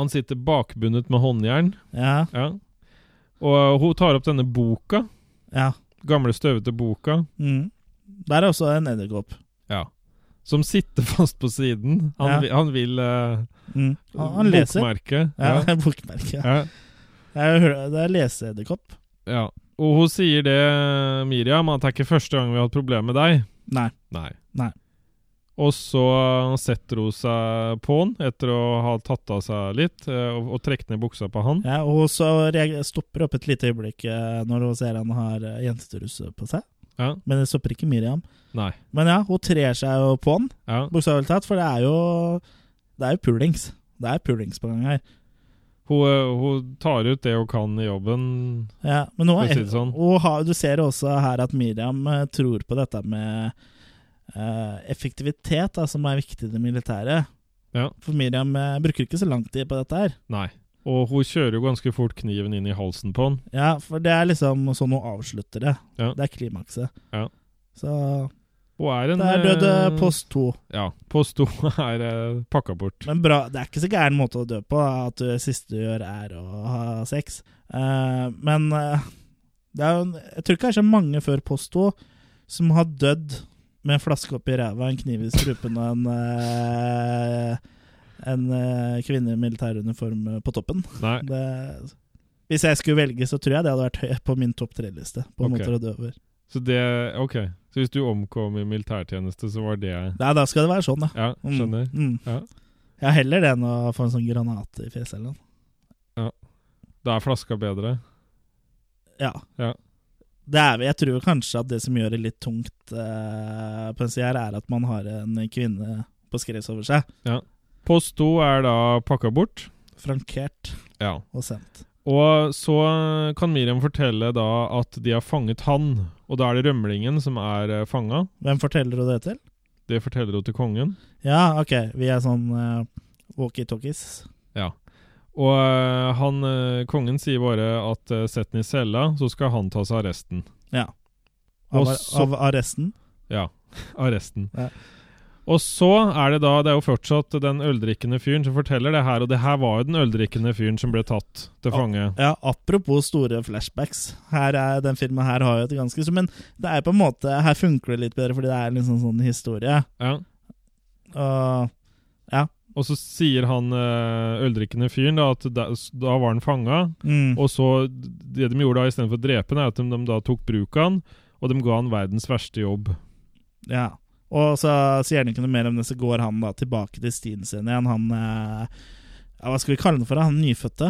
S2: han sitter bakbundet med håndjern.
S1: Ja,
S2: Ja. Og eh, hun tar opp denne boka,
S1: ja.
S2: gamle støvete boka,
S1: Mm. Der er også en edderkopp.
S2: ja. som sitter fast på siden. Han,
S1: Ja.
S2: vil- han vil eh,
S1: Mm. Han, han leser.
S2: bokmerke.
S1: Ja,
S2: Ja.
S1: bokmerke. Ja.
S2: Ja.
S1: Det er, hø- det er leseedderkopp.
S2: Ja. Og hun sier det, Miriam, at det er ikke første gang vi har hatt problem med deg.
S1: Nei.
S2: Nei.
S1: Nei.
S2: Og så setter hun seg på han etter å ha tatt av seg litt, eh, og, og trukket ned buksa på han.
S1: Ja, og så reag- stopper opp et lite øyeblikk eh, når hun ser han har eh, jentetruse på seg.
S2: Ja.
S1: Men det stopper ikke Miriam.
S2: Nei.
S1: Men ja, hun trer seg jo på han,
S2: Ja.
S1: bokstavelig talt, for det er jo Det er jo pulings. Det er pulings på gang her.
S2: Hun, eh, hun tar ut det hun kan i jobben.
S1: Ja, men nå,
S2: For å si det sånn.
S1: og ha- du ser også her at Miriam eh, tror på dette med eh, effektivitet, da, som er viktig i det militære.
S2: Ja.
S1: For Miriam eh, bruker ikke så lang tid på dette her.
S2: Nei. Og hun kjører jo ganske fort kniven inn i halsen på han.
S1: Ja, For det er liksom sånn hun avslutter det.
S2: Ja.
S1: Det er klimakset.
S2: Ja.
S1: Så
S2: Hun er en
S1: det er døde
S2: eh,
S1: post to.
S2: Ja. Post 2 er eh, pakka bort.
S1: Men bra, det er ikke så gæren måte å dø på, da, at det siste du gjør er å ha sex. Eh, men eh, det er jo, en- jeg tror ikke det er så mange før Posto som har dødd med en flaske oppi ræva, en kniv i strupen og en, eh, en eh, kvinne i militæruniform på toppen.
S2: Nei.
S1: Det, hvis jeg skulle velge, så tror jeg det hadde vært høyt på min topp tre-liste. På
S2: Ok.
S1: måter å dø over.
S2: Så det OK. Så hvis du omkom i militærtjeneste, så var det
S1: Nei, da skal det være sånn, ja.
S2: Ja,
S1: Mm,
S2: skjønner.
S1: Mm.
S2: Ja.
S1: Ja, heller det enn å få en sånn granat i fjeset eller noe.
S2: Da er flaska bedre.
S1: Ja.
S2: Ja.
S1: Det er, jeg tror kanskje at det som gjør det litt tungt eh, på en side her, er at man har en kvinne på skrevs over seg.
S2: Post 2 er da pakka bort.
S1: Frankert
S2: Ja.
S1: og sendt.
S2: Og så kan Miriam fortelle da at de har fanget han, og da er det rømlingen som er eh, fanga.
S1: Hvem forteller du det til?
S2: Det forteller hun til kongen.
S1: Ja, OK, vi er sånn eh, walkietalkies.
S2: Og eh, han, eh, kongen sier bare at eh, sett den i cella, så skal han ta seg av resten. Og
S1: Av,
S2: så-
S1: av arresten.
S2: Ja, av resten.
S1: Ja.
S2: Og så er det da, det er jo fortsatt den øldrikkende fyren som forteller det her, og det her var jo den øldrikkende fyren som ble tatt til fange.
S1: Ja, apropos store flashbacks. Her er, den filmen her har jo et ganske Men det er på en måte Her funker det litt bedre, fordi det er liksom sånn historie.
S2: Ja.
S1: Og
S2: Og så sier han eh, øldrikkende fyren da at da, da var han fanga,
S1: mm,
S2: Og så, det de gjorde da istedenfor å drepe han, er at de, de da tok bruk av han, og de ga han verdens verste jobb.
S1: Ja. Og så sier han ikke noe mer om det, så går han da tilbake til stien sin igjen. Han eh, ja, Hva skal vi kalle han for? da? Han nyfødte?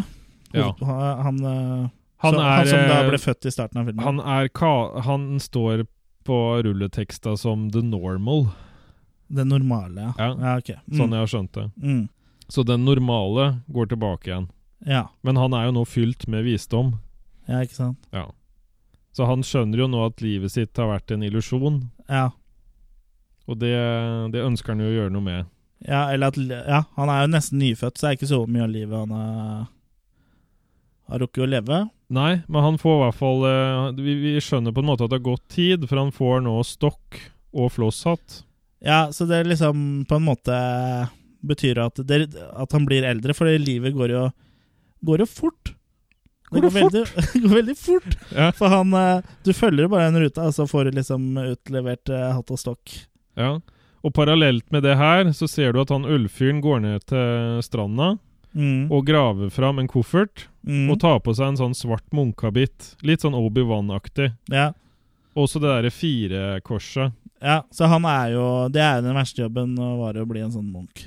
S2: Ja.
S1: Han, han, eh,
S2: Han
S1: så,
S2: er,
S1: han som da
S2: eh,
S1: ble født i starten av filmen?
S2: Han, er ka han står på rulleteksta som The Normal,
S1: Det normale, ja.
S2: Ja.
S1: ja ok. Mm.
S2: sånn jeg har skjønt det.
S1: Mm.
S2: Så den normale går tilbake igjen.
S1: Ja.
S2: Men han er jo nå fylt med visdom.
S1: ja, ikke sant?
S2: Ja. Så han skjønner jo nå at livet sitt har vært en illusjon,
S1: Ja.
S2: og det, det ønsker han jo å gjøre noe med.
S1: Ja, eller at, ja, han er jo nesten nyfødt, så det er ikke så mye av livet han har, har rukket å leve.
S2: Nei, men han får i hvert fall eh, vi, vi skjønner på en måte at det har gått tid, for han får nå stokk og flosshatt.
S1: Ja, så det liksom på en måte betyr at, det, at han blir eldre, for livet går jo, går jo fort.
S2: Går det fort?
S1: Veldig, går veldig fort.
S2: Ja.
S1: For han eh, Du følger jo bare en rute, og så får du liksom utlevert eh, hatt og stokk.
S2: Ja. Og parallelt med det her, så ser du at han ølfyren går ned til stranda
S1: Mm.
S2: og graver fram en koffert
S1: mm,
S2: og tar på seg en sånn svart munkehabitt. Litt sånn Obi-Wan-aktig.
S1: ja,
S2: Også det derre firekorset.
S1: ja, så han er jo Det er jo den verste jobben, å være å bli en sånn munk.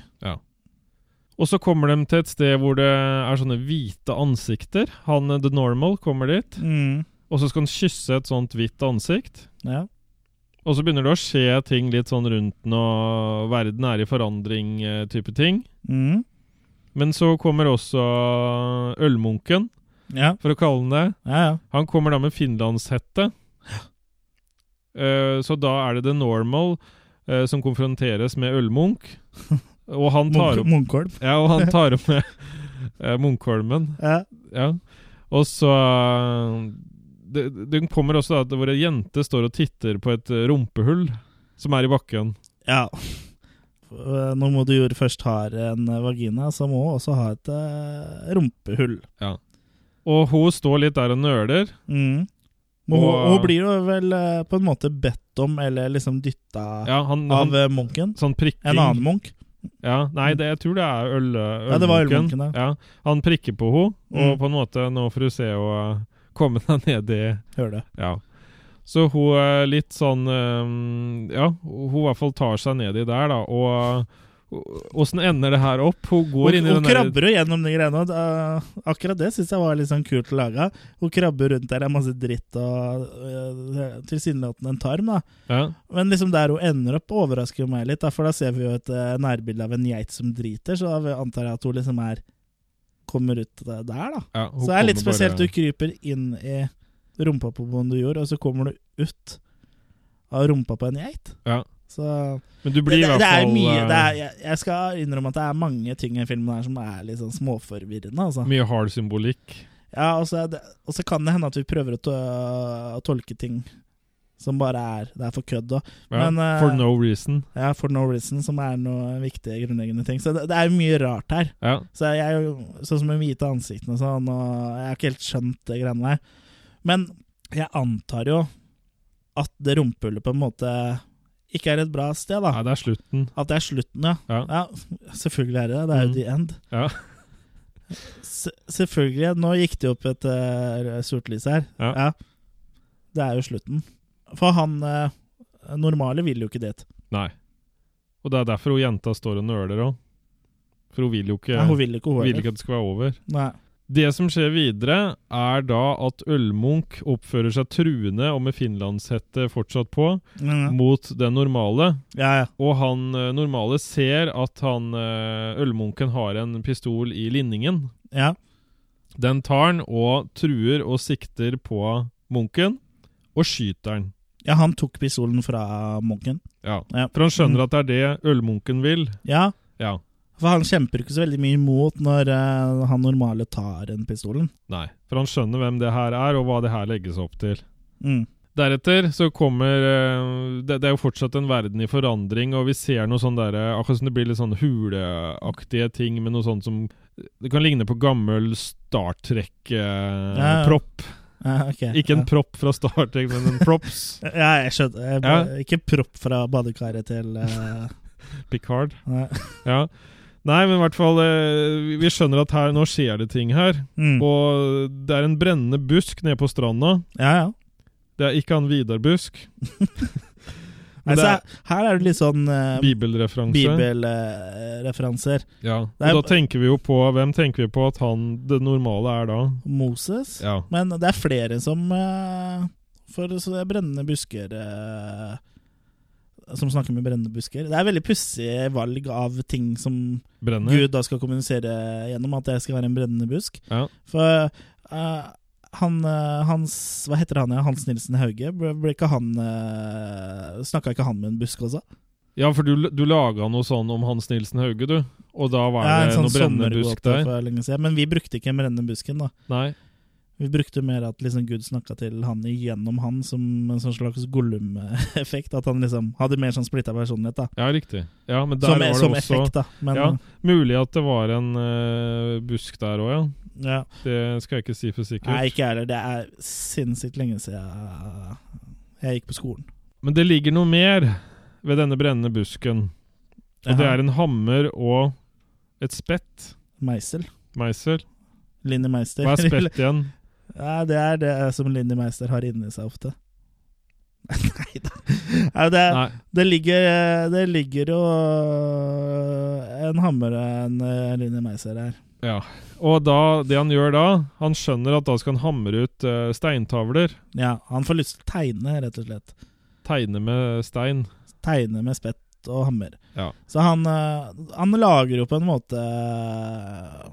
S2: Og så kommer de til et sted hvor det er sånne hvite ansikter. Han eh, The Normal kommer dit,
S1: Mm,
S2: og så skal han kysse et sånt hvitt ansikt.
S1: ja.
S2: Og så begynner det å skje ting litt sånn rundt den, og verden er i forandring-type ting.
S1: Mm,
S2: Men så kommer også ølmunken,
S1: ja,
S2: for å kalle den det.
S1: ja, ja.
S2: Han kommer da med finlandshette. Eh, så da er det The Normal eh, som konfronteres med Ølmunk. Og han tar opp,
S1: Munkholm.
S2: ja, og han tar opp med eh, Munkholmen.
S1: Ja.
S2: Ja. Og så eh, det, det kommer også da at hvor ei jente står og titter på et eh, rumpehull som er i bakken.
S1: Ja. Eh, Nå må du jo først ha en vagina, så må hun også ha et eh, rumpehull.
S2: Og hun står litt der og nøler.
S1: Mm. Men hun,
S2: Og-
S1: hun blir jo vel eh, på en måte bedt om, eller liksom dytta
S2: Ja, han,
S1: av
S2: han
S1: eh, munken.
S2: Sånn prikking.
S1: En annen munk.
S2: Ja, nei, det, jeg tror det er øl, ølmunken.
S1: Ja, det var ølmunken,
S2: ja. Han prikker på henne, og
S1: Mm.
S2: på en måte nå får hun se å eh, komme deg ned i
S1: Hører du.
S2: Ja. Så hun er litt sånn eh, Ja, hun i hvert fall tar seg ned i der, da, og Åssen ender det her opp? Hun går
S1: Hun,
S2: inn i
S1: hun
S2: den der-
S1: krabber jo gjennom de greiene. og da- akkurat det syns jeg var litt sånn kult laga. Hun krabber rundt der, det er masse dritt og eh, tilsynelatende en tarm, da.
S2: ja.
S1: Men liksom der hun ender opp, overrasker jo meg litt. Da, for da ser vi jo et eh, nærbilde av en geit som driter, så da antar jeg at hun liksom er Kommer ut der, da.
S2: Ja, hun
S1: Så det er litt
S2: kommer
S1: spesielt.
S2: bare-
S1: Du kryper inn i rumpa på Bon du gjorde, og så kommer du ut av rumpa på en geit.
S2: Ja.
S1: Så
S2: Men du
S1: det,
S2: blir i
S1: det,
S2: hvert
S1: det er
S2: fall
S1: mye
S2: eh,
S1: det er, jeg, jeg skal innrømme at det er mange ting i filmen her som er litt sånn småforvirrende, altså.
S2: mye hard symbolikk.
S1: Ja, og så, er det, og så kan det hende at vi prøver å, to å tolke ting som bare er Det er for kødd òg.
S2: Ja,
S1: Men, eh,
S2: for no reason.
S1: Ja, for no reason, som er noe viktige grunnleggende ting. Så det, det er jo mye rart her.
S2: Ja.
S1: Så jeg er jo sånn som med hvite ansiktene og sånn, og jeg har ikke helt skjønt det greiene der. Men jeg antar jo at det rumpehullet på en måte ikke er et bra sted,
S2: Nei,
S1: da.
S2: det er slutten.
S1: At det er slutten, ja.
S2: Ja.
S1: Ja, selvfølgelig er det det. Det er jo
S2: Mm.
S1: the end.
S2: Ja.
S1: Se- selvfølgelig. Nå gikk det opp et eh, sort lys her.
S2: Ja.
S1: Det er jo slutten. For han eh, normale vil jo ikke dit.
S2: Nei. Og det er derfor hun jenta står og nøler òg. For hun vil jo ikke,
S1: Nei, hun vil ikke, hun
S2: vil
S1: heller.
S2: ikke at det skal være over.
S1: Nei.
S2: Det som skjer videre, er da at Ølmunk oppfører seg truende og med finlandshette fortsatt på,
S1: Mm.
S2: mot den normale.
S1: Ja, ja.
S2: Og han eh, normale ser at han eh, Ølmunken har en pistol i linningen.
S1: ja.
S2: Den tar han og truer og sikter på munken, og skyter han.
S1: Ja, han tok pistolen fra munken.
S2: Ja.
S1: Ja. Mm.
S2: For han skjønner at det er det Ølmunken vil.
S1: Ja,
S2: Ja.
S1: for han kjemper ikke så veldig mye imot når eh, han normale tar den pistolen.
S2: Nei. For han skjønner hvem det her er, og hva det her legges opp til.
S1: Mm.
S2: Deretter så kommer eh, det, det er jo fortsatt en verden i forandring, og vi ser noe sånn derre Akkurat som det blir litt sånn huleaktige ting med noe sånt som Det kan ligne på gammel Star
S1: Ja, ja.
S2: Trek-propp.
S1: Ja, ok.
S2: Ikke en
S1: ja.
S2: propp fra Star Trek, men en props.
S1: Ja, jeg skjønner. Jeg,
S2: Ja.
S1: ba- Ikke propp fra badekaret til eh,
S2: Picard.
S1: nei.
S2: Ja. Nei, men i hvert fall eh, vi- Vi skjønner at her, nå skjer det ting her.
S1: mm.
S2: Og det er en brennende busk nede på stranda.
S1: Ja, ja.
S2: Det er ikke han Vidar Busk. Men
S1: Altså,
S2: det er-
S1: her er det litt sånn eh,
S2: Bibelreferanse.
S1: bibelreferanser.
S2: Ja. Og
S1: Det er-
S2: da tenker vi jo på Hvem tenker vi på at han det normale er da?
S1: Moses.
S2: Ja.
S1: Men det er flere som eh, For så det er brennende busker eh, Som snakker med brennende busker. Det er veldig pussig valg av ting som
S2: Brenner.
S1: Gud da skal kommunisere gjennom, at jeg skal være en brennende busk.
S2: Ja.
S1: For eh, han eh, Hans Hva heter han? ja? Hans Nilsen Hauge? Ble, ble ikke han uh, Snakka ikke han med en busk også?
S2: Ja, for du, du laga noe sånn om Hans Nilsen Hauge, du. Og da var
S1: Ja, sånn
S2: det noe brennende busk
S1: sommergåte
S2: der.
S1: for lenge siden. Men vi brukte ikke den brennende busken, da.
S2: Nei.
S1: Vi brukte mer at liksom Gud snakka til han igjennom han, som en sånn slags Gollum-effekt. At han liksom hadde mer sånn splitta personlighet, da.
S2: Ja, riktig. Ja, men der
S1: Som,
S2: var det
S1: som
S2: også
S1: effekt, da. Men ja.
S2: Ja. Mulig at det var en eh, busk der òg, ja. Det skal jeg ikke si for sikkert.
S1: Nei, ikke jeg heller. Det er sinnssykt lenge siden jeg- jeg gikk på skolen.
S2: Men det ligger noe mer ved denne brennende busken. Og det er en hammer og et spett.
S1: Meisel.
S2: Meisel.
S1: Linni Meister.
S2: Hva er spett igjen?
S1: Ja, det er det som Linni Meister har inni seg ofte. Nei da. Ja, det,
S2: Nei.
S1: det, ligger, det ligger jo en hammer og en eh, Linni Meister her.
S2: Ja. Og da, det han gjør da, han skjønner at da skal han hamre ut eh, steintavler.
S1: Ja, han får lyst til å tegne, rett og slett.
S2: Tegne med stein.
S1: Tegne med spett og hammer.
S2: Ja.
S1: Så han, eh, han lager jo på en måte eh,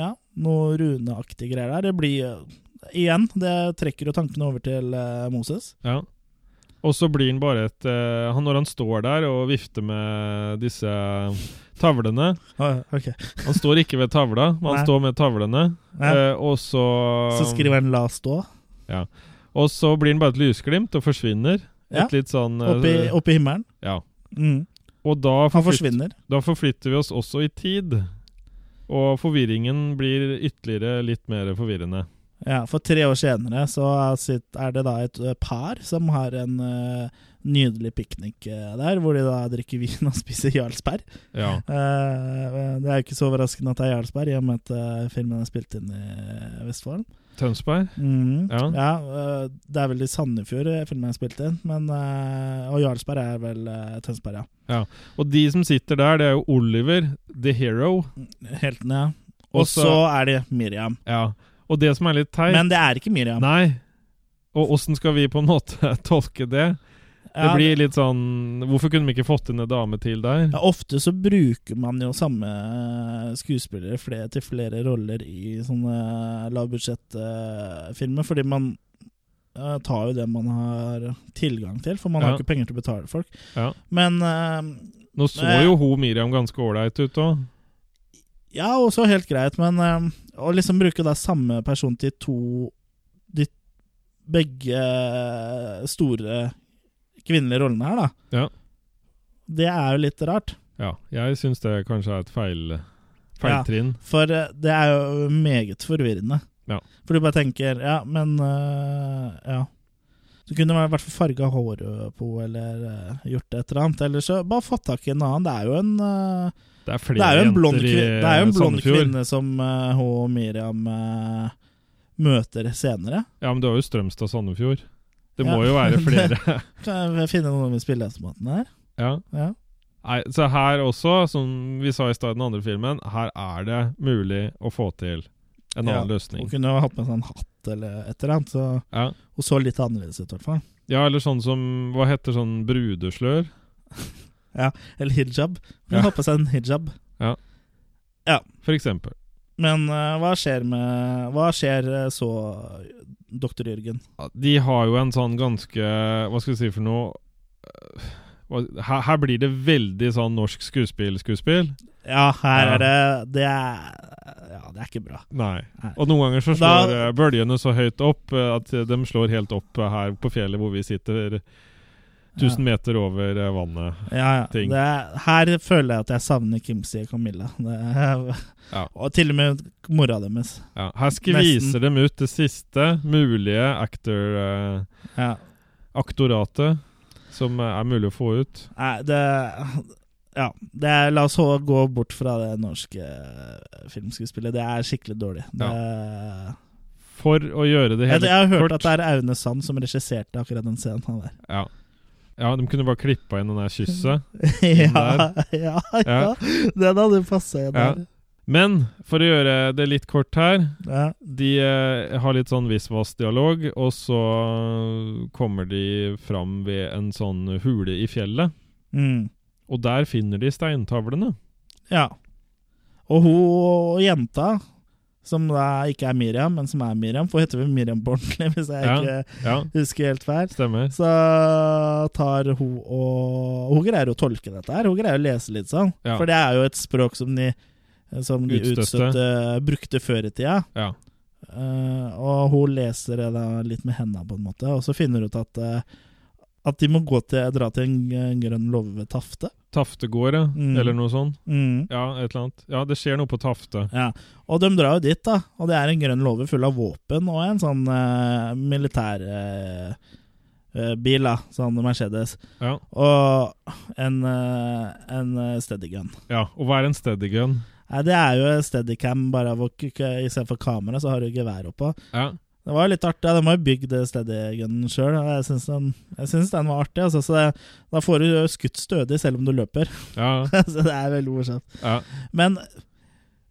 S1: Ja, noe runeaktige greier der. Det blir eh, Igjen, det trekker jo tankene over til eh, Moses.
S2: Ja. Og så blir han bare et eh, han, Når han står der og vifter med disse tavlene
S1: ok.
S2: Han står ikke ved tavla, men han
S1: Nei.
S2: står med tavlene.
S1: Ja.
S2: eh, og så
S1: Så skriver han 'la stå'
S2: Og så blir han bare et lysglimt og forsvinner. Et
S1: Ja.
S2: litt sånn eh,
S1: oppi, oppi himmelen.
S2: Ja.
S1: Mm.
S2: Og da,
S1: Han
S2: forflyt-
S1: forsvinner.
S2: da forflytter vi oss også i tid. Og forvirringen blir ytterligere litt mer forvirrende.
S1: Ja, for tre år senere så sitt- er det da et ø, par som har en ø, nydelig piknik ø, der, hvor de da drikker vin og spiser jarlsberg.
S2: Ja.
S1: Eh, det er jo ikke så overraskende at det er jarlsberg, i og med at ø, filmen er spilt inn i eh, Vestfold.
S2: Tønsberg?
S1: Mhm.
S2: Ja.
S1: ø, det er vel i Sandefjord ø, filmen er spilt inn, men, ø, og jarlsberg er vel ø, Tønsberg, ja.
S2: Og de som sitter der, det er jo Oliver, the hero.
S1: Heltene, ja.
S2: Og
S1: Og
S2: så-
S1: så er det Miriam.
S2: Ja. Og det som er litt teit
S1: Men det er ikke Miriam.
S2: Nei. Og åssen skal vi på en måte tolke det? Det
S1: Ja,
S2: blir litt sånn Hvorfor kunne vi ikke fått inn en dame til der?
S1: Ja, ofte så bruker man jo samme eh, skuespillere flere, til flere roller i sånne lavbudsjettfilmer, fordi man eh, tar jo det man har tilgang til, for man
S2: Ja.
S1: har ikke penger til å betale folk.
S2: Ja.
S1: Men eh,
S2: Nå så
S1: Nei.
S2: jo hun Miriam ganske ålreit ut òg.
S1: Ja, også helt greit, men eh, å liksom bruke da samme person til to De begge eh, store kvinnelige rollene her, da.
S2: Ja.
S1: Det er jo litt rart.
S2: Ja, jeg syns det kanskje er et feil feiltrinn.
S1: For eh, det er jo meget forvirrende.
S2: Ja.
S1: For du bare tenker Ja, men øh, Ja. Du kunne i hvert fall farga håret på eller øh, gjort et eller annet. Eller så bare fått tak i en annen. Det er jo en, øh,
S2: Det er
S1: det
S2: flere
S1: er jo en blond,
S2: jenter i eh,
S1: kvinne, det er jo en blond
S2: Sandefjord.
S1: kvinne som øh, hun og Miriam øh, møter senere.
S2: Ja, men du har jo Strømstad Sandefjord. Det må
S1: Ja.
S2: jo være flere.
S1: Kan jeg finne noen med spilleautomaten her?
S2: ja.
S1: Ja.
S2: Nei, så her også, som vi sa i stad i den andre filmen, her er det mulig å få til en
S1: Ja,
S2: annen løsning.
S1: Hun kunne jo hatt med seg en hatt eller et eller annet. Så
S2: Ja.
S1: hun så litt annerledes ut, i hvert fall.
S2: ja, eller sånn som Hva heter sånn brudeslør?
S1: Eller hijab. Hun
S2: Ja.
S1: har på seg en hijab.
S2: For eksempel.
S1: Men eh, hva skjer med Hva skjer eh, så, doktor Jørgen?
S2: Ja, De har jo en sånn ganske Hva skal vi si for noe øh, hva- her, her blir det veldig sånn norsk skuespill-skuespill.
S1: Ja, her
S2: Ja.
S1: er det Det er Ja, det er ikke bra.
S2: Nei.
S1: Nei.
S2: Og noen ganger så
S1: Da-
S2: slår eh, bølgene så høyt opp eh, at de slår helt opp eh, her på fjellet hvor vi sitter 1000 meter over eh, vannet.
S1: Ja, ja.
S2: ting.
S1: Det er, her føler jeg at jeg savner Kimsi og Camilla. Det er,
S2: Ja.
S1: Og til og med mora deres.
S2: Ja, her skviser de ut det siste mulige actor, eh,
S1: Ja.
S2: aktoratet som eh, er mulig å få ut.
S1: Nei, det Ja. Det er, la oss hå- gå bort fra det norske eh, filmskuespillet. Det er skikkelig dårlig. Det,
S2: For å gjøre det
S1: jeg,
S2: hele
S1: jeg har hørt
S2: kort.
S1: at det er Aune Sand som regisserte akkurat den scenen der.
S2: Ja. Ja, de kunne bare klippa inn den der kysset.
S1: ja, ja, ja. Den hadde passa igjen
S2: Ja.
S1: der.
S2: Men for å gjøre det litt kort her
S1: Ja.
S2: De eh, har litt sånn visvas-dialog, og så kommer de fram ved en sånn hule i fjellet.
S1: Mm.
S2: Og der finner de steintavlene.
S1: ja. Og hun jenta, som da ikke er Miriam, men som er Miriam, for hun heter vel Miriam på ordentlig, hvis jeg
S2: Ja.
S1: ikke
S2: Ja,
S1: husker helt feil.
S2: stemmer.
S1: Så tar hun og Hun greier å tolke dette her. Hun greier å lese litt sånn.
S2: Ja.
S1: For det er jo et språk som de, som de
S2: Utstøtte.
S1: utstøtte eh, brukte før i tida.
S2: Ja.
S1: Eh, og hun leser det da litt med hendene, på en måte. Og så finner hun ut at, eh, at de må gå til, dra til en, en grønn låve ved Tafte.
S2: Taftegård, ja.
S1: Mm.
S2: Eller noe sånt.
S1: Mm.
S2: Ja, et eller annet. Ja, det skjer noe på Tafte.
S1: Ja. Og de drar jo dit, da. Og det er en grønn låve full av våpen og en sånn uh, militærbil, da. Sånn Mercedes.
S2: Ja,
S1: Og en, eh, en eh, steadygun.
S2: ja. Og hva er en steadygun?
S1: Nei, det er jo steadycam, bare av å istedenfor kamera, så har du gevær oppå.
S2: Ja.
S1: Det var jo litt artig. ja, De har jo bygd steadygunen sjøl, og jeg syns den, jeg synes den var artig. Altså, så det, da får du jo skutt stødig selv om du løper.
S2: Ja,
S1: så det er veldig morsomt.
S2: ja.
S1: Men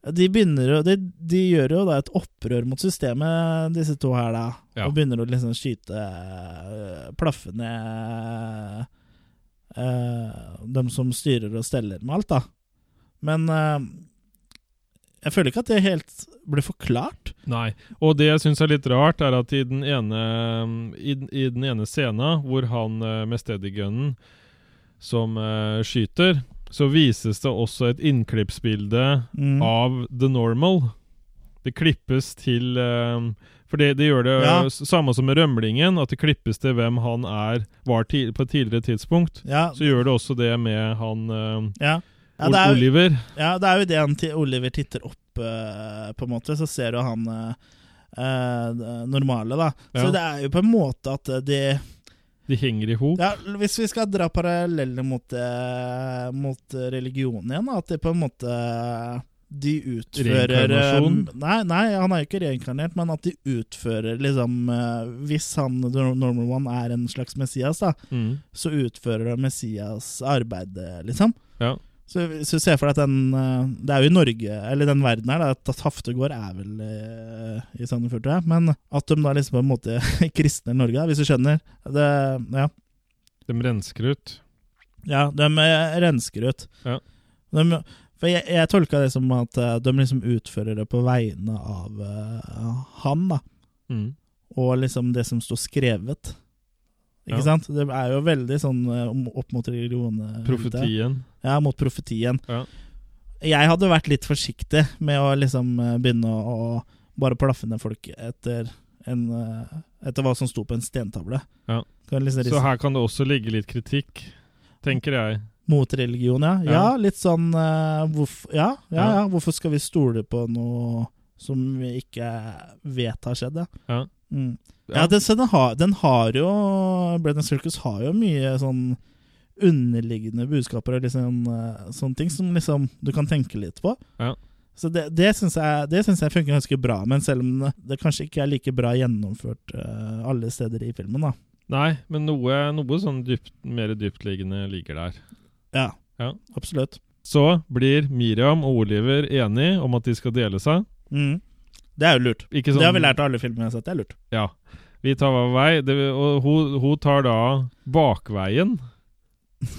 S1: de begynner jo de, de gjør jo da et opprør mot systemet, disse to her, da.
S2: Ja.
S1: Og begynner å liksom skyte øh, Plaffe ned øh, dem som styrer og steller med alt, da. Men øh, jeg føler ikke at det helt ble forklart.
S2: Nei. Og det jeg syns er litt rart, er at i den ene, i, den- i den ene scena hvor han eh, med steadygunnen som eh, skyter, så vises det også et innklippsbilde
S1: Mm.
S2: av The Normal. Det klippes til eh, For det, det gjør det eh,
S1: Ja.
S2: s- samme som med rømlingen, at det klippes til hvem han er var ti, på et tidligere tidspunkt.
S1: Ja,
S2: Så gjør det også det med han eh,
S1: ja. Ja,
S2: Ol-
S1: det er, jo-
S2: Oliver.
S1: ja, det er jo det han til Oliver titter opp eh, på en måte, så ser du han eh, eh, det normale, da. Så
S2: Ja.
S1: det er jo på en måte at de
S2: De henger i hop.
S1: ja, Hvis vi skal dra paralleller mot, eh, mot religion igjen, da, at det på en måte de utfører
S2: Reinkarnasjon?
S1: eh, Nei, nei, han er jo ikke reinkarnert, men at de utfører liksom eh, Hvis han The Normal One er en slags Messias, da,
S2: Mm.
S1: så utfører de Messias arbeid, eh, liksom.
S2: Ja.
S1: Så, så se for deg at den eh, Det er jo i Norge, eller den verden her, da, at Haftegård er vel eh, i Sandefjord, tror jeg. Men at de da liksom på en måte kristner Norge, da, hvis du skjønner. Det, ja.
S2: De rensker ut.
S1: ja, de eh, rensker ut.
S2: Ja.
S1: De, for jeg, jeg tolka det som at eh, de liksom utfører det på vegne av eh, han, da.
S2: Mm.
S1: og liksom det som står skrevet. Ikke
S2: Ja.
S1: sant? Det er jo veldig sånn eh, om- opp mot religion. eh, ute.
S2: Profetien.
S1: Ja, mot profetien.
S2: Ja.
S1: Jeg hadde vært litt forsiktig med å liksom eh, begynne å, å bare plaffe ned folk etter, en, eh, etter hva som sto på en stentavle.
S2: Ja.
S1: Kan liksom
S2: Så
S1: riste-
S2: her kan det også ligge litt kritikk, tenker jeg.
S1: Mot religion, ja.
S2: Ja.
S1: ja. litt sånn eh, hvorf, ja, ja,
S2: Ja.
S1: ja, hvorfor skal vi stole på noe som vi ikke vet har skjedd, ja.
S2: Ja.
S1: Mm.
S2: Ja.
S1: ja den, så den, har, den har jo Brennan Circus har jo mye sånn underliggende budskaper og liksom, eh, sånne ting som liksom du kan tenke litt på.
S2: Ja.
S1: Så det, det syns jeg, det syns jeg funker ganske bra, men selv om det, det kanskje ikke er like bra gjennomført eh, alle steder i filmen, da.
S2: Nei, men noe, noe sånn dypt, mer dyptliggende ligger der.
S1: Ja,
S2: Ja.
S1: absolutt.
S2: Så blir Miriam og Oliver enige om at de skal dele seg.
S1: Mm. Det er jo lurt.
S2: Ikke sånn,
S1: Det har vi lært av alle filmer jeg har sett. Det er lurt.
S2: Ja. Vi tar hver vei, det, og hun, hun tar da bakveien,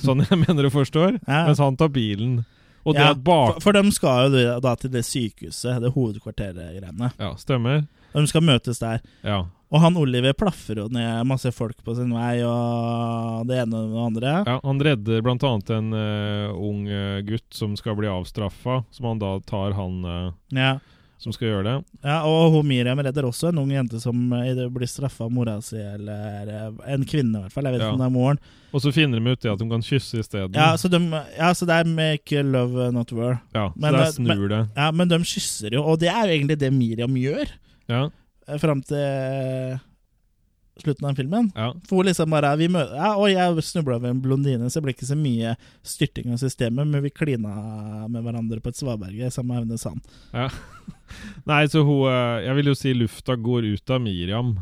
S2: sånn jeg mener du forstår,
S1: Ja.
S2: mens han tar bilen. Og det
S1: Ja,
S2: at bak...
S1: For, for de skal jo da- da til det sykehuset, det hovedkvarteret-greiene.
S2: Ja, stemmer.
S1: De skal møtes der.
S2: Ja.
S1: Og han Oliver plaffer jo ned masse folk på sin vei, og det ene og det andre.
S2: ja han redder blant annet en eh, ung eh, gutt som skal bli avstraffa, som han da tar han eh,
S1: Ja.
S2: som skal gjøre det.
S1: Ja, og hun Miriam redder også en ung jente som eh, i det blir straffa av mora si, eller eh, en kvinne i hvert fall. Jeg vet ikke
S2: Ja.
S1: om det er moren.
S2: Og så finner de ut det at de kan kysse isteden.
S1: Ja, så, de, ja, så det er make love not war.
S2: Ja, så
S1: Men,
S2: der
S1: eh,
S2: snur det.
S1: Ja, men de kysser jo, og det er jo egentlig det Miriam gjør
S2: Ja,
S1: eh, fram til eh, slutten av filmen.
S2: ja.
S1: For hun liksom bare vi møter, ja, Og jeg snubla over en blondine, så det ble ikke så mye styrting av systemet, men vi klina med hverandre på et svaberge sammen med Aune Sand.
S2: Nei, så hun eh, Jeg vil jo si lufta går ut av Miriam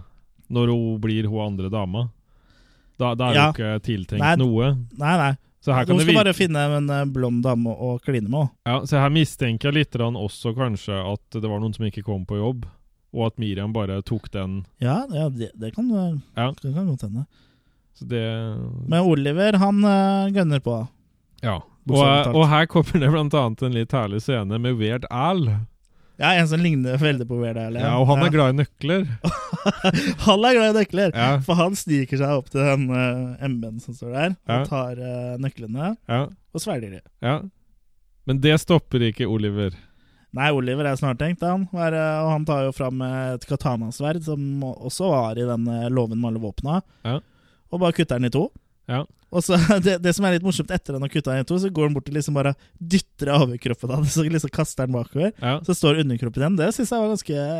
S2: når hun blir hun andre dama. Da, da er
S1: Ja.
S2: det jo ikke tiltenkt
S1: Nei.
S2: noe.
S1: Nei, nei.
S2: Så her,
S1: Hun
S2: kan det
S1: skal
S2: virke,
S1: bare finne en eh, blond dame å å kline med. også.
S2: ja, så her mistenker jeg litt grann også kanskje at det var noen som ikke kom på jobb, og at Miriam bare tok den.
S1: Ja, ja det, det kan eh,
S2: Ja.
S1: det kan godt hende.
S2: Så det
S1: Men Oliver, han eh, gønner på.
S2: Ja. Og, eh,
S1: Bokstavelig talt.
S2: og her kommer det blant annet en litt herlig scene med Weird Al.
S1: Ja, en som ligner veldig på Weird Al.
S2: Ja, og han er glad i nøkler.
S1: Han er glad i nøkler!
S2: Ja,
S1: For han sniker seg opp til den uh, MB-en som står der,
S2: Ja.
S1: og tar eh, nøklene
S2: ja,
S1: og svelger dem.
S2: ja. Men det stopper ikke Oliver.
S1: Nei, Oliver er snartenkt, han. Var, eh, og han tar jo fram eh, et katanasverd, som også var i den eh, låven med alle våpna,
S2: Ja.
S1: og bare kutter den i to.
S2: Ja.
S1: Og så, det, det som er litt morsomt, etter den har kutta den i to, så går han bort og liksom bare dytter av overkroppen hans, så liksom kaster den bakover.
S2: Ja,
S1: Så står underkroppen igjen. Det syns jeg var ganske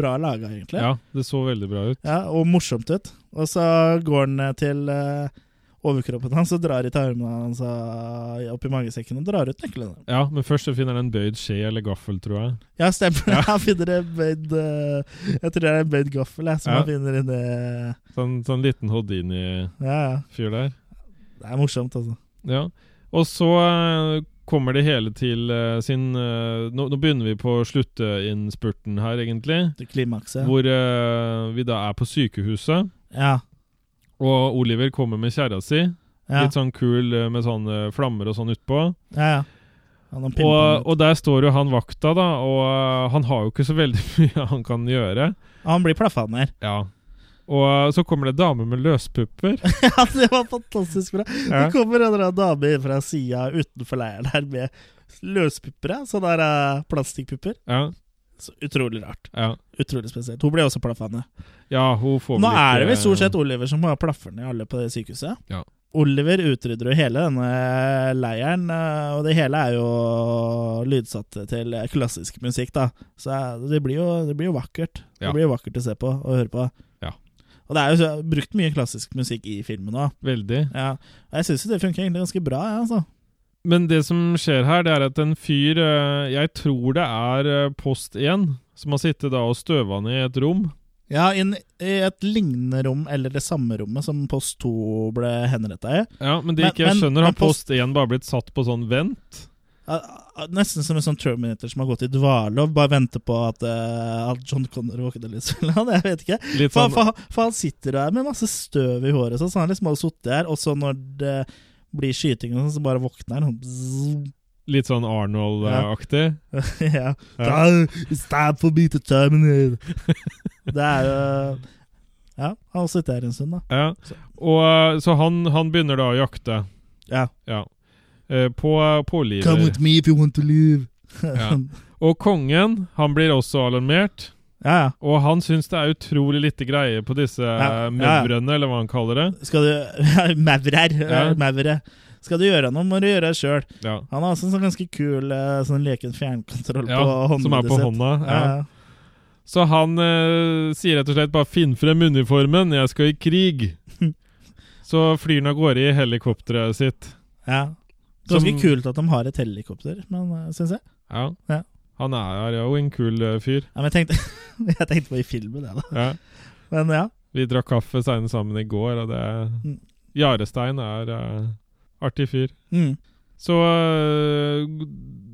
S1: bra laga, egentlig.
S2: ja det så veldig bra ut.
S1: Ja, og morsomt ut. Og så går han eh, til eh, overkroppen hans og drar i tarmene hans eh, opp i magesekken og drar ut nøklene.
S2: Ja, men først så finner han en bøyd skje eller gaffel, tror jeg.
S1: Ja, stemmer det. Han finner en bøyd eh, Jeg tror det er en bøyd gaffel jeg, som
S2: Ja.
S1: han finner inni
S2: Sånn, sånn liten Houdini-fyr
S1: Ja, ja.
S2: der.
S1: Det er morsomt, altså.
S2: Ja. Og så eh, kommer det hele til eh, sin eh, nå, nå begynner vi på slutteinnspurten her, egentlig.
S1: Det klimakset.
S2: Hvor eh, vi da er på sykehuset,
S1: Ja.
S2: og Oliver kommer med kjerra si.
S1: Ja.
S2: Litt sånn kul eh, med sånne flammer og sånn utpå.
S1: ja, ja. Han har
S2: Og,
S1: pimpa
S2: og der står jo han vakta, da, og eh, han har jo ikke så veldig mye han kan gjøre.
S1: ut. Han blir plaffa ned.
S2: Ja. Og eh, så kommer det dame med løspupper.
S1: Ja, det var fantastisk bra.
S2: Ja.
S1: Det kommer en eller annen dame inn fra sida utenfor leiren her med løspupper. ja. Sånne der, eh, plastikkpupper.
S2: Ja,
S1: Så utrolig rart.
S2: ja.
S1: Utrolig spesielt. Hun ble også plaffa ned.
S2: ja hun får vel
S1: Nå er det
S2: ikke-
S1: vel stort sett Oliver som har plaffer ned alle på det sykehuset.
S2: eh, Ja.
S1: Oliver utrydder jo hele denne leiren, eh, og det hele er jo lydsatt til klassisk musikk, da. Så eh, det blir jo, det blir jo vakkert.
S2: Ja.
S1: Det blir jo vakkert å se på og høre på.
S2: Ja.
S1: Og det er jo så- brukt mye klassisk musikk i filmen òg.
S2: Veldig.
S1: Ja. Og jeg syns jo det funker egentlig ganske bra, jeg, altså.
S2: Men det som skjer her, det er at en fyr eh, Jeg tror det er eh, post 1, som har sittet da og støva ned i et rom.
S1: Ja, inn i et lignende rom, eller det samme rommet som Post 2 ble henretta i.
S2: Ja, Men det
S1: Men-
S2: ikke jeg
S1: men-
S2: skjønner,
S1: men
S2: har post 1 bare blitt satt på sånn vent?
S1: Ja, ja, Nesten som en sånn Terminator som har gått i dvale og bare venter på at, eh, at John Connor våkner. Liksom. Jeg vet ikke.
S2: Litt
S1: For,
S2: sånn
S1: for, for han sitter der med masse støv i håret, sånn, så han liksom har sittet der, og så når det blir skyting, og sånn, så bare våkner han. Bzzz.
S2: Litt sånn Arnold-aktig.
S1: ja.
S2: Ja.
S1: It's time for me to terminate. det er jo Ja, han har sittet der en stund, da.
S2: Ja. Og eh, Så han, han begynner da å jakte.
S1: Ja.
S2: Ja. Eh, På, på
S1: Come
S2: livet.
S1: with me if you want to live.
S2: Ja. Og kongen han blir også alarmert.
S1: ja, ja.
S2: Og han syns det er utrolig lite greie på disse
S1: Ja,
S2: ja.
S1: ja.
S2: mødrene, eller hva han kaller det.
S1: Skal du Maurer.
S2: Ja.
S1: Maure. Skal du gjøre noe, må du gjøre det sjøl.
S2: Ja.
S1: Han har også en sånn ganske kul eh, sånn leken fjernkontroll
S2: Ja,
S1: på håndleddet
S2: Som er på
S1: sitt.
S2: hånda. Ja.
S1: Ja.
S2: Så han eh, sier rett og slett bare 'finn frem uniformen, jeg skal i krig'. Så flyr han av gårde i helikopteret sitt.
S1: ja. Ganske
S2: Som-
S1: kult at de har et helikopter, men eh, synes jeg.
S2: Ja.
S1: Ja.
S2: Han er er jo en kul eh, fyr.
S1: Ja, men jeg, tenkte, jeg tenkte på i filmen, jeg, da.
S2: Ja.
S1: Men ja.
S2: Vi drakk kaffe seine sammen i går, og det
S1: Mm.
S2: Jarestein er eh, artig fyr.
S1: Mm.
S2: Så eh,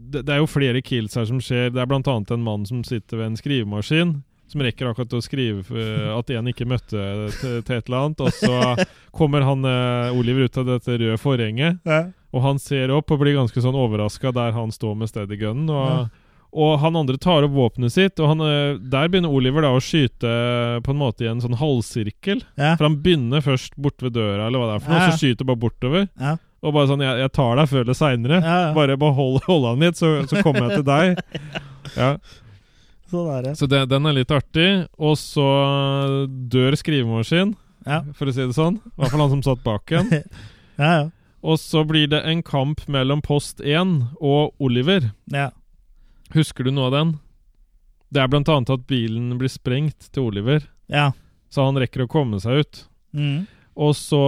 S2: det, det er jo flere kills her som skjer. Det er blant annet en mann som sitter ved en skrivemaskin. Som rekker akkurat å skrive eh, at en ikke møtte til, til et eller annet. Og så kommer han eh, Oliver ut av dette røde forhenget,
S1: Ja.
S2: og han ser opp og blir ganske sånn overraska der han står med steady gunnen. Og, og han andre tar opp våpenet sitt, og han, eh, der begynner Oliver da å skyte på en måte i en sånn halvsirkel.
S1: Ja.
S2: For han begynner først bort ved døra, eller hva det er for noe,
S1: Ja, ja.
S2: så skyter bare bortover.
S1: Ja.
S2: Og bare sånn 'Jeg, jeg tar deg før eller seinere'.
S1: Ja, ja.
S2: Bare behold hold han litt, så, så kommer jeg til deg. Ja,
S1: Sånn er det.
S2: Så det, den er litt artig. Og så dør skrivemaskinen,
S1: Ja.
S2: for å si det sånn. I hvert fall han som satt bak en.
S1: Ja, ja.
S2: Og så blir det en kamp mellom Post 1 og Oliver.
S1: ja.
S2: Husker du noe av den? Det er blant annet at bilen blir sprengt til Oliver,
S1: ja.
S2: så han rekker å komme seg ut.
S1: Mm.
S2: Og så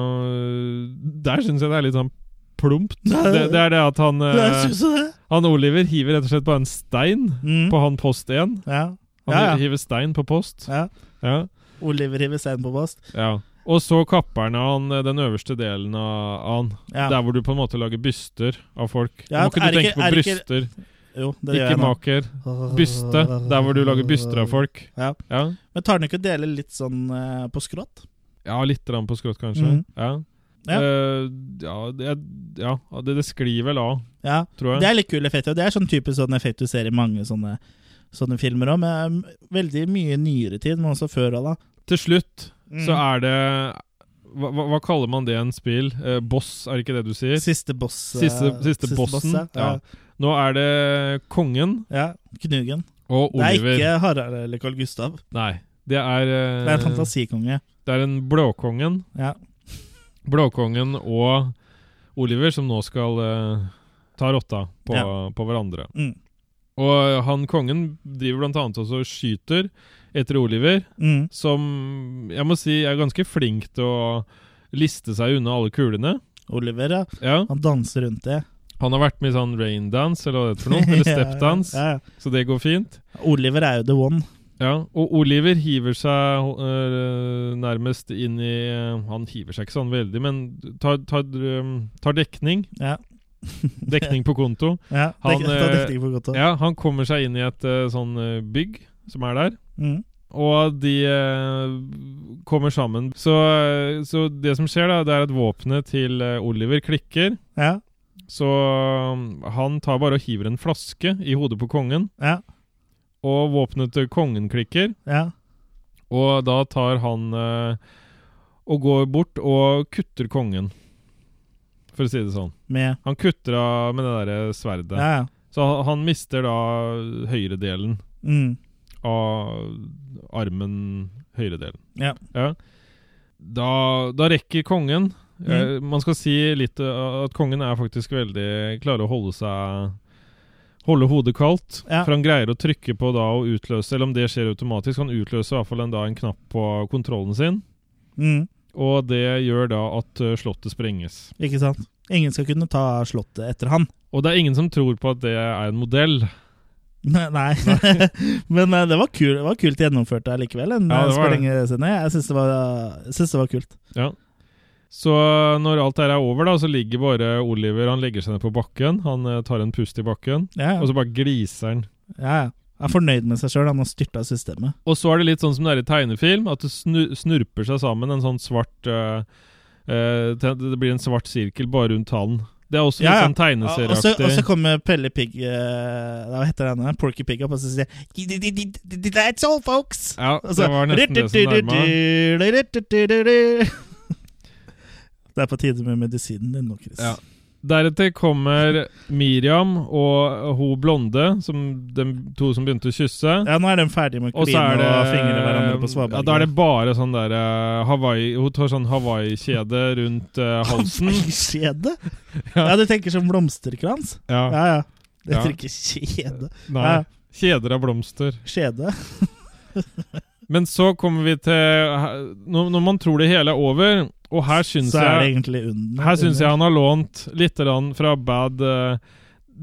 S2: øh, Der syns jeg det er litt sånn plumpt. Det, det er det at han, øh,
S1: Jeg synes jo det.
S2: han Oliver hiver rett og slett bare en stein
S1: Mm.
S2: på han post 1.
S1: Ja.
S2: Han
S1: Ja, ja.
S2: hiver stein på post.
S1: ja.
S2: Ja.
S1: Oliver hiver stein på post.
S2: ja. Og så kapper han av han, eh, den øverste delen av av han.
S1: Ja.
S2: Der hvor du på en måte lager byster av folk.
S1: Ja,
S2: Nå må ikke
S1: er
S2: du
S1: det
S2: tenke
S1: ikke-
S2: på
S1: er det ikke-
S2: bryster.
S1: Jo, det gjør
S2: Ikke
S1: jeg nå.
S2: maker. Byste. Der hvor du lager byster av folk.
S1: Ja.
S2: Ja,
S1: Men tar den ikke å dele litt sånn eh, på skrått?
S2: ja litt grann på skrått, kanskje.
S1: Mhm.
S2: Ja.
S1: Ja.
S2: Eh, ja, det, ja, det, det sklir vel av,
S1: Ja.
S2: tror jeg.
S1: Det er litt kul effekt, og det er sånn type sånn effekt du ser i mange sånne, sånne filmer òg, men eh, veldig mye i nyere tid, men også før òg, da.
S2: Til slutt
S1: Mm.
S2: så er det hva, hva, hva kaller man det i en spill? Eh, boss, er det ikke det du sier?
S1: Siste boss. eh,
S2: Siste, siste, bossen.
S1: boss, eh.
S2: ja. Nå er det kongen
S1: ja. ja. Knugen.
S2: og Oliver.
S1: Det er ikke Harald eller Carl Gustav.
S2: Nei, det er eh,
S1: Det er en fantasikonge.
S2: det er en blåkongen.
S1: Ja.
S2: Blåkongen og Oliver som nå skal eh, ta rotta på, på hverandre.
S1: Mm.
S2: Og han kongen driver blant annet også og skyter etter Oliver,
S1: Mm.
S2: som jeg må si er ganske flink til å liste seg unna alle kulene.
S1: Oliver, ja.
S2: Ja.
S1: Han danser rundt det.
S2: Han har vært med i sånn raindance eller hva det heter for noe, eller stepdance,
S1: ja, ja.
S2: så det går fint.
S1: Oliver er jo the one.
S2: Ja, og Oliver hiver seg øh, nærmest inn i eh, Han hiver seg ikke sånn veldig, men tar, tar, øh, tar dekning.
S1: Ja.
S2: Dekning på konto.
S1: Ja,
S2: Han,
S1: det, det
S2: eh,
S1: dekte jeg for godt. Ja.
S2: Ja, han kommer seg inn i et øh, sånn øh, bygg som er der.
S1: Mm.
S2: Og de øh, kommer sammen. Så, øh, så det som skjer, da, det er at våpenet til øh, Oliver klikker.
S1: ja,
S2: Så øh, han tar bare og hiver en flaske i hodet på kongen.
S1: ja,
S2: Og våpenet til kongen klikker.
S1: ja.
S2: Og da tar han eh, og går bort og kutter kongen, for å si det sånn.
S1: Med
S2: Han kutter av med det derre sverdet.
S1: Ja, ja.
S2: Så han, han mister da høyredelen
S1: Mm.
S2: av armen Høyredelen.
S1: Ja.
S2: Da, da rekker kongen eh,
S1: Mm.
S2: Man skal si litt eh, at kongen er faktisk veldig Klarer å holde seg Holde hodet kaldt,
S1: Ja.
S2: for han greier å trykke på da og utløse Eller om det skjer automatisk, han utløser i hvert fall en, da, en knapp på kontrollen sin.
S1: Mm.
S2: Og det gjør da at eh, slottet sprenges.
S1: Ikke sant? Ingen skal kunne ta slottet etter han.
S2: Og det er ingen som tror på at det er en modell.
S1: Nei. Men eh, det var, kul, det var kult gjennomført allikevel. En
S2: Ja,
S1: ja,
S2: det var det.
S1: siden. Jeg syns det, var- jeg synes det var kult.
S2: Så eh, når alt dette er over, da, så ligger bare Oliver Han legger seg ned på bakken. Han eh, tar en pust i bakken,
S1: Ja,
S2: og
S1: ja.
S2: så bare gliser han.
S1: ja. ja. Han er fornøyd med seg sjøl. Han har styrta systemet.
S2: Og så er det litt sånn som det er i tegnefilm, at det snu snurper seg sammen en sånn svart eh, eh, te- Det blir en svart sirkel bare rundt han. Det er også litt
S1: Ja, ja.
S2: sånn
S1: Ja, altså, Og så og så
S2: tegneserieaktig.
S1: kommer Pelle Pig eh, Hva heter han? Porky Pig opp og så sier de, That's all, folks!
S2: Ja,
S1: Og
S2: det
S1: så-
S2: var nesten det som nærma.
S1: Det er på tide med medisinen din nå, Chris.
S2: Ja. Deretter kommer Miriam og hun blonde, som de to som begynte å kysse.
S1: Ja, nå er de ferdige med å
S2: Og så
S1: kline
S2: er
S1: og
S2: det
S1: fingre hverandre på
S2: Ja, da er det
S1: svaberget.
S2: bare sånn der eh, Hawaii Hun tar sånn Hawaii-kjede rundt eh, halsen.
S1: Kjede?
S2: Ja.
S1: Ja, du tenker som blomsterkrans?
S2: Ja,
S1: Ja, ja. Det
S2: Ja.
S1: heter ikke kjede.
S2: nei.
S1: Ja.
S2: Kjeder av blomster.
S1: Skjede?
S2: Men så kommer vi til Når, når man tror det hele er over, og her syns
S1: Så er det
S2: jeg
S1: egentlig under.
S2: Her syns jeg han har lånt litt grann fra bad eh,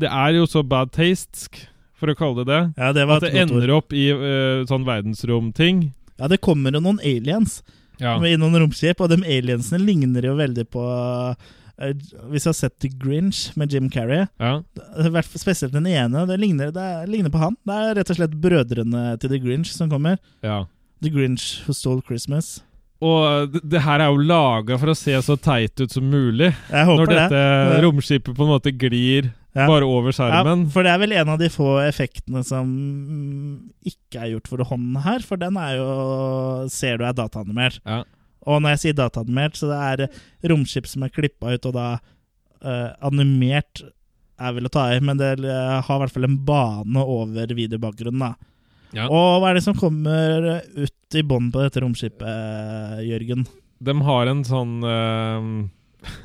S2: Det er jo så bad tastesk, for å kalle det det.
S1: Ja, det var
S2: At det
S1: et godt ord.
S2: ender opp i eh, sånn verdensrom-ting.
S1: Ja, det kommer jo noen aliens
S2: Ja.
S1: med i noen romskip, og de aliensene ligner jo veldig på eh, Hvis du har sett The Grinch med Jim Carrey,
S2: ja.
S1: I hvert fall Spesielt den ene. Det ligner, det er- ligner på han. Det er rett og slett brødrene til The Grinch som kommer.
S2: ja.
S1: The Grinch Who Stole Christmas.
S2: Og eh, det, det her er jo laga for å se så teit ut som mulig.
S1: Jeg håper
S2: Når dette
S1: det.
S2: romskipet på en måte glir
S1: Ja.
S2: bare over skjermen.
S1: Ja, for det er vel en av de få effektene som mm, ikke er gjort for hånden her, for den er jo Ser du er dataanimert.
S2: Ja.
S1: Og når jeg sier dataanimert, så det er romskip som er klippa ut, og da eh, animert er vel å ta i, men det eh, har i hvert fall en bane over videobakgrunnen, da.
S2: Ja.
S1: Og hva er det som kommer ut i bånn på dette romskipet, Jørgen?
S2: De har en sånn eh,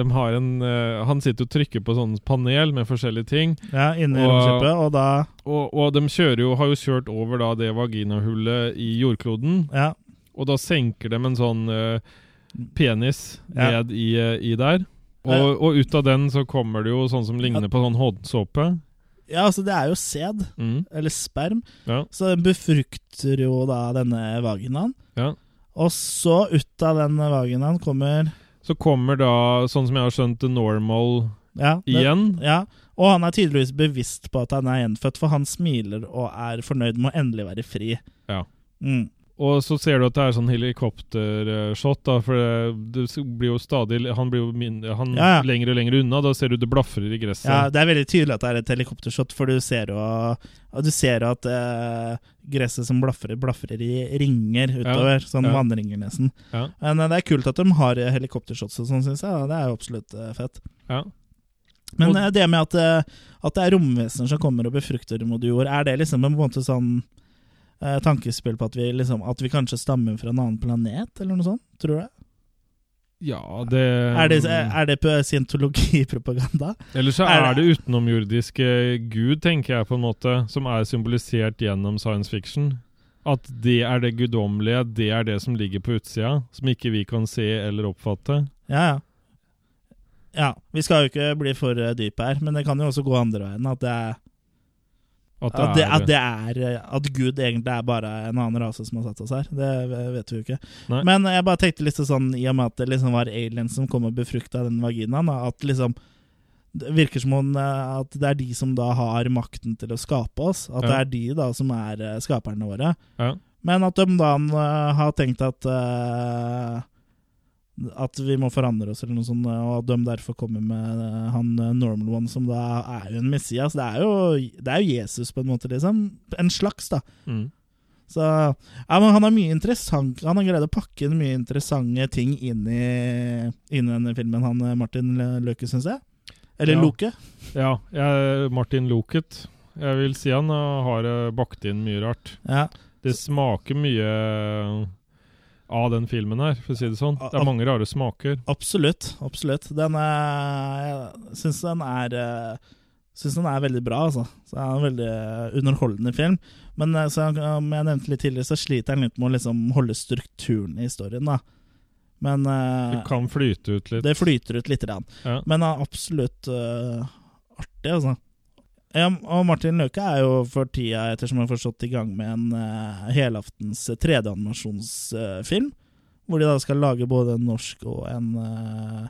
S2: De har en eh, Han sitter og trykker på sånn panel med forskjellige ting.
S1: Ja, inne i
S2: Og-
S1: romskipet, og da
S2: Og, og de kjører jo, har jo kjørt over da det vaginahullet i jordkloden.
S1: Ja,
S2: Og da senker de en sånn eh, penis
S1: Ja.
S2: ned i, eh, i der. Og, og ut av den så kommer det jo sånn som ligner på sånn håndsåpe.
S1: ja altså, det er jo sæd.
S2: Mm.
S1: eller sperm,
S2: Ja.
S1: så den befrukter jo da denne vaginaen.
S2: Ja.
S1: Og så ut av den vaginaen kommer
S2: Så kommer da, sånn som jeg har skjønt, The Normal
S1: ja, det-
S2: igjen.
S1: Ja, og han er tydeligvis bevisst på at han er gjenfødt, for han smiler og er fornøyd med å endelig være fri.
S2: Ja.
S1: Mm.
S2: Og så ser du at det er sånn helikoptershot, da, for det- det s- blir jo stadig Han blir jo min, han
S1: Ja, ja.
S2: lenger og lenger unna. Da ser du det blafrer i gresset.
S1: ja, Det er veldig tydelig at det er et helikoptershot, for du ser jo, og du ser jo at eh, gresset som blafrer, blafrer i ringer utover. Sånn
S2: ja.
S1: vannringer, nesten.
S2: Ja.
S1: Men eh, det er kult at de har eh, helikoptershots og sånn, syns jeg. og Det er jo absolutt eh, fett.
S2: Ja.
S1: Men
S2: Og-
S1: eh, det med at, eh, at det er romvesener som kommer og befrukter moduor, er det liksom en måte sånn eh, tankespill på at vi, liksom, at vi kanskje stammer fra en annen planet, eller noe sånt? Tror du det?
S2: Ja, det,
S1: Er
S2: Um,
S1: det, er det på scientologipropaganda?
S2: Eller så
S1: er
S2: er det utenomjordiske gud, tenker jeg, på en måte, som er symbolisert gjennom science fiction. At det er det guddommelige, det er det som ligger på utsida, som ikke vi kan se eller oppfatte.
S1: Ja, ja. Ja, Vi skal jo ikke bli for eh, dype her, men det kan jo også gå andre veien. At det er,
S2: At
S1: at det,
S2: det, er,
S1: at det er eh, At Gud egentlig er bare en annen rase som har satt oss her. Det eh, vet vi jo ikke.
S2: Nei.
S1: Men jeg bare tenkte litt sånn, i og med at det liksom var aliens som kom og befrukta den vaginaen, da, at liksom det virker som om eh, at det er de som da har makten til å skape oss. At det
S2: Ja.
S1: er de da som er eh, skaperne våre.
S2: Ja.
S1: Men at de da eh, har tenkt at eh, At vi må forandre oss, eller noe sånt, og at de derfor kommer med eh, han eh, normal one, som da er jo en Messias. Det er jo, det er jo Jesus, på en måte, liksom. En slags, da.
S2: Mm.
S1: Så ja, men han har mye interessant Han har greid å pakke inn mye interessante ting inn i, inn i denne filmen, han eh, Martin Lø- Løke, syns jeg. Eller
S2: Ja.
S1: Loke.
S2: Ja, jeg, Martin Loket. Jeg vil si han eh, har eh, bakt inn mye rart.
S1: Ja.
S2: Det smaker mye eh, av den filmen her, for å si det sånn. Det
S1: Ah,
S2: er mange rare smaker.
S1: Absolutt. Absolutt. Den er Jeg syns den er eh, Syns den er veldig bra, altså. Så det er en veldig eh, underholdende film. Men eh, så, som jeg nevnte litt tidligere, så sliter den litt med å liksom holde strukturen i historien, da. Men eh,
S2: Det kan flyte ut litt.
S1: Det flyter ut litt. Rann.
S2: Ja.
S1: Men er absolutt øh, artig, altså. Ja, og Martin Løke er jo for tida, ettersom jeg har forstått, i gang med en øh, helaftens 3D-animasjonsfilm. hvor de da skal lage både en norsk og en øh,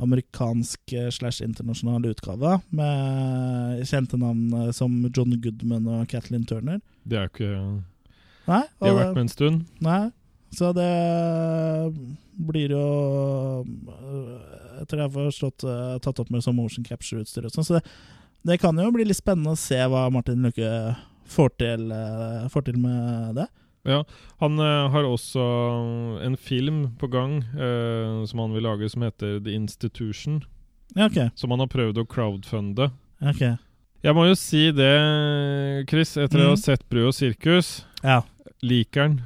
S1: amerikansk øh, slash internasjonal utgave. Med kjente navn øh, som John Goodman og Kathleen Turner.
S2: Det er jo ikke
S1: Nei,
S2: Det har
S1: og-
S2: vært med en stund.
S1: Nei, så det blir jo øh, Etter det jeg har forstått, øh, tatt opp med sånn motion capture-utstyr og sånn. Så det, det kan jo bli litt spennende å se hva Martin Løkke får til, øh, får til med det.
S2: Han eh, har også eh, en film på gang eh, som han vil lage som heter The Institution.
S1: Ja, OK.
S2: Som han har prøvd å crowdfunde.
S1: ok
S2: Jeg må jo si det, Chris, etter å
S1: Mm.
S2: ha sett Brød og sirkus.
S1: Ja,
S2: Liker den.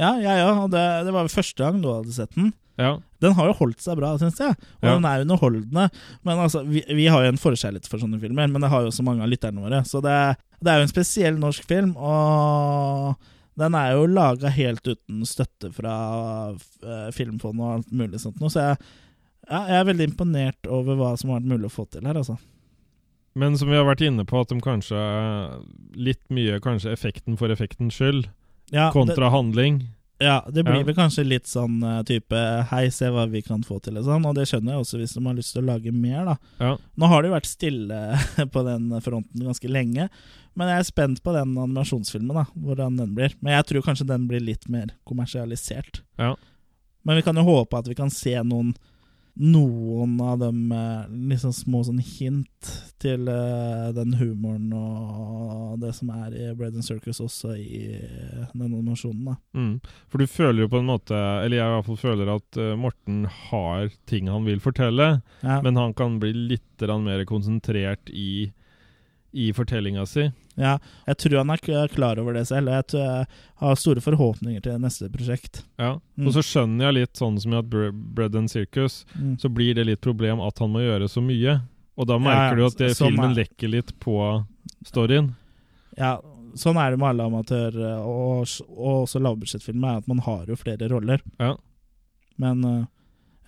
S1: ja, ja, ja og det, det var vel første gang du hadde sett den.
S2: Ja.
S1: Den har jo holdt seg bra, syns jeg. Og
S2: Ja.
S1: den er underholdende. Men altså, vi, vi har jo en forkjærlighet for sånne filmer, men det har jo så mange av lytterne våre. Så det, det er jo en spesiell norsk film, og den er jo laga helt uten støtte fra eh, Filmfondet og alt mulig sånt noe, så jeg, ja, jeg er veldig imponert over hva som har vært mulig å få til her, altså.
S2: Men som vi har vært inne på, at de kanskje er Litt mye kanskje effekten for effektens skyld,
S1: Ja, det,
S2: kontra handling.
S1: ja, det blir
S2: Ja.
S1: vel kanskje litt sånn eh, type hei, se hva vi kan få til, liksom. Og det skjønner jeg også hvis de har lyst til å lage mer, da.
S2: Ja.
S1: Nå har det jo vært stille på den fronten ganske lenge, men jeg er spent på den animasjonsfilmen, da, hvordan den blir. Men jeg tror kanskje den blir litt mer kommersialisert.
S2: Ja.
S1: Men vi kan jo håpe at vi kan se noen noen av de liksom små sånn hint til eh, den humoren og det som er i Bread and Circus også i eh, den animasjonen. da.
S2: Mm. For du føler jo på en måte Eller jeg i hvert fall føler at eh, Morten har ting han vil fortelle.
S1: Ja,
S2: Men han kan bli litt grann mer konsentrert i, i fortellinga si.
S1: ja, jeg tror han er k- klar over det selv, og jeg, tror jeg har store forhåpninger til neste prosjekt.
S2: Ja.
S1: Mm.
S2: Og så skjønner jeg litt sånn som i at Bre- Bread and Circus,
S1: Mm.
S2: så blir det litt problem at han må gjøre så mye. Og da
S1: Ja,
S2: merker du
S1: ja,
S2: at det,
S1: som
S2: filmen
S1: er-
S2: lekker litt på storyen.
S1: Ja, sånn er det med alle amatører og, og også lavbudsjettfilmer, er at man har jo flere roller.
S2: Ja.
S1: Men eh,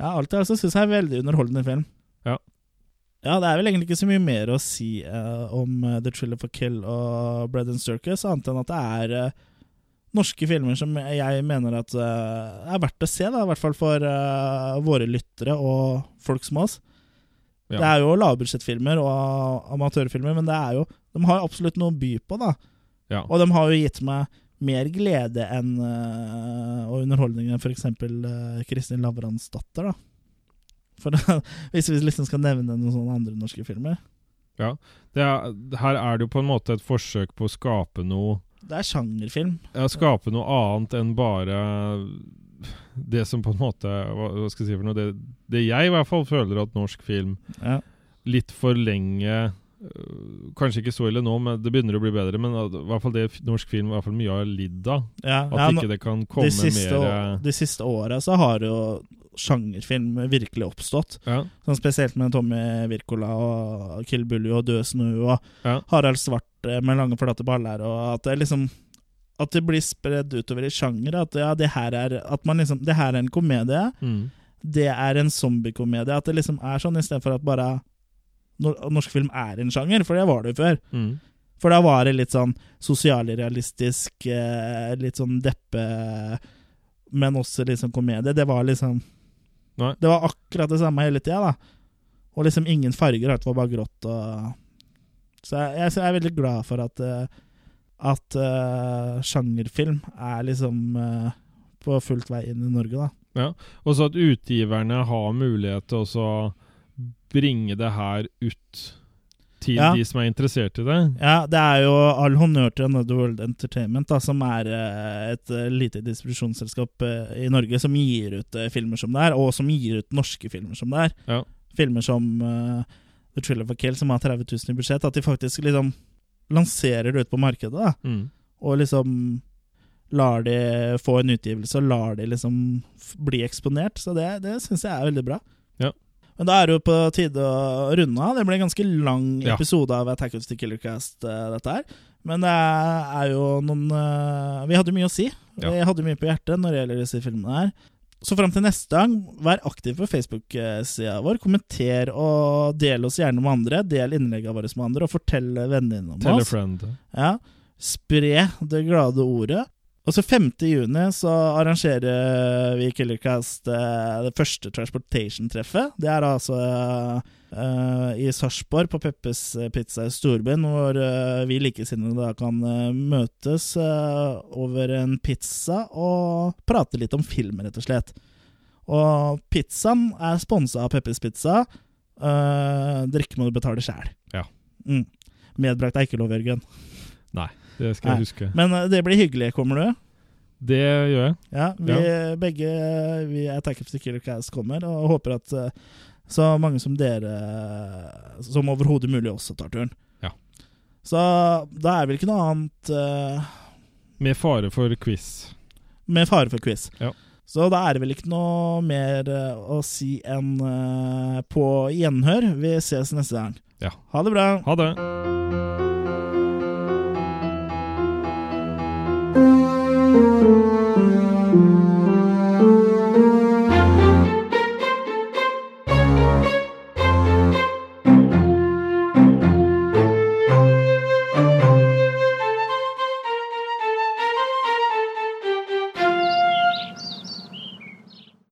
S1: ja, alt i alt så syns jeg er en veldig underholdende film.
S2: Ja.
S1: Ja, det er vel egentlig ikke så mye mer å si eh, om eh, The Thriller for Kill og Bread and Circus, annet enn at det er eh, norske filmer som jeg mener at eh, er verdt å se, da, i hvert fall for eh, våre lyttere og folk som oss.
S2: Ja.
S1: Det er jo lavbudsjettfilmer og amatørfilmer, men det er jo, de har jo absolutt noe å by på. da.
S2: Ja.
S1: Og de har jo gitt meg mer glede enn, eh, og underholdning enn f.eks. Uh, Kristin Lavransdatter. da. For Hvis vi liksom skal nevne noen sånne andre norske filmer.
S2: Det er, her er det jo på en måte et forsøk på å skape noe
S1: Det er sjangerfilm.
S2: ja, Skape noe annet enn bare det som på en måte Hva, hva skal jeg si for noe? Det, det jeg i hvert fall føler at norsk film
S1: Ja.
S2: litt for lenge øh, Kanskje ikke så ille nå, men det begynner å bli bedre. Men at- i hvert fall det f- norsk film i hvert fall mye har lidd av.
S1: Ja,
S2: At
S1: ja, nå-
S2: ikke det kan komme
S1: de siste,
S2: mer eh,
S1: de siste åra så har jo sjangerfilm virkelig oppstått.
S2: ja,
S1: Sånn Spesielt med Tommy Wirkola og Kill Bully og Død snø og
S2: Ja.
S1: Harald Svart eh, med lange, flate baller. Og at det liksom At det blir spredd utover i sjanger. At ja, det her er At man liksom Det her er en komedie.
S2: mm,
S1: Det er en zombiekomedie. At det liksom er sånn, istedenfor at bare nor- Norsk film er en sjanger, for det var det jo før.
S2: mm,
S1: For da var det litt sånn sosialrealistisk, eh, litt sånn deppe, men også litt sånn komedie. Det var liksom
S2: Nei.
S1: Det var akkurat det samme hele tida, da. Og liksom ingen farger, alt var bare grått og Så jeg, jeg, så jeg er veldig glad for at eh, at eh, sjangerfilm er liksom eh, på fullt vei inn i Norge, da.
S2: Og så at utgiverne har mulighet til også å bringe det her ut til
S1: Ja.
S2: de som er interessert i det.
S1: Ja, det er jo all honnør til Another World Entertainment, da, som er eh, et eh, lite distribusjonsselskap eh, i Norge som gir ut eh, filmer som det er, og som gir ut norske filmer som det er.
S2: Ja.
S1: Filmer som eh, The Thriller for Kill, som har 30 000 i budsjett, at de faktisk liksom lanserer det ut på markedet, da,
S2: Mm.
S1: og liksom lar de få en utgivelse, og lar de liksom f- bli eksponert. Så det, det syns jeg er veldig bra.
S2: Ja.
S1: Men da er det jo på tide å runde av. Det ble en ganske lang
S2: Ja.
S1: episode av Attack of the Killer Cast, eh, dette her. Men det er jo noen eh, Vi hadde mye å si.
S2: Ja.
S1: Vi hadde mye på hjertet når det gjelder disse filmene her. Så fram til neste gang, vær aktiv på Facebook-sida vår. Kommenter og del oss gjerne med andre. Del innleggene våre med andre, og fortell vennene dine om
S2: Tell a
S1: oss.
S2: friend.
S1: Ja. Spre det glade ordet. Og så 5. juni så arrangerer vi Killercast eh, det første Transportation-treffet. Det er altså eh, i Sarpsborg, på Peppes eh, Pizza i Storbyen, hvor eh, vi likesinnede da kan eh, møtes eh, over en pizza og prate litt om film, rett og slett. Og pizzaen er sponsa av Peppes Pizza. Eh, drikke må du betale sjæl.
S2: Ja.
S1: Mm. Medbrakt er ikke lov, Jørgen.
S2: Det skal jeg huske.
S1: Men eh, det blir hyggelig, kommer du?
S2: Det gjør jeg.
S1: Ja, vi begge eh, vi er Attack of the Killer Cast kommer, og håper at eh, så mange som dere eh, som overhodet mulig også tar turen.
S2: Ja.
S1: Så da er vel ikke noe annet eh,
S2: Med fare for quiz.
S1: med fare for quiz.
S2: Ja.
S1: Så da er det vel ikke noe mer eh, å si enn eh, på gjenhør. Vi ses neste gang.
S2: Ja.
S1: Ha det bra.
S2: Ha det.